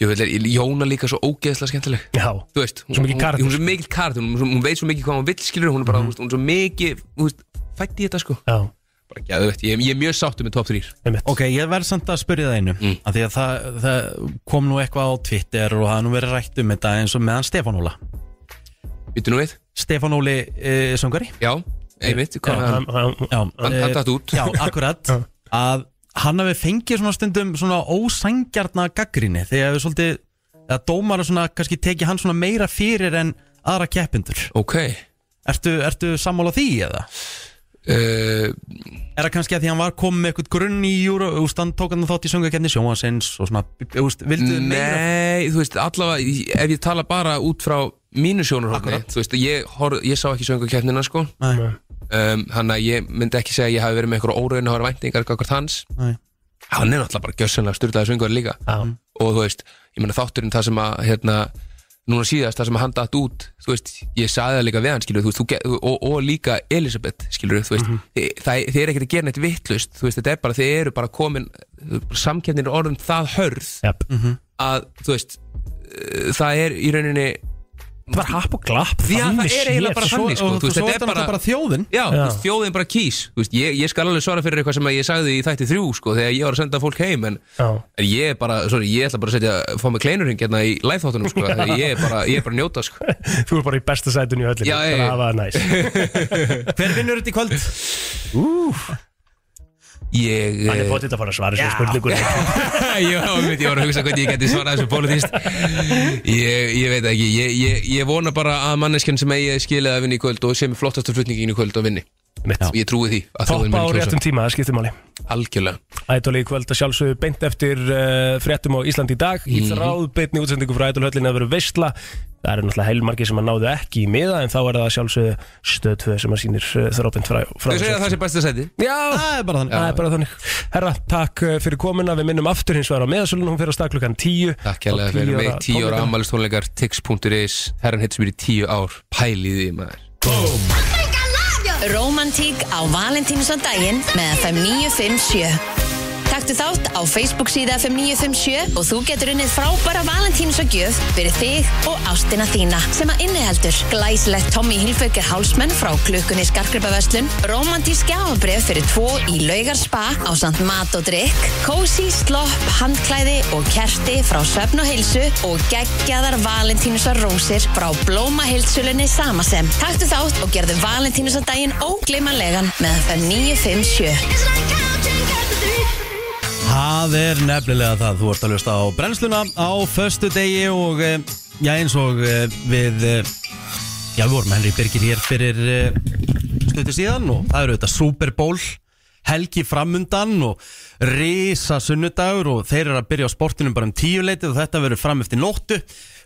Speaker 15: Jöfell er Jóna líka svo ógeðslega skemmtileg
Speaker 2: Já,
Speaker 15: þú veist
Speaker 2: Svo sko. mikið karakter.
Speaker 15: Hún, hún, hún er svo mikið kardur, hún, hún veit svo mikið hvað hún vill skilur Hún er bara, mm -hmm. hún er svo mikið, þú veist, fætt í þetta sko
Speaker 2: Mhm. Já
Speaker 15: Bara geðvett, ég, ég er mjög sáttur með top 3
Speaker 1: Ok, ég verð samt að spyrja það einu mm. Því að það, það kom nú eitthvað á Twitter og það er nú verið rætt um þetta eins og meðan Stefán Óla
Speaker 15: Vittu nú við?
Speaker 1: Stefán Óli uh, söngari
Speaker 15: Já, einmitt, hvað
Speaker 1: Já,
Speaker 15: hann-
Speaker 1: já,
Speaker 15: hann-
Speaker 1: eh,
Speaker 15: hann datt út.
Speaker 1: Já, akkurat Að hann hafi fengið svona stundum svona ósængjarna gaggrinni Þegar við svolítið, að dómar svona kannski tekið hann svona meira fyrir en aðra keppindur
Speaker 15: Ok
Speaker 1: Ertu, ertu sammála því eða?
Speaker 2: Eh,
Speaker 15: Uh,
Speaker 1: er það kannski að því hann var komið með eitthvað grunn í júru Úst, hann tók hann þátt í söngakenni sjónvansins og svona, úst, vildu meira
Speaker 15: Nei, þú veist, allavega í- ef ég tala bara út frá mínu sjónurhókni þú veist, ég, hor, ég sá ekki söngukeppnina sko
Speaker 1: Nei.
Speaker 15: um, hann að ég myndi ekki segja að ég hafi verið með einhverja óraun og væntingar hvort hans
Speaker 1: Nei.
Speaker 15: hann er náttúrulega bara gjössanlega styrtaði söngur líka
Speaker 2: Já.
Speaker 15: og þú veist, ég meina þátturinn það sem að hérna, núna síðast það sem að hann datt út þú veist, ég saði það líka við hann skilur, þú veist, þú get, og, og líka Elisabeth skilur, þú
Speaker 2: Mhm.
Speaker 15: veist, mm það, þið er ekkert að gera neitt vittlust, þú veist, þetta er bara, þið eru bara komin, samkjöndin er orðin það hörð
Speaker 2: yep.
Speaker 15: að, þú veist eh, það er í rauninni
Speaker 2: Það var happ og glapp
Speaker 15: Já, það
Speaker 2: þannig
Speaker 15: er eiginlega
Speaker 2: séð,
Speaker 15: bara
Speaker 2: sko.
Speaker 15: þannig sko,
Speaker 2: Og
Speaker 15: þú veist,
Speaker 2: svo er
Speaker 15: þetta er
Speaker 2: þetta
Speaker 15: bara,
Speaker 2: náttúrulega bara þjóðin.
Speaker 15: Já, þú
Speaker 2: Já.
Speaker 15: veist, þjóðin bara kýs Þú veist, ég, ég skal alveg svara fyrir eitthvað sem að ég sagði í þætti þrjú sko, þegar ég var að senda fólk heim en,
Speaker 2: Já.
Speaker 15: en ég er bara, sorry, ég ætla bara að setja fá mig kleinurinn hérna í live-þáttunum sko, þegar ég er bara, ég er bara að njóta sko.
Speaker 2: Þú er bara í besta sætun í öllinu
Speaker 15: Já,
Speaker 2: Það er
Speaker 15: ég-
Speaker 2: að hafa það næs
Speaker 1: Hver vinnur þetta í kvöld?
Speaker 2: Úf,
Speaker 15: ég, eh,
Speaker 2: Hann er potið að fara að svara sko. þessu spurningur
Speaker 15: Já, einmitt, ég var að hugsa hvernig ég geti svarað þessu politist ég, ég veit það ekki ég, ég, ég vona bara að manneskjan sem eigi skilið að vinna í kvöld og sem er flottastu flutningin í kvöld og vinni Ég trúi því að þjóðin
Speaker 2: Toppa á
Speaker 15: muni kjósa.
Speaker 2: réttum tíma, það skiptir máli
Speaker 15: Algjörlega
Speaker 2: Ædoli í kvöld að sjálfsögðu beint eftir uh, fréttum á Íslandi í dag Í
Speaker 15: Mhm.
Speaker 2: þráð beinni útsendingu frá Ædolhöllinni að vera veistla Það eru náttúrulega heilmargi sem að náðu ekki í miða En þá er það að sjálfsögðu stöð 2 sem að sýnir uh, þráðbent frá, frá
Speaker 15: Þau segja að það sé besta sæti
Speaker 2: Já,
Speaker 1: það er bara þannig,
Speaker 2: það er bara þannig. Herra, takk eh, fyrir komuna, við minnum aftur hins vegar á meðasölun, hún fyrir að stakla klukkan 10
Speaker 15: Takk kærlega fyrir mig, 10 ára ammælistónleikar tix.is, herran hittum mér í 10 ár pælið í því, maður
Speaker 16: Rómantík á Valentínsandaginn með FM 957 Takk Taktu þátt á Facebook síða F957 og þú getur unnið frábæra valentíns og gjöf fyrir þig og ástina þína sem að inniheldur glæsilegt Tommy Hilfiger hálsmenn frá klukkunni Skarkrypaverslun, romantísk gafabref fyrir tvo í laugar spa á samt mat og drikk, kósi, slopp, handklæði og kerti frá svefn og heilsu og geggjaðar valentínusar rósir frá blóma heilsulunni sama sem. Taktu þátt og gerðu valentínusardaginn óglimanlegan með F957.
Speaker 17: Það er nefnilega það, þú ert að hlusta á brennsluna á föstu degi og eh, já eins og eh, við eh, já við vorum með Henry Birgir hér fyrir stötu síðan og það eru þetta Super Bowl helgi framundan og risa sunnudagur og þeir eru að byrja á sportinum bara um tíuleitið og þetta verður fram eftir nóttu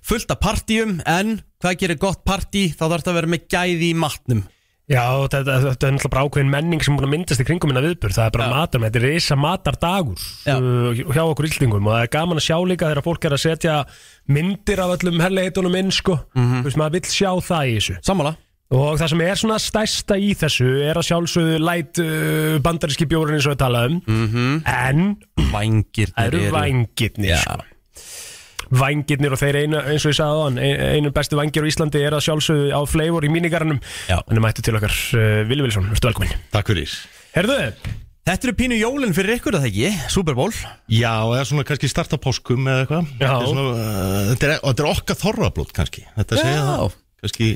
Speaker 17: fullt af partíum en hvað gerir gott partí þá þarf þetta að vera með gæði í matnum
Speaker 2: Já, þetta, þetta, þetta er náttúrulega bara ákveðin menning sem er búin að myndast í kringum minna viðbur Það er bara matar, þetta er reysa matardagur uh, hjá okkur yldingum og það er gaman að sjá líka þegar fólk er að setja myndir af öllum herleitunum inn sko Þú veist, maður vill sjá það í þessu
Speaker 17: Mhm. Sammála
Speaker 2: Og það sem er svona stærsta í þessu er að sjálfsögðu læt uh, bandaríski bjórinn eins og við talaðum mm -hmm. En
Speaker 17: Mhm. Vængirnir
Speaker 2: eru
Speaker 17: eru-
Speaker 2: vængirnir sko. Vængirnir og þeir einu, eins og ég sagði á hann Einu bestu vængir á Íslandi er að sjálfsögðu á flavor í mínigarnum Þannig mættu til okkar uh, Vili Vilsson, verður velkomin
Speaker 18: Takk fyrir
Speaker 2: Herðu
Speaker 17: Þetta eru pínu jólinn fyrir ykkur að það ekki, Super Bowl
Speaker 18: Já, eða svona kannski starta páskum eða eitthvað
Speaker 2: Já.
Speaker 18: Þetta er svona, uh, Þetta er, og þetta er okkar þorrablót kannski Þetta
Speaker 2: Já.
Speaker 18: segja það Kannski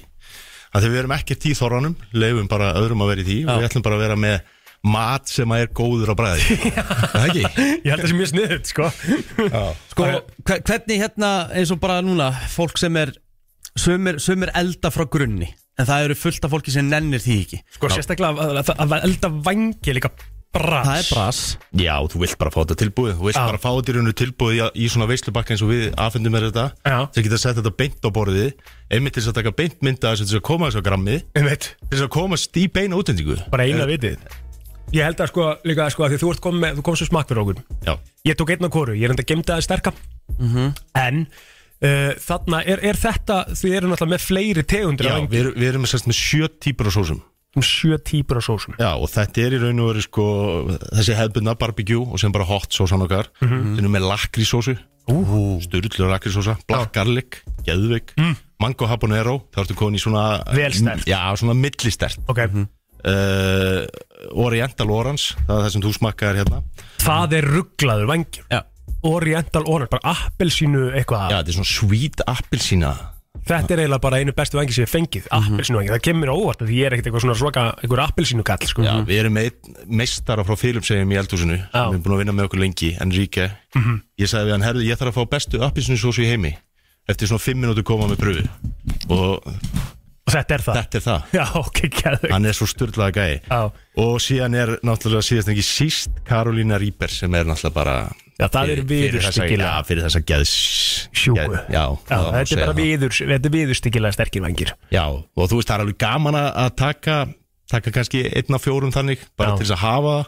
Speaker 18: að þegar við erum ekkert í þorranum Leifum bara öðrum að vera í því Og við ætlum bara að vera með mat sem að er góður á bræði Það ekki?
Speaker 2: Ég held þessi mjög sniðut, sko
Speaker 17: Sko, hve- hvernig hérna eins og bara núna fólk sem er sumir, sumir elda frá grunni en það eru fullt af fólki sem nennir því ekki
Speaker 2: Sko, sérstaklega að, að, að elda vangi er líka bras
Speaker 17: Það er bras
Speaker 18: Já, þú vilt bara fá þetta tilbúið Þú vilt
Speaker 2: Já.
Speaker 18: bara fá þetta í rauninu tilbúið í, í svona veislubakka eins og við afhendum er þetta
Speaker 2: Já.
Speaker 18: sem geta sett þetta beint á borðið einmitt til þess að taka beint mynda þess að koma þess að grammið
Speaker 2: einmitt.
Speaker 18: til þess að komast í beina útendingu
Speaker 2: Bara eina vitið Ég held að sko, líka sko, að því þú ert komið með, þú komst svo smakk fyrir okkur
Speaker 18: Já.
Speaker 2: Ég tók einn á kóru, ég er enda gemda að sterka
Speaker 18: Mhm.
Speaker 2: En uh, þarna, er, er þetta, þið eru náttúrulega með fleiri tegundir
Speaker 18: Já,
Speaker 2: af
Speaker 18: við, erum- við erum sérst með sjö típur af sósum
Speaker 2: Um sjö típur af sósum
Speaker 18: Já, og þetta er í raun og veru sko þessi hefðbundna barbecue og sem bara hot sósan okkar mm
Speaker 2: Mhm.
Speaker 18: -hmm. Þeir eru með lakrísósu Sturlur lakrísósa, black garlic Geðvik,
Speaker 2: Mm.
Speaker 18: mango habanero Það ertu komin í svona
Speaker 2: Velstert.
Speaker 18: Já, svona millistert
Speaker 2: okay.
Speaker 18: uh, Oriental orange Það er það sem þú smakkaðir hérna
Speaker 2: Það er rugglaður vangi
Speaker 17: Já.
Speaker 2: Oriental orange, bara appelsínu eitthvað
Speaker 18: Já, þetta er svona sweet appelsína Mhm.
Speaker 2: Þetta er eiginlega bara einu bestu vangi sem ég hef fengið Appelsínu vangi, það kemur mér á óvart af Því ég er ekkert eitthvað svona svaka, einhver appelsínu kall sko.
Speaker 18: Já, við erum með einn meistara frá Filipsheim í eldhúsinu sem er búin að vinna með okkur lengi, Enrique
Speaker 2: Mhm.
Speaker 18: Ég sagði við hann, herðu, ég þarf að fá bestu appelsinusósu í heimi eftir svona fimm minútu koma með pröfu og
Speaker 2: Og þetta er það?
Speaker 18: Þetta er það
Speaker 2: Já, ok, gæðu
Speaker 18: Hann er svo styrlaða gæi
Speaker 2: Já.
Speaker 18: Og síðan er náttúrulega síðast en ekki síst Karolína Rýper sem er náttúrulega bara
Speaker 2: Já, það er
Speaker 18: fyrir- fyrir þessa-
Speaker 2: viðurstyggilega.
Speaker 18: Já, fyrir þessa geðs
Speaker 2: Sjúku.
Speaker 18: geð- Já,
Speaker 2: Já,
Speaker 18: það má
Speaker 2: þetta er
Speaker 18: segja
Speaker 2: bara
Speaker 18: það.
Speaker 2: viður, þetta er viðurstyggilega sterkir vangir
Speaker 18: Já, og þú veist, það er alveg gaman að að taka, taka kannski einn af fjórum þannig, bara
Speaker 2: Já.
Speaker 18: til þess að hafa það.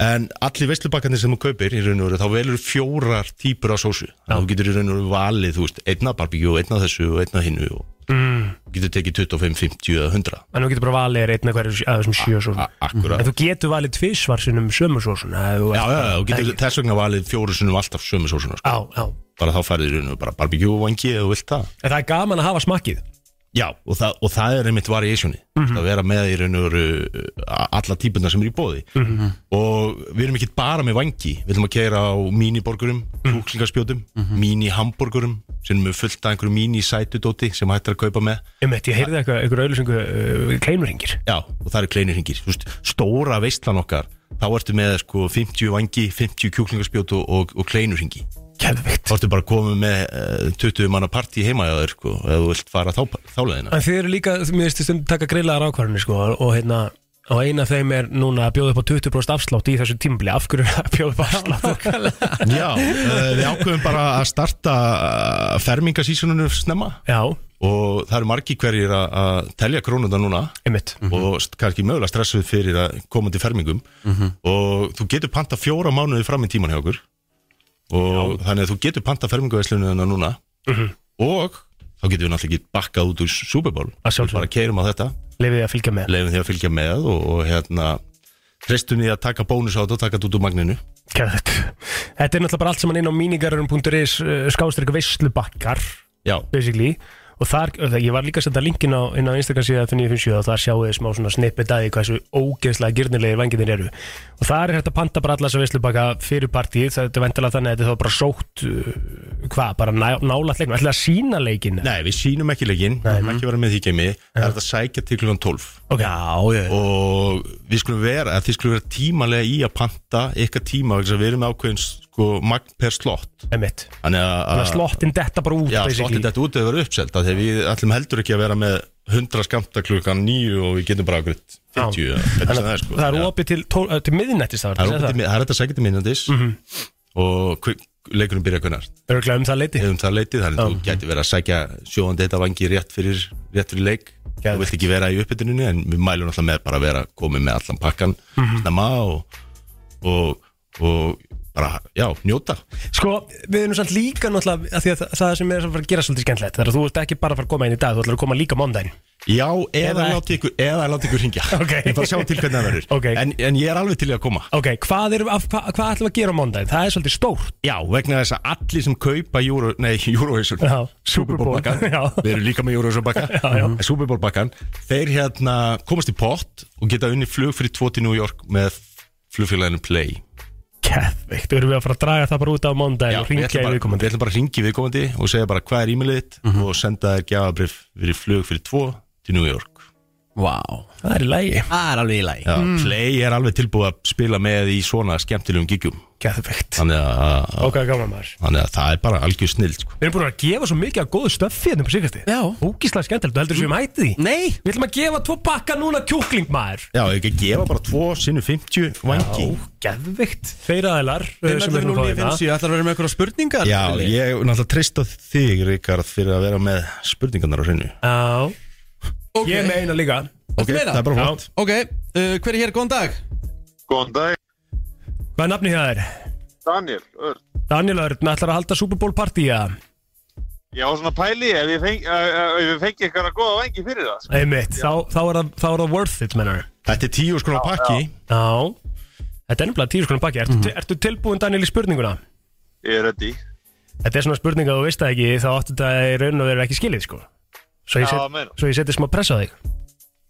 Speaker 18: en allir veistlubakkarnir sem þú kaupir í raun og veru, þá velur þú fjórar típur af sósu, þannig að þú getur í raun og veru valið, þú veist, einna barbíkjú, einna þessu og einna hinnu og
Speaker 2: mm.
Speaker 18: þú getur tekið 25, 50 eða 100
Speaker 2: En þú getur bara valið þér einna hverju að þessum sjö svo
Speaker 18: akkurat.
Speaker 2: En þú getur valið tvisvar sinnum sömu svo svona
Speaker 18: Já, já, já, þú getur þess vegna valið fjóru sunnum alltaf sömu sósuna, sko.
Speaker 2: Já, já
Speaker 18: bara þá færið í raun og veru bara barbíkjú og vangi eða þú vilt það
Speaker 2: En það er gaman að hafa smakkið
Speaker 18: Já, og það, og það er einmitt variationi mm
Speaker 2: Mhm.
Speaker 18: að vera með í raun og veru uh, alla típurna sem eru í bóði
Speaker 2: Mhm.
Speaker 18: og við erum ekki bara með vangi við ætlum að keira á míniborgurum kúklingarspjótum, mm -hmm. mínihamborgurum sem er með fullt af einhverju mínisætudóti sem hægt er að kaupa með
Speaker 2: Um ég heyrði eitthvað, eitthvað auðlýsingu uh, kleinurringir
Speaker 18: já, og það eru kleinurhingir Þú veist, stóra veistlan okkar þá ertu með sko 50 vangi 50 kjúklingarspjót og, og, og kleinurhingi
Speaker 2: Kefvikt
Speaker 18: Þá ertu bara komið með uh, 20 manna partí heima hjá þér sko, ef þú vilt fara þá, þáleðina
Speaker 2: En þið eru líka, mér veist, stundum taka grillaðar ákvarðinni sko Og hérna Og eina af þeim er núna að bjóða upp á 20% afslátt í þessu tímbli Af hverju að bjóða upp á afslátt?
Speaker 18: Já, uh, við ákveðum bara að starta uh, fermingasísununu snemma
Speaker 2: Já.
Speaker 18: og það eru margi hverjir að- að telja krónunda núna
Speaker 2: Einmitt. Mhm.
Speaker 18: og st- kannski mögulega stressuð fyrir að koma til fermingum
Speaker 2: Mhm.
Speaker 18: og þú getur panta fjóra mánuði fram í tíman hjá okkur og þannig að þú getur panta fermingavæslununa þennan núna
Speaker 2: Mhm.
Speaker 18: og þá getur við náttúrulega ekki bakkað út úr Super Bowl Við bara keirum á þetta
Speaker 2: Leifið þið að fylgja með
Speaker 18: leifum því að fylgja með og, og hérna treystum því að taka bónus á þetta og taka þetta út úr magninu
Speaker 2: Geðveikt. Þetta er náttúrulega bara allt saman inn á mínigarurum.is skástrík veislubakkar
Speaker 18: Já
Speaker 2: Basically Og þar, og það- ég var líka að senda linkin á, inn á Instagram síðan fyrir 957 og þar sjáu þið smá svona snippet að því hvað þessu ógeðslega girnilegir vanginir eru og þar er hægt að panta bara alla þessa veislubakka fyrir partíð, þetta er vendilega þannig að þetta er þá bara sótt uh, hvað, bara ná, nálægt leiknum, ætlaði að sína leikin
Speaker 18: Nei, við sínum ekki leikinn, við
Speaker 2: Mhm.
Speaker 18: erum ekki að vera með því geimi Það er hægt að sækja til klukkan 12
Speaker 2: okay.
Speaker 18: Já, já Og við skulum vera, að þið skulum vera tímalega í að panta ykkar tíma vegna þess að Við erum með ákveðin sko magn per slott
Speaker 2: Emitt
Speaker 18: Þannig að
Speaker 2: Þannig að
Speaker 18: að-
Speaker 2: slottin detta bara út
Speaker 18: Ah. Já,
Speaker 2: basically.
Speaker 18: slottin þetta út eða vera uppselt Þegar við ætlum heldur ekki að vera með 100 skamta klukkan 9 og við getum bara ákveðin 50
Speaker 2: Þannig
Speaker 18: eða hvernig sem Það
Speaker 2: að
Speaker 18: er, sko.
Speaker 2: það
Speaker 18: Já.
Speaker 2: er opið til, tól- eh, til miðnættis það Mhm.
Speaker 18: Það
Speaker 2: var
Speaker 18: er opið til mið- það er hægt að sækja til minnandis Og hve- leikurinn byrja hvernar
Speaker 2: Örgulega um það leiti
Speaker 18: Um það leiti, þannig að þú gæti verið að sækja sjóðandi þetta vangi rétt fyrir, rétt fyrir leik Þú vilt ekki vera í uppbytuninu en við mælum alltaf með bara að vera komið með allan pakkan
Speaker 2: Mhm.
Speaker 18: snemma og, og, og bara, já, njóta
Speaker 2: Sko, við erum samt líka náttúrulega að því að það, það sem er að fara að gera svolítið skemmtilegt það er að þú ert ekki bara að fara að koma inn í dag, þú ætlar að koma líka mondaginn
Speaker 18: Já, eða, láti ykkur, eða láti ykkur hringja
Speaker 2: Ok.
Speaker 18: Ég bara sjá til hvernig það verður
Speaker 2: Ok.
Speaker 18: en, en ég er alveg til í að koma
Speaker 2: Ok, hvað, er, af, hvað, hvað ætlum við að gera á mondaginn? Það er svolítið stórt
Speaker 18: Já, vegna þess að allir sem kaupa Euro, nei, Eurovision,
Speaker 2: Já, Superbowl,
Speaker 18: Superbowl-bakkan
Speaker 2: já.
Speaker 18: Við erum líka með
Speaker 2: Já, já.
Speaker 18: Eurovision-bakkan Superbowl-bakkan Þeir hérna komast í pott og geta unni flug fyrir 2 til New York með flugfélaginu Play
Speaker 2: Kæðvikt, erum við að fara að draga það bara út á mondaginn og
Speaker 18: Við
Speaker 2: ringja
Speaker 18: ætlum
Speaker 2: í
Speaker 18: bara,
Speaker 2: viðkomandi
Speaker 18: við ætlum bara að ringi viðkomandi og segja bara hvað er e-mailið þitt
Speaker 17: Mhm.
Speaker 18: og senda þér gjafabrif fyrir flug fyrir 2 til New York
Speaker 17: Vá
Speaker 2: Það er í lægi
Speaker 17: Það er alveg í Mm. lægi
Speaker 18: Já, Play er alveg tilbúið að spila með í svona skemmtilegum gigjum
Speaker 2: Gæðvegt
Speaker 18: Þannig að,
Speaker 2: Ok, gaman maður
Speaker 18: þannig að það er bara algjör snill sko.
Speaker 2: Við erum búin að gefa svo mikið af góðu stöffi hérna på síkasti Já Ógíslega skemmtilegt, þú heldur þessu við mætið því? Nei Við ætlum að gefa tvo bakka núna kjúkling maður
Speaker 18: Já, ekki að gefa bara 2 sinni 50 vangi
Speaker 2: Já, geðvikt Þeir aðeilar
Speaker 17: Ég ætlar að vera með einhverja spurningar
Speaker 18: Já,
Speaker 17: Lilli.
Speaker 18: ég náttúrulega treysta þig, Ríkard, fyrir að vera með spurningarnar á hreinu
Speaker 2: Já Ég meina líka
Speaker 18: Ok, það er bara flott
Speaker 17: Ok, uh, hver er hér, góðan dag
Speaker 19: Góðan dag,
Speaker 2: Hvað er nafni hjá þér?
Speaker 19: Daniel, Örn.
Speaker 2: Daniel Örn ætlar að halda Super Bowl partíja
Speaker 19: Ég á svona pæli ef ég fengi, uh, uh, ef ég fengi eitthvað góða vengi fyrir það. sko.
Speaker 2: Einmitt, þá, þá, er það, þá er það worth it, mennar
Speaker 18: Þetta er tíu skona pakki Mhm.
Speaker 2: Já, þetta er nefnilega tíu skona pakki Ertu, ertu tilbúin, Daniel, í spurninguna?
Speaker 19: Ég er ready.
Speaker 2: Þetta er svona spurninga og þú veist það ekki þá áttu þetta í raun og verið ekki skilið, sko Svo ég,
Speaker 19: Já,
Speaker 2: set,
Speaker 19: meina.
Speaker 2: svo ég seti smá pressa á þig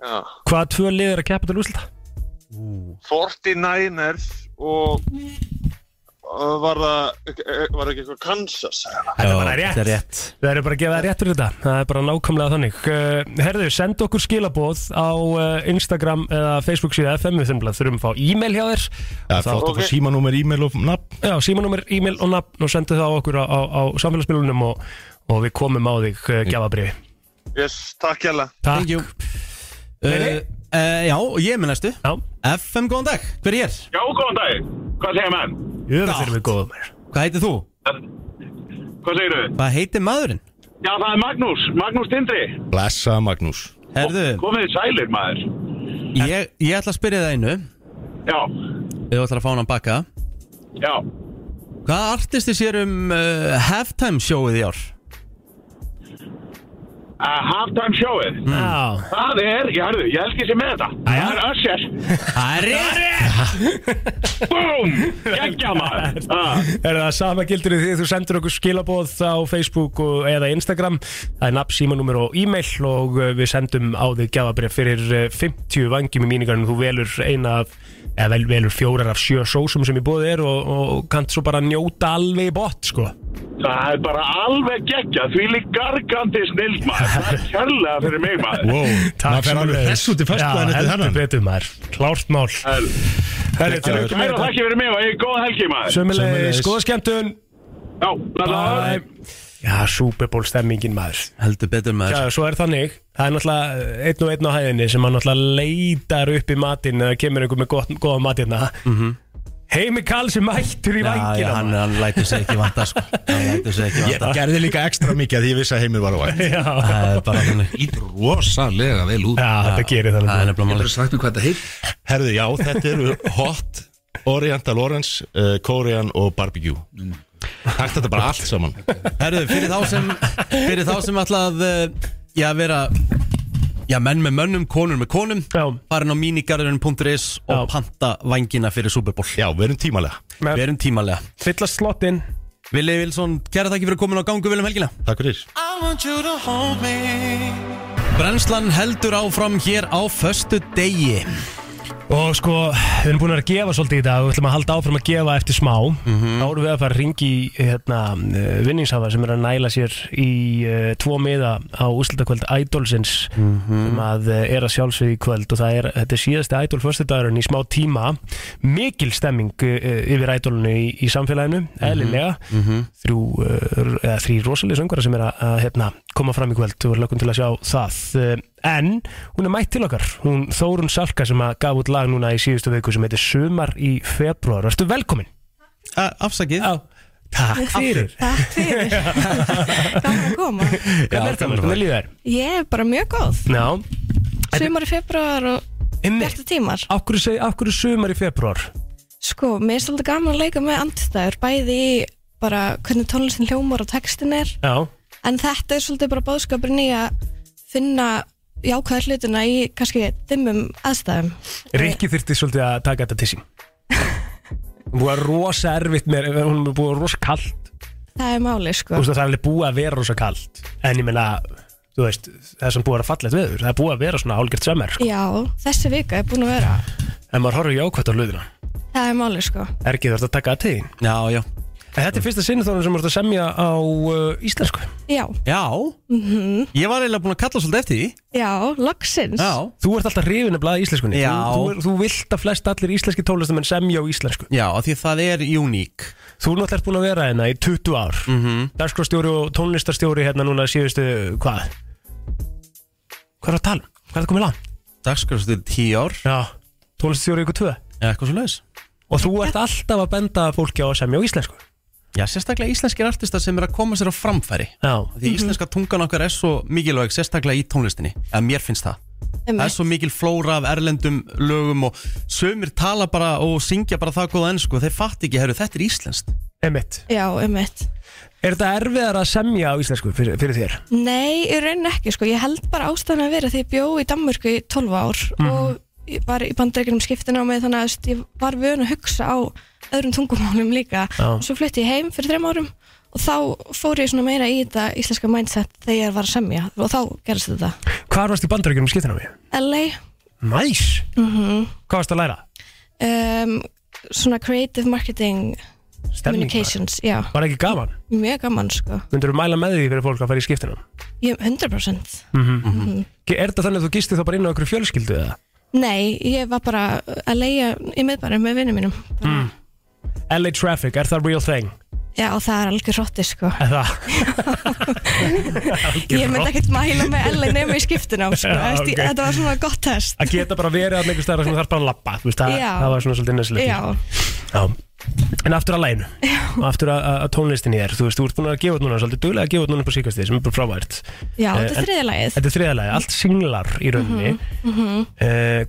Speaker 19: Já.
Speaker 2: Hvaða tvö lið er að keppa til úslita?
Speaker 19: 49ers og uh, var það, eh, var það ekki eitthvað Kansas?
Speaker 2: Þetta var rétt. Þetta er rétt Við erum bara að gefa það rétt fyrir þetta Það er bara nákvæmlega þannig Uh, Herðu, senda okkur skilaboð á uh, Instagram eða Facebook síða FM Við þurfum bara- þurfum að fá e-mail hjá þér
Speaker 18: Það er flott að fá símanúmer, e-mail og nafn
Speaker 2: Já, símanúmer, e-mail og nafn og sendu það á okkur á, á, á samfélagsmiðlunum og, og við komum á þig uh, gjafabriði
Speaker 19: Yes, takk hjá
Speaker 2: Takk
Speaker 17: Thank you uh, uh, Já, og ég með næstu
Speaker 2: Já
Speaker 17: FM, góðan dag, hver er hér?
Speaker 20: Já, góðan dag. Hvað segir menn?
Speaker 2: Jöfnir við góðum mér
Speaker 17: Hvað heitir þú?
Speaker 20: Hvað segir þau?
Speaker 17: Hvað heitir maðurinn?
Speaker 20: Já, það er Magnús, Magnús Tindri.
Speaker 18: Blessa Magnús
Speaker 17: Herðu,
Speaker 20: Komið þið sælir, maður.
Speaker 17: ég, ég ætla að spyrja það einu
Speaker 20: Já,
Speaker 17: Þú ætlar að fá hann að bakka
Speaker 20: já.
Speaker 17: Hvað artisti sér um uh, halftime showið í ár?
Speaker 20: Uh, halftime showið.
Speaker 2: Já.
Speaker 20: Það er, ég hörðu, ég elski sér með þetta. Það er Usher.
Speaker 17: Það er rétt.
Speaker 20: Búm! Gekkja maður. Ah,
Speaker 2: Er það sama gildur í því þú sendur okkur skilaboð á Facebook og, eða Instagram Það er nafn, símanúmer og e-mail og uh, við sendum á þig gjafabrif fyrir uh, 50 vangjum í míningarnum Þú velur eina af, eða vel, velur fjórar af sjö sósum sem í bóði er og, og kannt svo bara njóta alveg í bótt sko
Speaker 20: Ah, Það er bara alveg gekkja, því lík gargandi snild maður. Það er kjærlega fyrir mig maður.
Speaker 2: Takk
Speaker 18: fer alveg
Speaker 2: sömuleiðis.
Speaker 18: hress út í föstudaginn
Speaker 2: Já,
Speaker 18: eftir
Speaker 2: heldur
Speaker 18: þennan.
Speaker 2: betur maður, klárt mál Herri, til
Speaker 20: Kæra
Speaker 2: lukku með þetta.
Speaker 20: þakki fyrir mig og ég er góð helgi maður.
Speaker 2: Sömulegis, góða skemmtun
Speaker 20: Já, blessaður.
Speaker 2: Já, Super Bowl stemmingin maður
Speaker 17: Heldur betur maður
Speaker 2: Já, svo er þannig Það er náttúrulega eh, einn og einn á hæðinni sem hann náttúrulega leitar upp í matinn eða kemur einhver með gott, góða matinn mm -hmm. Heimi Karls er mættur í
Speaker 17: Já,
Speaker 2: vængina
Speaker 17: hann, hann lætur sig ekki vanta sko. Hann lætur sig ekki
Speaker 18: Ég
Speaker 17: vanta
Speaker 18: gerði líka ekstra mikið að því ég vissi að heimir var á vægt
Speaker 2: Já,
Speaker 17: Það er bara þannig
Speaker 9: Ít rosalega vel út
Speaker 2: já þetta gerir það
Speaker 17: Það er nefnilega
Speaker 9: Getur
Speaker 17: máli
Speaker 9: þú sagt mér hvað þetta heit?
Speaker 18: Herðu, já, þetta eru Hot, Oriental Orange, uh, Korean og Barbecue Takk þetta bara allt saman
Speaker 17: Herðu, fyrir þá sem Fyrir þá sem ætla að uh, Já, vera eh, Já, menn með mönnum, konur með konum Já. farin á minigarðurinn.is og panta vangina fyrir Superból
Speaker 18: Já, við erum tímalega
Speaker 17: Við erum tímalega
Speaker 2: Fylla slottinn
Speaker 17: Vili Vilsson, kæra þakki fyrir komin á gangu vel um helgina
Speaker 18: Takk fyrir
Speaker 14: I want you to hold me
Speaker 17: Brennslan heldur áfram hér á föstu degi
Speaker 2: Og sko, við erum búin að vera að gefa svolítið í dag og við ætlum að halda áfram að gefa eftir smá
Speaker 17: Mhm.
Speaker 2: Þá erum við að fara að ringi hérna, vinningshafa sem er að næla sér í uh, tvo miða á úslutakvöld Idolsins
Speaker 17: Mhm.
Speaker 2: sem að uh, er að sjálfsögðu í kvöld og það er, þetta er síðasti Idol föstudagurinn í smá tíma mikil stemming uh, yfir Idolinu í, í samfélaginu, eðlilega
Speaker 17: Mhm.
Speaker 2: þrjú, uh, eða þrjú rosalega söngara sem er að, að hérna, koma fram í kvöld og lögum til að sjá það Uh, en hún er mætt til okkar hún Þórun Salka sem að gaf út lag núna í síðustu viku sem heitir Sumar í februar Ertu velkomin?
Speaker 17: Afsakið
Speaker 2: Já, Takk fyrir
Speaker 21: Takk fyrir Gaman að koma
Speaker 2: Hvernig er þetta? Hvernig lífið er?
Speaker 21: Ég er bara mjög góð
Speaker 2: Já
Speaker 21: Sumar í februar og Bjartu tímar
Speaker 2: Akkur segi, akkur er sumar í februar?
Speaker 21: Sko, mér er svolítið gaman að leika með andstæður Bæði í bara hvernig tónlistin hljómar og textin er
Speaker 2: Já
Speaker 21: En þetta er svolítið bara báðskapurinn í að finna jákvæðar hlutina í kannski dimmum aðstæðum
Speaker 2: Rikki þyrfti svolítið að taka þetta til sín Hún var rosa erfitt með, hún er búið rosa kallt
Speaker 21: Það er máli, sko
Speaker 2: Þú veist að það er alveg búið að vera rosa kallt En ég meina, þú veist, það er svona búið að vera fallegt veður Það er búið að vera svona álgjert sömmer sko.
Speaker 21: Já, þessi vika er búin að vera
Speaker 2: En maður horfir jákvæmt á hlutina
Speaker 21: Það er máli, sko
Speaker 2: Ergi þarf að taka að tegin
Speaker 17: Já, já
Speaker 2: En þetta er fyrsta sinnþónu sem voru að semja á uh, íslensku
Speaker 21: Já,
Speaker 17: Já,
Speaker 21: mm
Speaker 17: ég var eiginlega búin að kalla svolítið eftir því
Speaker 21: já, loksins
Speaker 2: Þú ert alltaf hrifin að blaða íslenskunni
Speaker 17: Já.
Speaker 2: Þú, þú, er- þú vilt að flest allir íslenski tónlistamenn semja á íslensku
Speaker 17: Já, af því það er uník
Speaker 2: Þú náttúrulega ert búin að vera hérna í 20 ár mm
Speaker 17: Mhm.
Speaker 2: -hmm. og tónlistarstjóri hérna núna síðustu, hvað? Hvað er að tala? um? Hvað er það komið langt?
Speaker 17: Dagskrafstöð 10 ár
Speaker 2: Já, tónlistarstjóri ykkur 2
Speaker 17: Eitthvað svo leiðis
Speaker 2: Og þú ert alltaf að benda fólki á að semja á íslensku
Speaker 17: Já, sérstaklega íslenskir artistar sem er að koma sér á framfæri
Speaker 2: Já Mhm.
Speaker 17: Því íslenska tungan okkar er svo mikilvæg sérstaklega í tónlistinni Eða mér finnst það Það er svo mikil flóra af erlendum lögum og sömur tala bara og syngja bara það góða ennsku og þeir fatt ekki, herru, þetta er íslenskt
Speaker 2: Emmett
Speaker 21: Já, um
Speaker 2: Er þetta erfiðar að semja á íslensku fyrir, fyrir þér?
Speaker 21: Nei, í rauninni ekki sko. Ég held bara ástæðan að vera því ég bjó í Danmörku í 12 ár
Speaker 2: Mhm.
Speaker 21: og ég var í bandreikinum skiptina á mig þannig að þú veist, ég var vön að hugsa á öðrum tungumálum líka
Speaker 22: Já.
Speaker 21: og svo flutti ég heim fyrir þrem árum og þá fór ég svona meira í þetta íslenska mindset þegar ég var að semja og þá gerist þetta.
Speaker 2: Hvar varst í bandaríkjum skiptina á mig?
Speaker 21: LA
Speaker 2: Næs! Nice.
Speaker 21: mm -hmm.
Speaker 2: Hvað varst að læra?
Speaker 21: um, svona creative marketing
Speaker 2: Stemning,
Speaker 21: communications, já,
Speaker 2: Var ekki gaman?
Speaker 21: mjög gaman sko
Speaker 2: Myndur þú mæla með því fyrir fólk að fara í skiptina?
Speaker 21: ég, 100%
Speaker 2: Mm
Speaker 21: Mhm.
Speaker 17: Mhm.
Speaker 2: Er þetta þannig að þú gistið þá bara inn á okkur fjölskyldu eða?
Speaker 21: Nei, ég var bara að leia í miðbærum með vinnum mínum
Speaker 2: Mm. LA Traffic, er það real thing?
Speaker 21: Já, það er algjör hrotti sko
Speaker 2: Er það?
Speaker 21: Ég myndi ekkert mæla með Ellen nema í skiptunum sko.
Speaker 2: Já,
Speaker 21: Já,
Speaker 2: ok.
Speaker 21: Þetta var svona gott test
Speaker 2: Að geta bara verið að einhver staðar sem þú þarf bara að labba þú veist, það,
Speaker 21: Já.
Speaker 2: það var svona svolítið næsilegt
Speaker 21: Já,
Speaker 2: Já. En aftur að læginu og aftur að, að að tónlistinni er þú veist, þú ert búin að gefa út núna svolítið duglega að gefa út núna på síkastíð sem er bara frávært
Speaker 21: já
Speaker 2: Eh,
Speaker 21: þetta
Speaker 2: en-
Speaker 21: er þriðja lagið
Speaker 2: Þetta er þriðalagi, allt singlar í rauninni mm
Speaker 21: Mhm.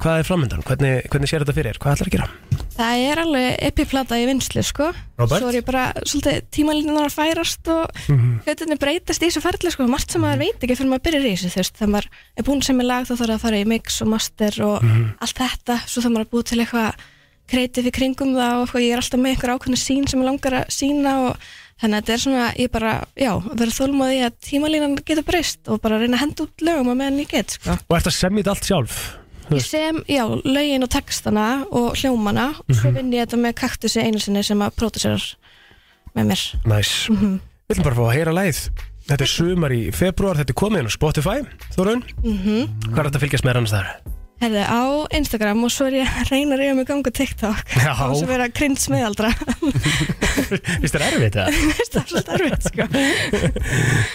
Speaker 2: Hvað er framöndan? Hvernig, hvernig sér þetta fyrir? þér? Hvað ætlar að gera?
Speaker 21: Það er alveg epiplata í vinslu sko
Speaker 2: Robert?
Speaker 21: Svo er ég bara svolítið tímalínunar að færast og
Speaker 2: Mhm.
Speaker 21: hlutinni breytast í þessu ferli sko Margt sem maður veit ekki fyrir maður byrjar í þessu þú veist Þegar maður er búin sem er lag þá þarf það að fara í mix og master og
Speaker 2: Mhm.
Speaker 21: allt þetta Svo þarf maður að búið til eitthvað kreitið í kringum það og eitthvað, ég er alltaf með einhver ákveðna sín sem ég langar að sína og þannig að þetta er svona, ég bara, já, að vera þólmaði að tímalínan getur breyst og bara reyna að henda út lögum að meðan ég get sko.
Speaker 2: Og ert að semja þetta allt sjálf? Þú
Speaker 21: Ég
Speaker 2: veist,
Speaker 21: sem, já, lögin og textana og hljómana og
Speaker 2: Mhm.
Speaker 21: svo vinn ég þetta með kaktusi einu sinni sem að pródusserar með mér
Speaker 2: Næs Við
Speaker 21: Mhm.
Speaker 2: viljum bara fá að heyra lagið Þetta er sumar í februar, þetta er komið inn á Spotify Þorun,
Speaker 21: mm
Speaker 2: hvað er þetta að fylgjast með annars þar?
Speaker 21: Herði, á Instagram og svo er ég að reyna að reyja mig gangu TikTok
Speaker 2: Já.
Speaker 21: og svo vera krins meðaldra
Speaker 2: Vist það erfitt það?
Speaker 21: það er svolítið erfitt sko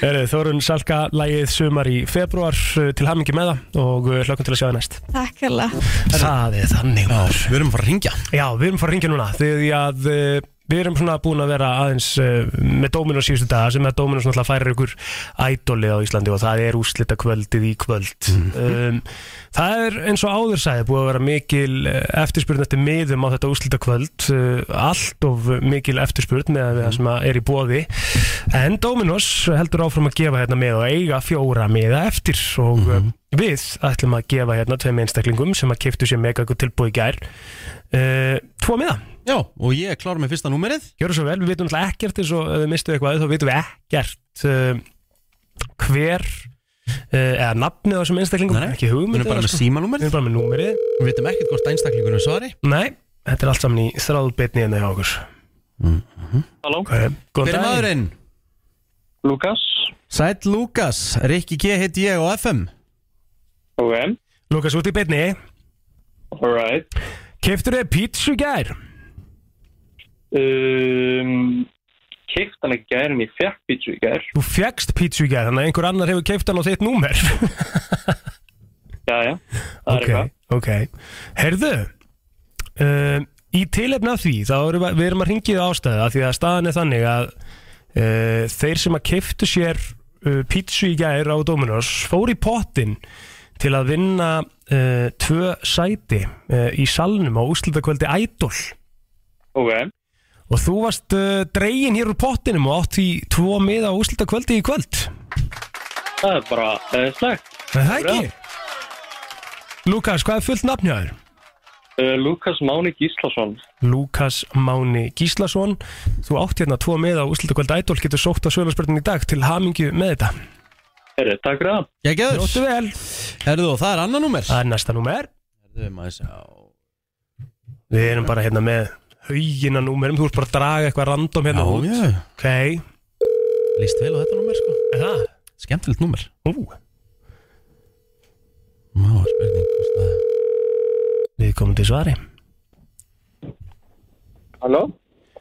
Speaker 2: Heru, Þorun Salka, lagið sumar í februar uh, til hamingi með það og uh, hlökkum til að sjá það næst
Speaker 21: Takk hella
Speaker 2: Það er þannig
Speaker 17: Já, við erum að fara að ringja
Speaker 2: Já, við erum að fara að ringja núna því að uh, Við erum svona búin að vera aðeins uh, með Dominos síðustu daga sem að Dominos náttúrulega færir ykkur ædoli á Íslandi og það er úslita kvöldið í kvöld
Speaker 17: Mhm.
Speaker 2: um, Það er eins og áður sagði búið að vera mikil eh, eftirspurn eftir miðum á þetta úslita kvöld uh, allt of mikil eftirspurn með það sem að er í bóði en Dominos heldur áfram að gefa hérna með og eiga fjóra miða eftir og
Speaker 1: Mhm.
Speaker 2: mm við ætlum að gefa hérna tveim einstaklingum sem að keftu sér mega ykkur tilbúið í gær uh, tvo miða
Speaker 1: Já, og ég klára með fyrsta númerið
Speaker 2: Gjörðu svo vel, við vitum alltaf ekkert eins og ef við mistu eitthvað þá vitum við ekkert uh, hver uh, eða nafnið á þessum einstaklingum
Speaker 1: Nei, nei.
Speaker 2: ekki hugmynd
Speaker 1: Við erum bara
Speaker 2: eða,
Speaker 1: með
Speaker 2: sko.
Speaker 1: símanúmerið.
Speaker 2: Við erum bara með númerið
Speaker 1: Við veitum ekkert hvort einstaklingunum svari
Speaker 2: Nei, þetta er allt saman í þráðbyrni en það hjá okkur
Speaker 23: Halló
Speaker 2: okay.
Speaker 1: Hver er maðurinn?
Speaker 23: Lukas
Speaker 1: Sæll Lukas, Rikki G heiti ég á FM
Speaker 23: Ok
Speaker 2: Lukas út í byrni
Speaker 23: Alright
Speaker 2: Keftur þið pítsu í gær?
Speaker 23: um, Keift hann ekki gær en ég fekk pítsu í gær
Speaker 2: Þú fegst pítsu í gær, þannig að einhver annar hefur keift hann á þitt númer
Speaker 23: Jæja, það er
Speaker 2: Ok,
Speaker 23: eitthvað
Speaker 2: ok Herðu uh, Í tilefna því þá erum við, við erum að ringið ástæðu af því að staðan er þannig að uh, þeir sem að keftu sér uh, pítsu í gær á Dominos fóru í pottin til að vinna uh, tvö sæti uh, í salnum á úslutakvöldi Idol
Speaker 23: Ok,
Speaker 2: og þú varst uh, dregin hér úr pottinum og átt í tvo miða á úslutakvöldi í kvöld
Speaker 23: það er bara uh, slægt
Speaker 2: Er Það ekki? Lukas, hvað er fullt nafn hjá þér?
Speaker 23: uh, Lukas Máni Gíslason
Speaker 2: Lukas Máni Gíslason þú átt hérna tvo með á úrslutakvöld Ædol getur sótt á sögurspörnum í dag til hamingju með þetta
Speaker 23: Herri, takk fyrir það
Speaker 1: Ég geður
Speaker 2: Nóttu vel
Speaker 1: Herðu og það er annan númer
Speaker 2: Það er næsta númer
Speaker 1: Herðu, maður sjá
Speaker 2: Við erum bara hérna með haugina númerum þú ert bara að draga eitthvað random hérna
Speaker 1: Já,
Speaker 2: út
Speaker 1: já.
Speaker 2: Ok
Speaker 1: Lýst vel á þetta númer sko
Speaker 2: Er það?
Speaker 1: Skemmtilegt númer
Speaker 2: Ú
Speaker 1: Má, spurning hvort það
Speaker 2: Við komum til svari
Speaker 1: Halló?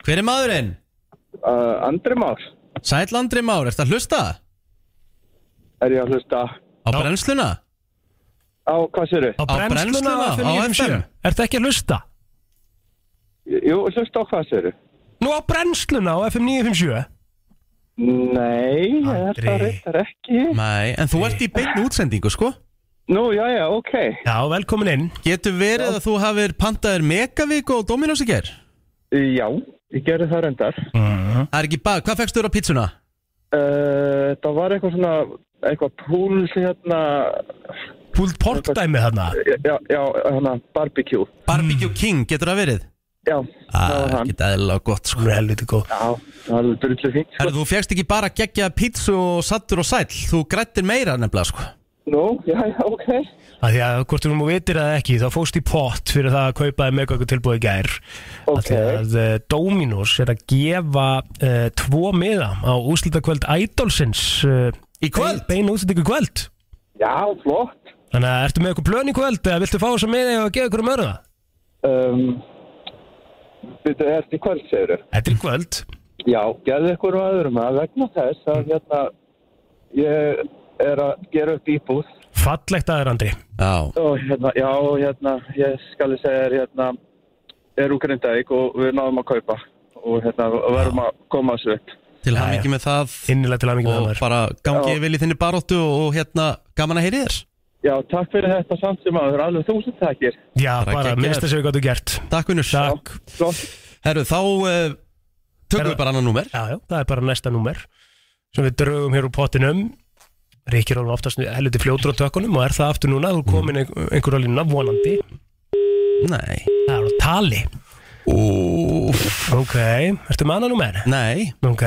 Speaker 1: Hver er maðurinn? Uh, Andri Már Sæll Andri Már, ertu að hlusta?
Speaker 5: Er ég að hlusta?
Speaker 1: Á brennsluna?
Speaker 5: Á, hvað séru?
Speaker 2: Á brennsluna á FM Ertu ekki að hlusta?
Speaker 5: Jú, hlusta á hvað séru?
Speaker 2: Nú á brennsluna á FM 957
Speaker 5: Nei, þetta reyndar ekki
Speaker 1: Nei, en þú ert í beinu útsendingu sko
Speaker 5: Nú, já, já, ok
Speaker 2: Já, velkomin inn
Speaker 1: Getur verið að þú hafir pantaðir Megavík og Dominos í ger?
Speaker 5: Já, ég gerði það reyndar
Speaker 2: Mhm.
Speaker 1: Það er ekki bara, hvað fegstu þér á pizzuna?
Speaker 5: uh, Það var eitthvað svona eitthvað púl hérna
Speaker 2: Púlt portdæmi þarna
Speaker 5: Já, já, hérna, barbecue
Speaker 2: Mm.
Speaker 1: Barbecue King, getur það verið?
Speaker 5: Já,
Speaker 1: það var hann Ekkert eðlilega gott sko
Speaker 2: Helviti góð
Speaker 5: Já, það er byrjulega fínt sko.
Speaker 1: Herðu, þú fegst ekki bara geggja pizzu og sattur og sæll Þú grættir meira nefnilega sko
Speaker 5: Nú, já, já, ok
Speaker 2: að því að hvort þú nú vitir eða ekki þá fóst í pott fyrir það að kaupa með eitthvað tilbúið í gær okay. að því að eh, Dominos er að gefa uh, tvo miða á úslitakvöld Idolsins uh, í kvöld? beinu útsendingu í kvöld
Speaker 5: Já, flott
Speaker 2: þannig að ertu með eitthvað plön í kvöld eða viltu fá þess að miða og gefa ykkur um örða?
Speaker 5: um, Býttu, er þetta í kvöld, segirðu?
Speaker 2: Þetta er í kvöld
Speaker 5: Já, gerðu ykkur og öðrum að vegna þess að hérna ég er að gera upp íbúð
Speaker 2: Fallegt aðeir Andri
Speaker 1: Já
Speaker 5: og hérna, já, hérna, ég skal ég segja þér hérna er úr Grindavík og við náðum að kaupa og hérna, og verðum að koma þessu upp
Speaker 1: Til hamingi með það
Speaker 2: Innilega til hamingi
Speaker 1: með það Og bara gangi vel í þinni baróttu og hérna gaman að heyri þér
Speaker 5: Já, takk fyrir þetta samt sem að það er alveg þúsund takkir
Speaker 2: Já, bara
Speaker 1: geggjað.
Speaker 2: minnst þess að við gáttu gert
Speaker 1: Takk vinnur
Speaker 2: Takk
Speaker 1: Herru, þá uh, tökum við bara annan númer
Speaker 2: Já, já, það er bara næsta númer sem við drögum hér úr pottinum Ríkir alveg oftast helviti fljótur á tökunum og er það aftur núna, þú er komin ein- einhver á línuna vonandi
Speaker 1: Mm. Nei
Speaker 2: Það er á tali
Speaker 1: Úf.
Speaker 2: Ok, ertu með annan númer?
Speaker 1: Nei
Speaker 2: Ok,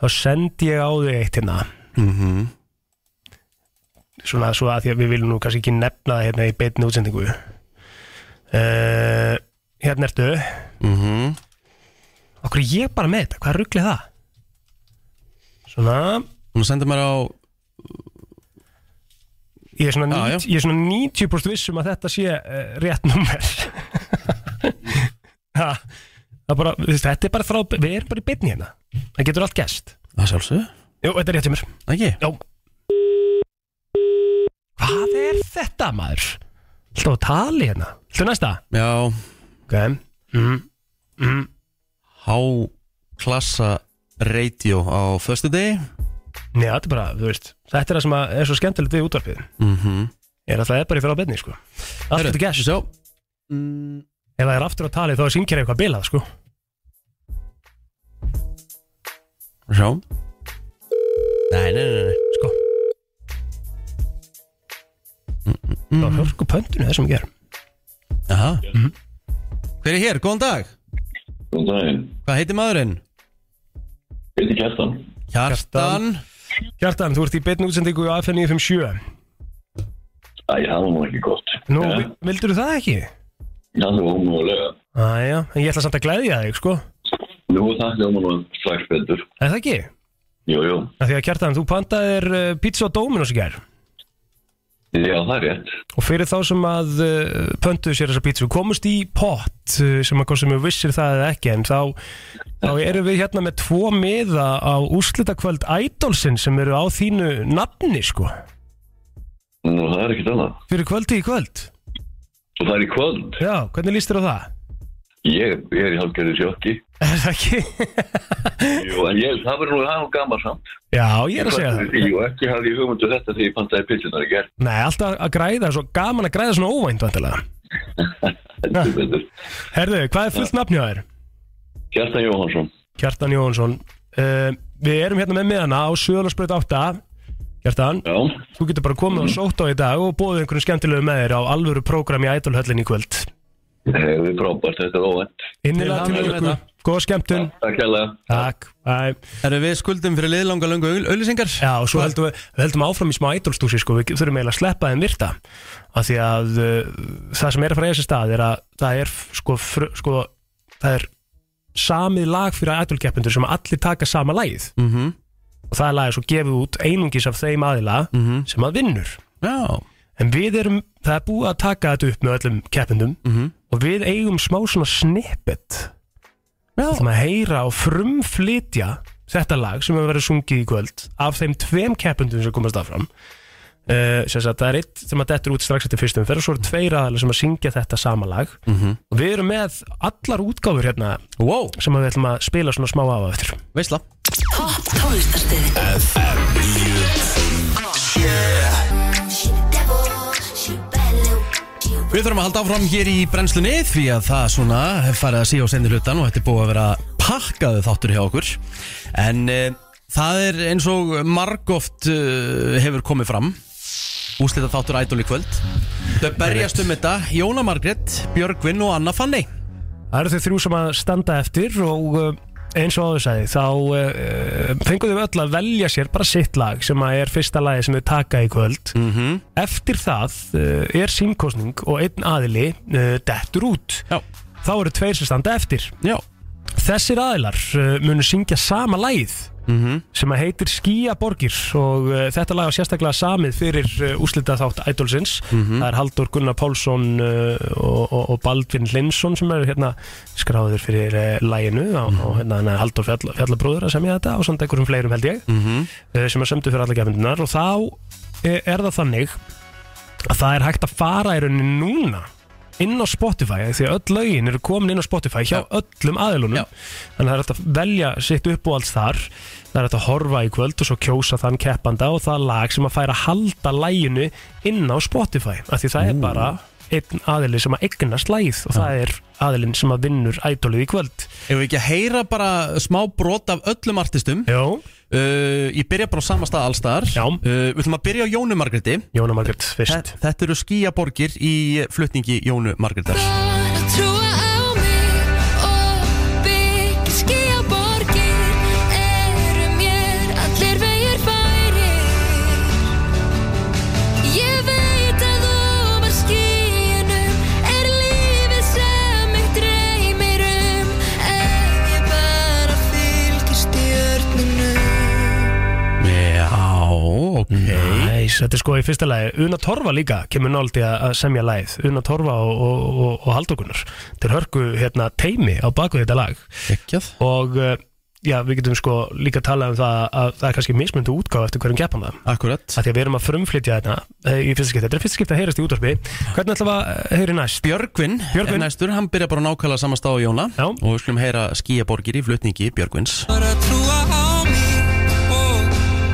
Speaker 2: þá sendi ég á þig eitt hérna
Speaker 1: Mhm.
Speaker 2: Svona svo að því að við viljum nú kannski ekki nefna það hérna í beinni útsendingu uh, Hérna ertu
Speaker 1: Mhm.
Speaker 2: Okkur er ég bara með þetta, hvað ruggli það? Svona
Speaker 1: Hún sendir mér á
Speaker 2: Ég er svona,
Speaker 1: Já, já.
Speaker 2: 90, Ég er svona 90% vissum að þetta sé uh, rétt nummer ha, það er bara, þú veist, Þetta er bara frá Við erum bara í beinni hérna Það getur allt gæst
Speaker 1: Það sjálfsög
Speaker 2: Jú, þetta er rétt hjá mér
Speaker 1: Ekki
Speaker 2: Já Hvað er þetta maður? Alltaf á tali hérna Þú næsta?
Speaker 1: Já
Speaker 2: Ok mm. Mm.
Speaker 1: háklassa radio á föstu degi
Speaker 2: Nei, þetta er bara, þú veist Þetta er það sem að er svo skemmtilegt við útvarpið
Speaker 1: mm -hmm.
Speaker 2: Er að það er bara í fyrir á beinni, sko Allt þetta gæs
Speaker 1: Sjá
Speaker 2: Ef það er aftur á talið þá er syngkjæri eitthvað bilað, sko
Speaker 1: Sjá Nei, nei, nei, nei.
Speaker 2: Sko
Speaker 1: Mhm.
Speaker 2: Það var hörku pöntinu þessum að gera
Speaker 1: Aha. Hver er hér? Góðan dag
Speaker 23: Góðan daginn,
Speaker 1: Hvað heitir maðurinn?
Speaker 23: heiti Kjartan
Speaker 2: Kjartan Kjartan, þú ert í beinni útsendingu á FM 957
Speaker 23: Æ, það var nú ekki gott
Speaker 2: Nú, ja. vildur það ekki?
Speaker 23: Það var ómögulega
Speaker 2: Æja, en ég ætla samt að gleðja þig, sko
Speaker 23: Nú, það hljóma nú strax betur
Speaker 2: Er það ekki?
Speaker 23: Jú, jú,
Speaker 2: Af því að Kjartan, þú pantaðir uh, pizza á Dominos í gær
Speaker 23: já, það er rétt
Speaker 2: Og fyrir þá sem að uh, pöntuðu sér þessa pítsu komust í pott uh, sem að hvort sem við vissir það eða ekki en þá, þá erum við hérna með tvo miða á úrslitakvöld Idolsin sem eru á þínu nafni sko
Speaker 23: Nú, það er ekkert annað
Speaker 2: fyrir kvöldi í kvöld
Speaker 23: Og það er í kvöld
Speaker 2: Já, hvernig líst þér á það?
Speaker 23: Ég, ég er í halvgerðu sjokki
Speaker 2: Er það ekki?
Speaker 23: Jú, en ég, það verður nú það er nú gammal samt
Speaker 2: Já, ég er að segja það
Speaker 23: Jú, ekki hafði ég hugmyndu þetta þegar ég pantaði pilsunar í gerð
Speaker 2: Nei, alltaf að græða, svo gaman að græða svona óvænt vantilega Ah. Herðu, hvað er fullt nafni á þér?
Speaker 23: Kjartan Jóhansson
Speaker 2: Kjartan Jóhansson uh, Við erum hérna með miðana á Söðalarsbröð 8 Kjartan,
Speaker 23: Já.
Speaker 2: þú getur bara komið á sótt á í dag og bóðið einhverjum skemmtilegu með þér á alvöru prógram í Ædolhöllin í kvöld
Speaker 23: Það er Eh, frábært, þetta er óvænt
Speaker 2: Innilega til ykkur, góða skemmtun
Speaker 23: Takk hérlega
Speaker 2: Takk, bæ
Speaker 1: Erum við skuldum fyrir liðlanga löngu auðlýsingar?
Speaker 2: Já, og svo heldum við, við heldum áfram í smá Ædolstúsi sko, við þurfum eiginlega að sleppa þeim virta af því að uh, það sem er að fara í þessi stað er að það er sko, fr, sko það er samið lag fyrir Ædolkeppendur sem allir taka sama lagið
Speaker 1: Mhm.
Speaker 2: og það er lagið svo gefið út einungis af þeim aðila sem að vinnur
Speaker 1: Mhm. Já.
Speaker 2: en við erum, það er búið að taka þetta upp með öllum keppindum
Speaker 1: Mhm.
Speaker 2: og við eigum smá svona snippet
Speaker 1: Já.
Speaker 2: sem að heyra og frumflytja þetta lag sem hefur verið sungið í kvöld af þeim tveim keppindum sem komast af fram uh, sem sagt, það er eitt sem að dettur út strax eftir fyrstum fyrir svo eru tveir aðalega sem að syngja þetta sama lag
Speaker 1: Mhm.
Speaker 2: og við erum með allar útgáfur hérna wow. sem að við ætlum að spila svona smá af á eftir
Speaker 1: Veistla
Speaker 14: Topp tónlistarstöð
Speaker 24: FM
Speaker 14: 957
Speaker 1: Við þurfum að halda áfram hér í brennslunni því að það svona hef farið að síða á senni hlutan og þetta er búið að vera pakkaðu þáttur hjá okkur en e, það er eins og margóft e, hefur komið fram úslita þáttur ædol í kvöld Þau berjast um þetta Jóna Margrét, Björgvin og Anna Fanny
Speaker 2: Það eru þau þrjú sem að standa eftir og uh, eins og áður sagði þá uh, fengur þau öll að velja sér bara sitt lag sem að er fyrsta lagi sem þau taka í kvöld
Speaker 1: Mhm.
Speaker 2: -hmm. Eftir það uh, er símkostning og einn aðili uh, dettur út
Speaker 1: Já.
Speaker 2: Þá eru tveir sem standa eftir
Speaker 1: Já.
Speaker 2: Þessir aðilar uh, munu syngja sama lagið
Speaker 1: Mhm.
Speaker 2: sem að heitir Skíaborgir og uh, þetta lag var sérstaklega samið fyrir uh, úslitað þátt Idolsins
Speaker 1: Mhm.
Speaker 2: það er Haldur Gunnar Pálsson uh, og, og, og Baldvin Linsson sem eru hérna skráður fyrir uh, læginu og, og hérna hérna, Haldur Fjall, Fjallabróður að semja þetta og samt einhverjum fleirum held ég
Speaker 9: Mm-hmm.
Speaker 1: Mhm.
Speaker 2: uh, sem að sömdu fyrir alla gefindunar og þá uh, er það þannig að það er hægt að fara í rauninni núna inn á Spotify því að öll lögin eru komin inn á Spotify hjá öllum aðilunum þannig að það er hægt að velja sitt upp og alls þar það er hægt að horfa í kvöld og svo kjósa þann keppanda og það lag sem að færa að halda læginu inn á Spotify af því það er bara einn aðili sem að eignast lægið og það er aðilin sem að vinnur ædolið í kvöld
Speaker 1: Ef við ekki að heyra bara eh, smá brot af öllum artistum
Speaker 2: Já
Speaker 1: uh, Ég byrja bara á sama stað allstar Já uh, Við ætlum að byrja á Jónu Margréti
Speaker 2: Jónu Margrét, fyrst
Speaker 1: Þetta, þetta eru skíaborgir í flutningi Jónu Margrétar
Speaker 14: Trúa á mig og byggja skíaborgir Eru mér allir vegir færir Ég veit að ofar skíunum Er lífið sem mig dreymir um Ef ég bara fylgir stjörnunum
Speaker 1: Já, ok
Speaker 2: Næs, þetta er sko í fyrsta lagi Una Torfa líka kemur náldi að semja lagið Una Torfa og, og, og, og Haldur Gunnar Þeir hörku hérna teimi á baku þetta lag
Speaker 1: Ekkjað
Speaker 2: Og uh, já, við getum sko líka að tala um það að það er kannski mismundu útgáð eftir hverjum gepan það
Speaker 1: Akkurat
Speaker 2: Því að við erum að frumflytja þetta eh, í fyrsta skipti Þetta er fyrsta skipti að heyrast í útvarpi Hvernig ætlum við að heyri næst?
Speaker 1: Björgvin,
Speaker 2: Björgvin.
Speaker 1: er næstur, hann byrja bara nákvæmlega samast á Jóna
Speaker 2: Já.
Speaker 1: og við skulum heyra skíaborgir í flutningi Björgvins
Speaker 14: Bara trúa á mig og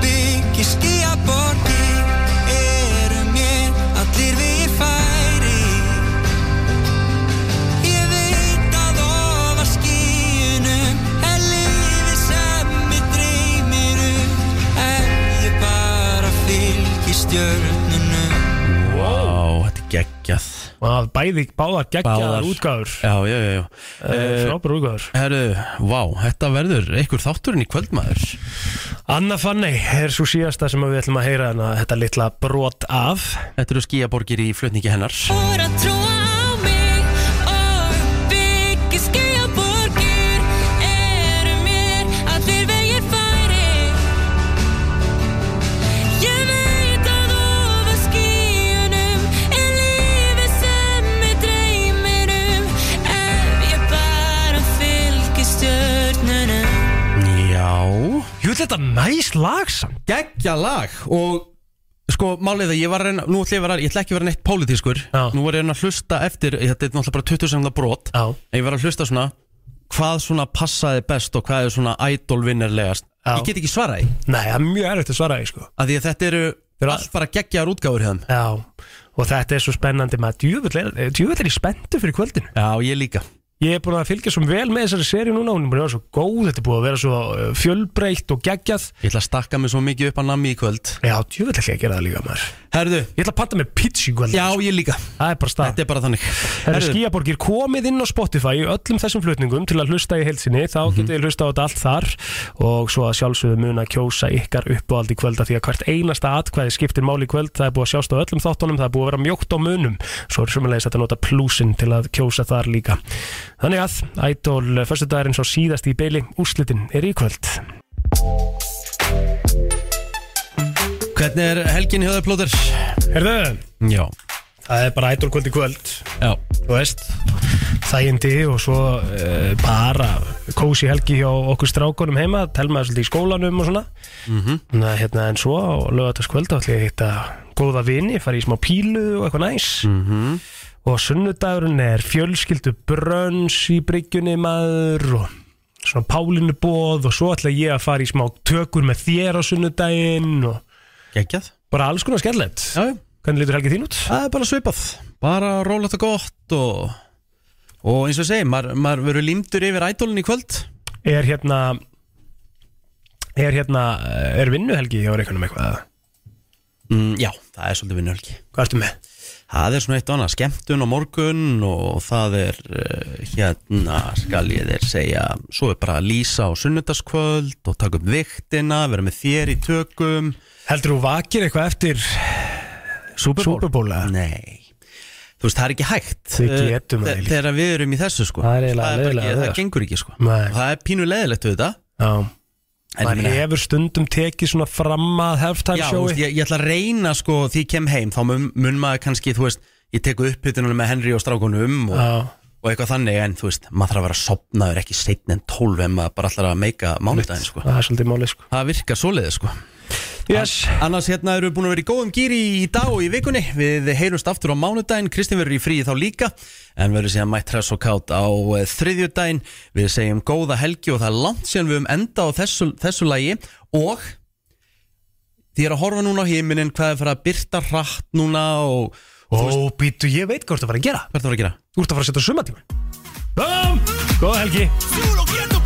Speaker 14: byggja skíaborgir Eru mér allir við færi Ég veit að ofa skíunum Er lífið sem mig dreymir um Ef ég bara fylgi stjörnunum
Speaker 1: Vá, þetta er geggjað
Speaker 2: Vá, bæði, báðar geggjaðar
Speaker 1: Báðar.
Speaker 2: útgáður
Speaker 1: Já, já, já, já.
Speaker 2: Eh, Frábær útgáður
Speaker 1: Herru, vá, þetta verður einhver þátturinn í kvöldmaður
Speaker 2: Anna Fanney er svo síðasta sem við ætlum að heyra en að þetta litla brot af
Speaker 1: Þetta eru skíaborgir í flutningi hennar
Speaker 6: Bara trúa á mig og byggja skýjaborgir. Eru mér allir vegir færir. Ég veit að ofar skýjunum er lífið sem mig dreymir um. Ef ég bara fylgi stjörnunum.
Speaker 1: Já
Speaker 2: Jú, þetta næs lag samt
Speaker 1: Geggja lag og sko málið að ég var að reyna, nú ætla ég, að vera, ég ætla ekki að vera neitt pólitískur Já. Nú var ég að reyna að hlusta eftir, þetta er náttúrulega bara 20 sekundar brot
Speaker 2: Já.
Speaker 1: En ég var að hlusta svona, hvað svona passaði best og hvað er svona idolvinnerlegast
Speaker 2: Já.
Speaker 1: Ég get ekki svaraði
Speaker 2: Nei, það er mjög erfitt að svara því sko
Speaker 1: Að því að þetta eru
Speaker 2: Þeirra...
Speaker 1: allt bara geggjaðar útgáfur hérna
Speaker 2: Já, og þetta er svo spennandi maður djúvill er, eh, djöfull er ég spenntu fyrir kvöldinu
Speaker 1: Já, ég líka
Speaker 2: Ég er búin að fylgja svo vel með þessari seri núna hún er búin að vera svo góð, þetta er búin að vera svo eh, fjölbreytt og geggjað
Speaker 1: Ég ætla að stakka mig svo mikið upp á nammi í kvöld
Speaker 2: Já, djúvill ætla ég að gera það líka maður
Speaker 1: Herðu
Speaker 2: Ég ætla að panta með pizza í kvöld
Speaker 1: Já, ég líka
Speaker 2: Það er bara stað
Speaker 1: Þetta er bara þannig
Speaker 2: Herru skíaborgir, komið inn á Spotify í öllum þessum flutningum til að hlusta í heilsinni þá
Speaker 1: Mhm.
Speaker 2: getið þið hlusta á þetta allt þar og svo að sjálfsögðu mun að kjósa ykkar uppáhald í kvöld af því að hvert einasta atkvæði skiptir máli í kvöld, það er búið að sjást á öllum þáttunum það er búið að vera mjókt á munum svo er sumulegis að nota plúsin til að kjósa þar líka Þannig að, ædol, fyrstu dagurinn svo síðast í beili úrslitin er í kvöld
Speaker 1: Hvernig er helgin hjá þau plóður?
Speaker 2: Herðu,
Speaker 1: Já
Speaker 2: það er bara ædol kvöld í kvöld
Speaker 1: Já
Speaker 2: þú veist þægindi og svo uh, bara kósi helgi hjá okkur strákunum heima telmaði svolítið í skólanum og svona
Speaker 1: Mhm.
Speaker 2: Næ, hérna, en svo á lögataskvöld ætla ég að hitta góða vini fara í smá pílu og eitthvað næs
Speaker 1: Mhm.
Speaker 2: og sunnudagurinn er fjölskyldu brönns í bryggjunni maður og svona pálinubóð og svo ætla ég að fara í smá tökur með þér á sunnudaginn og
Speaker 1: Geggjað
Speaker 2: bara alls konar skellett
Speaker 1: Já, já
Speaker 2: Hvernig lítur helgið þín út?
Speaker 1: Það er bara svipað Bara rólegt og gott og, og eins og ég segi, maður maður verður límdur yfir ædolin í kvöld
Speaker 2: er hérna er hérna er vinnuhelgi hjá reikunum eitthvað
Speaker 1: mm, Já, það er svolítið vinnuhelgi
Speaker 2: Hvað ertu með?
Speaker 1: Það er svona eitt og annað, skemmtun á morgun og það er eh, hérna, skal ég þér segja svo er bara að lýsa á sunnudaskvöld og taka upp viktina, vera með þér í tökum
Speaker 2: Heldur þú vakir eitthvað eftir
Speaker 1: Super Bowl?
Speaker 2: Super Bowl, eða?
Speaker 1: Nei Þú veist, það er ekki hægt
Speaker 2: Við getum
Speaker 1: það
Speaker 2: það
Speaker 1: Þegar við erum í þessu sko
Speaker 2: Það er eiginlega
Speaker 1: bara
Speaker 2: leiðilega
Speaker 1: ekki,
Speaker 2: það,
Speaker 1: það
Speaker 2: sko.
Speaker 1: gengur ekki sko
Speaker 2: Nei.
Speaker 1: Og Það er pínu leðilegt við þetta
Speaker 2: Já
Speaker 1: En ég
Speaker 2: maður
Speaker 1: meina-
Speaker 2: hefur stundum tekið svona fram að halftime
Speaker 1: Já, þú
Speaker 2: sjói
Speaker 1: veist, ég, ég ætla að reyna sko því ég kem heim þá mun, mun maður kannski, þú veist ég teku uppbytunum með Henry og strákunum
Speaker 2: Já.
Speaker 1: og, og eitthvað þannig, en þú veist maður þarf að vera sopnaður ekki seitin en 12 en maður bara ætlar að meika mánudaginn sko
Speaker 2: Það er svolítið máli sko
Speaker 1: Það virkar svoleiðið sko
Speaker 2: Yes
Speaker 1: Annars hérna erum við búin að vera í góðum gýri í dag og í vikunni Við heyrumst aftur á mánudaginn, Kristín verður í fríi þá líka En verður síðan mætt hress og kátt á eh, þriðjudaginn Við segjum góða helgi og það er langt síðan við höfum enda á þessu, þessu lagi Og því er að horfa núna á himinin hvað er fyrir að byrta hratt núna og
Speaker 2: Ó, býtu, ég veit hvað þú ert að fara að gera
Speaker 1: Hvað er það að fara að gera?
Speaker 2: Þú ert að fara að setja sumatíma Bum! Góða helgi
Speaker 14: Solo quiero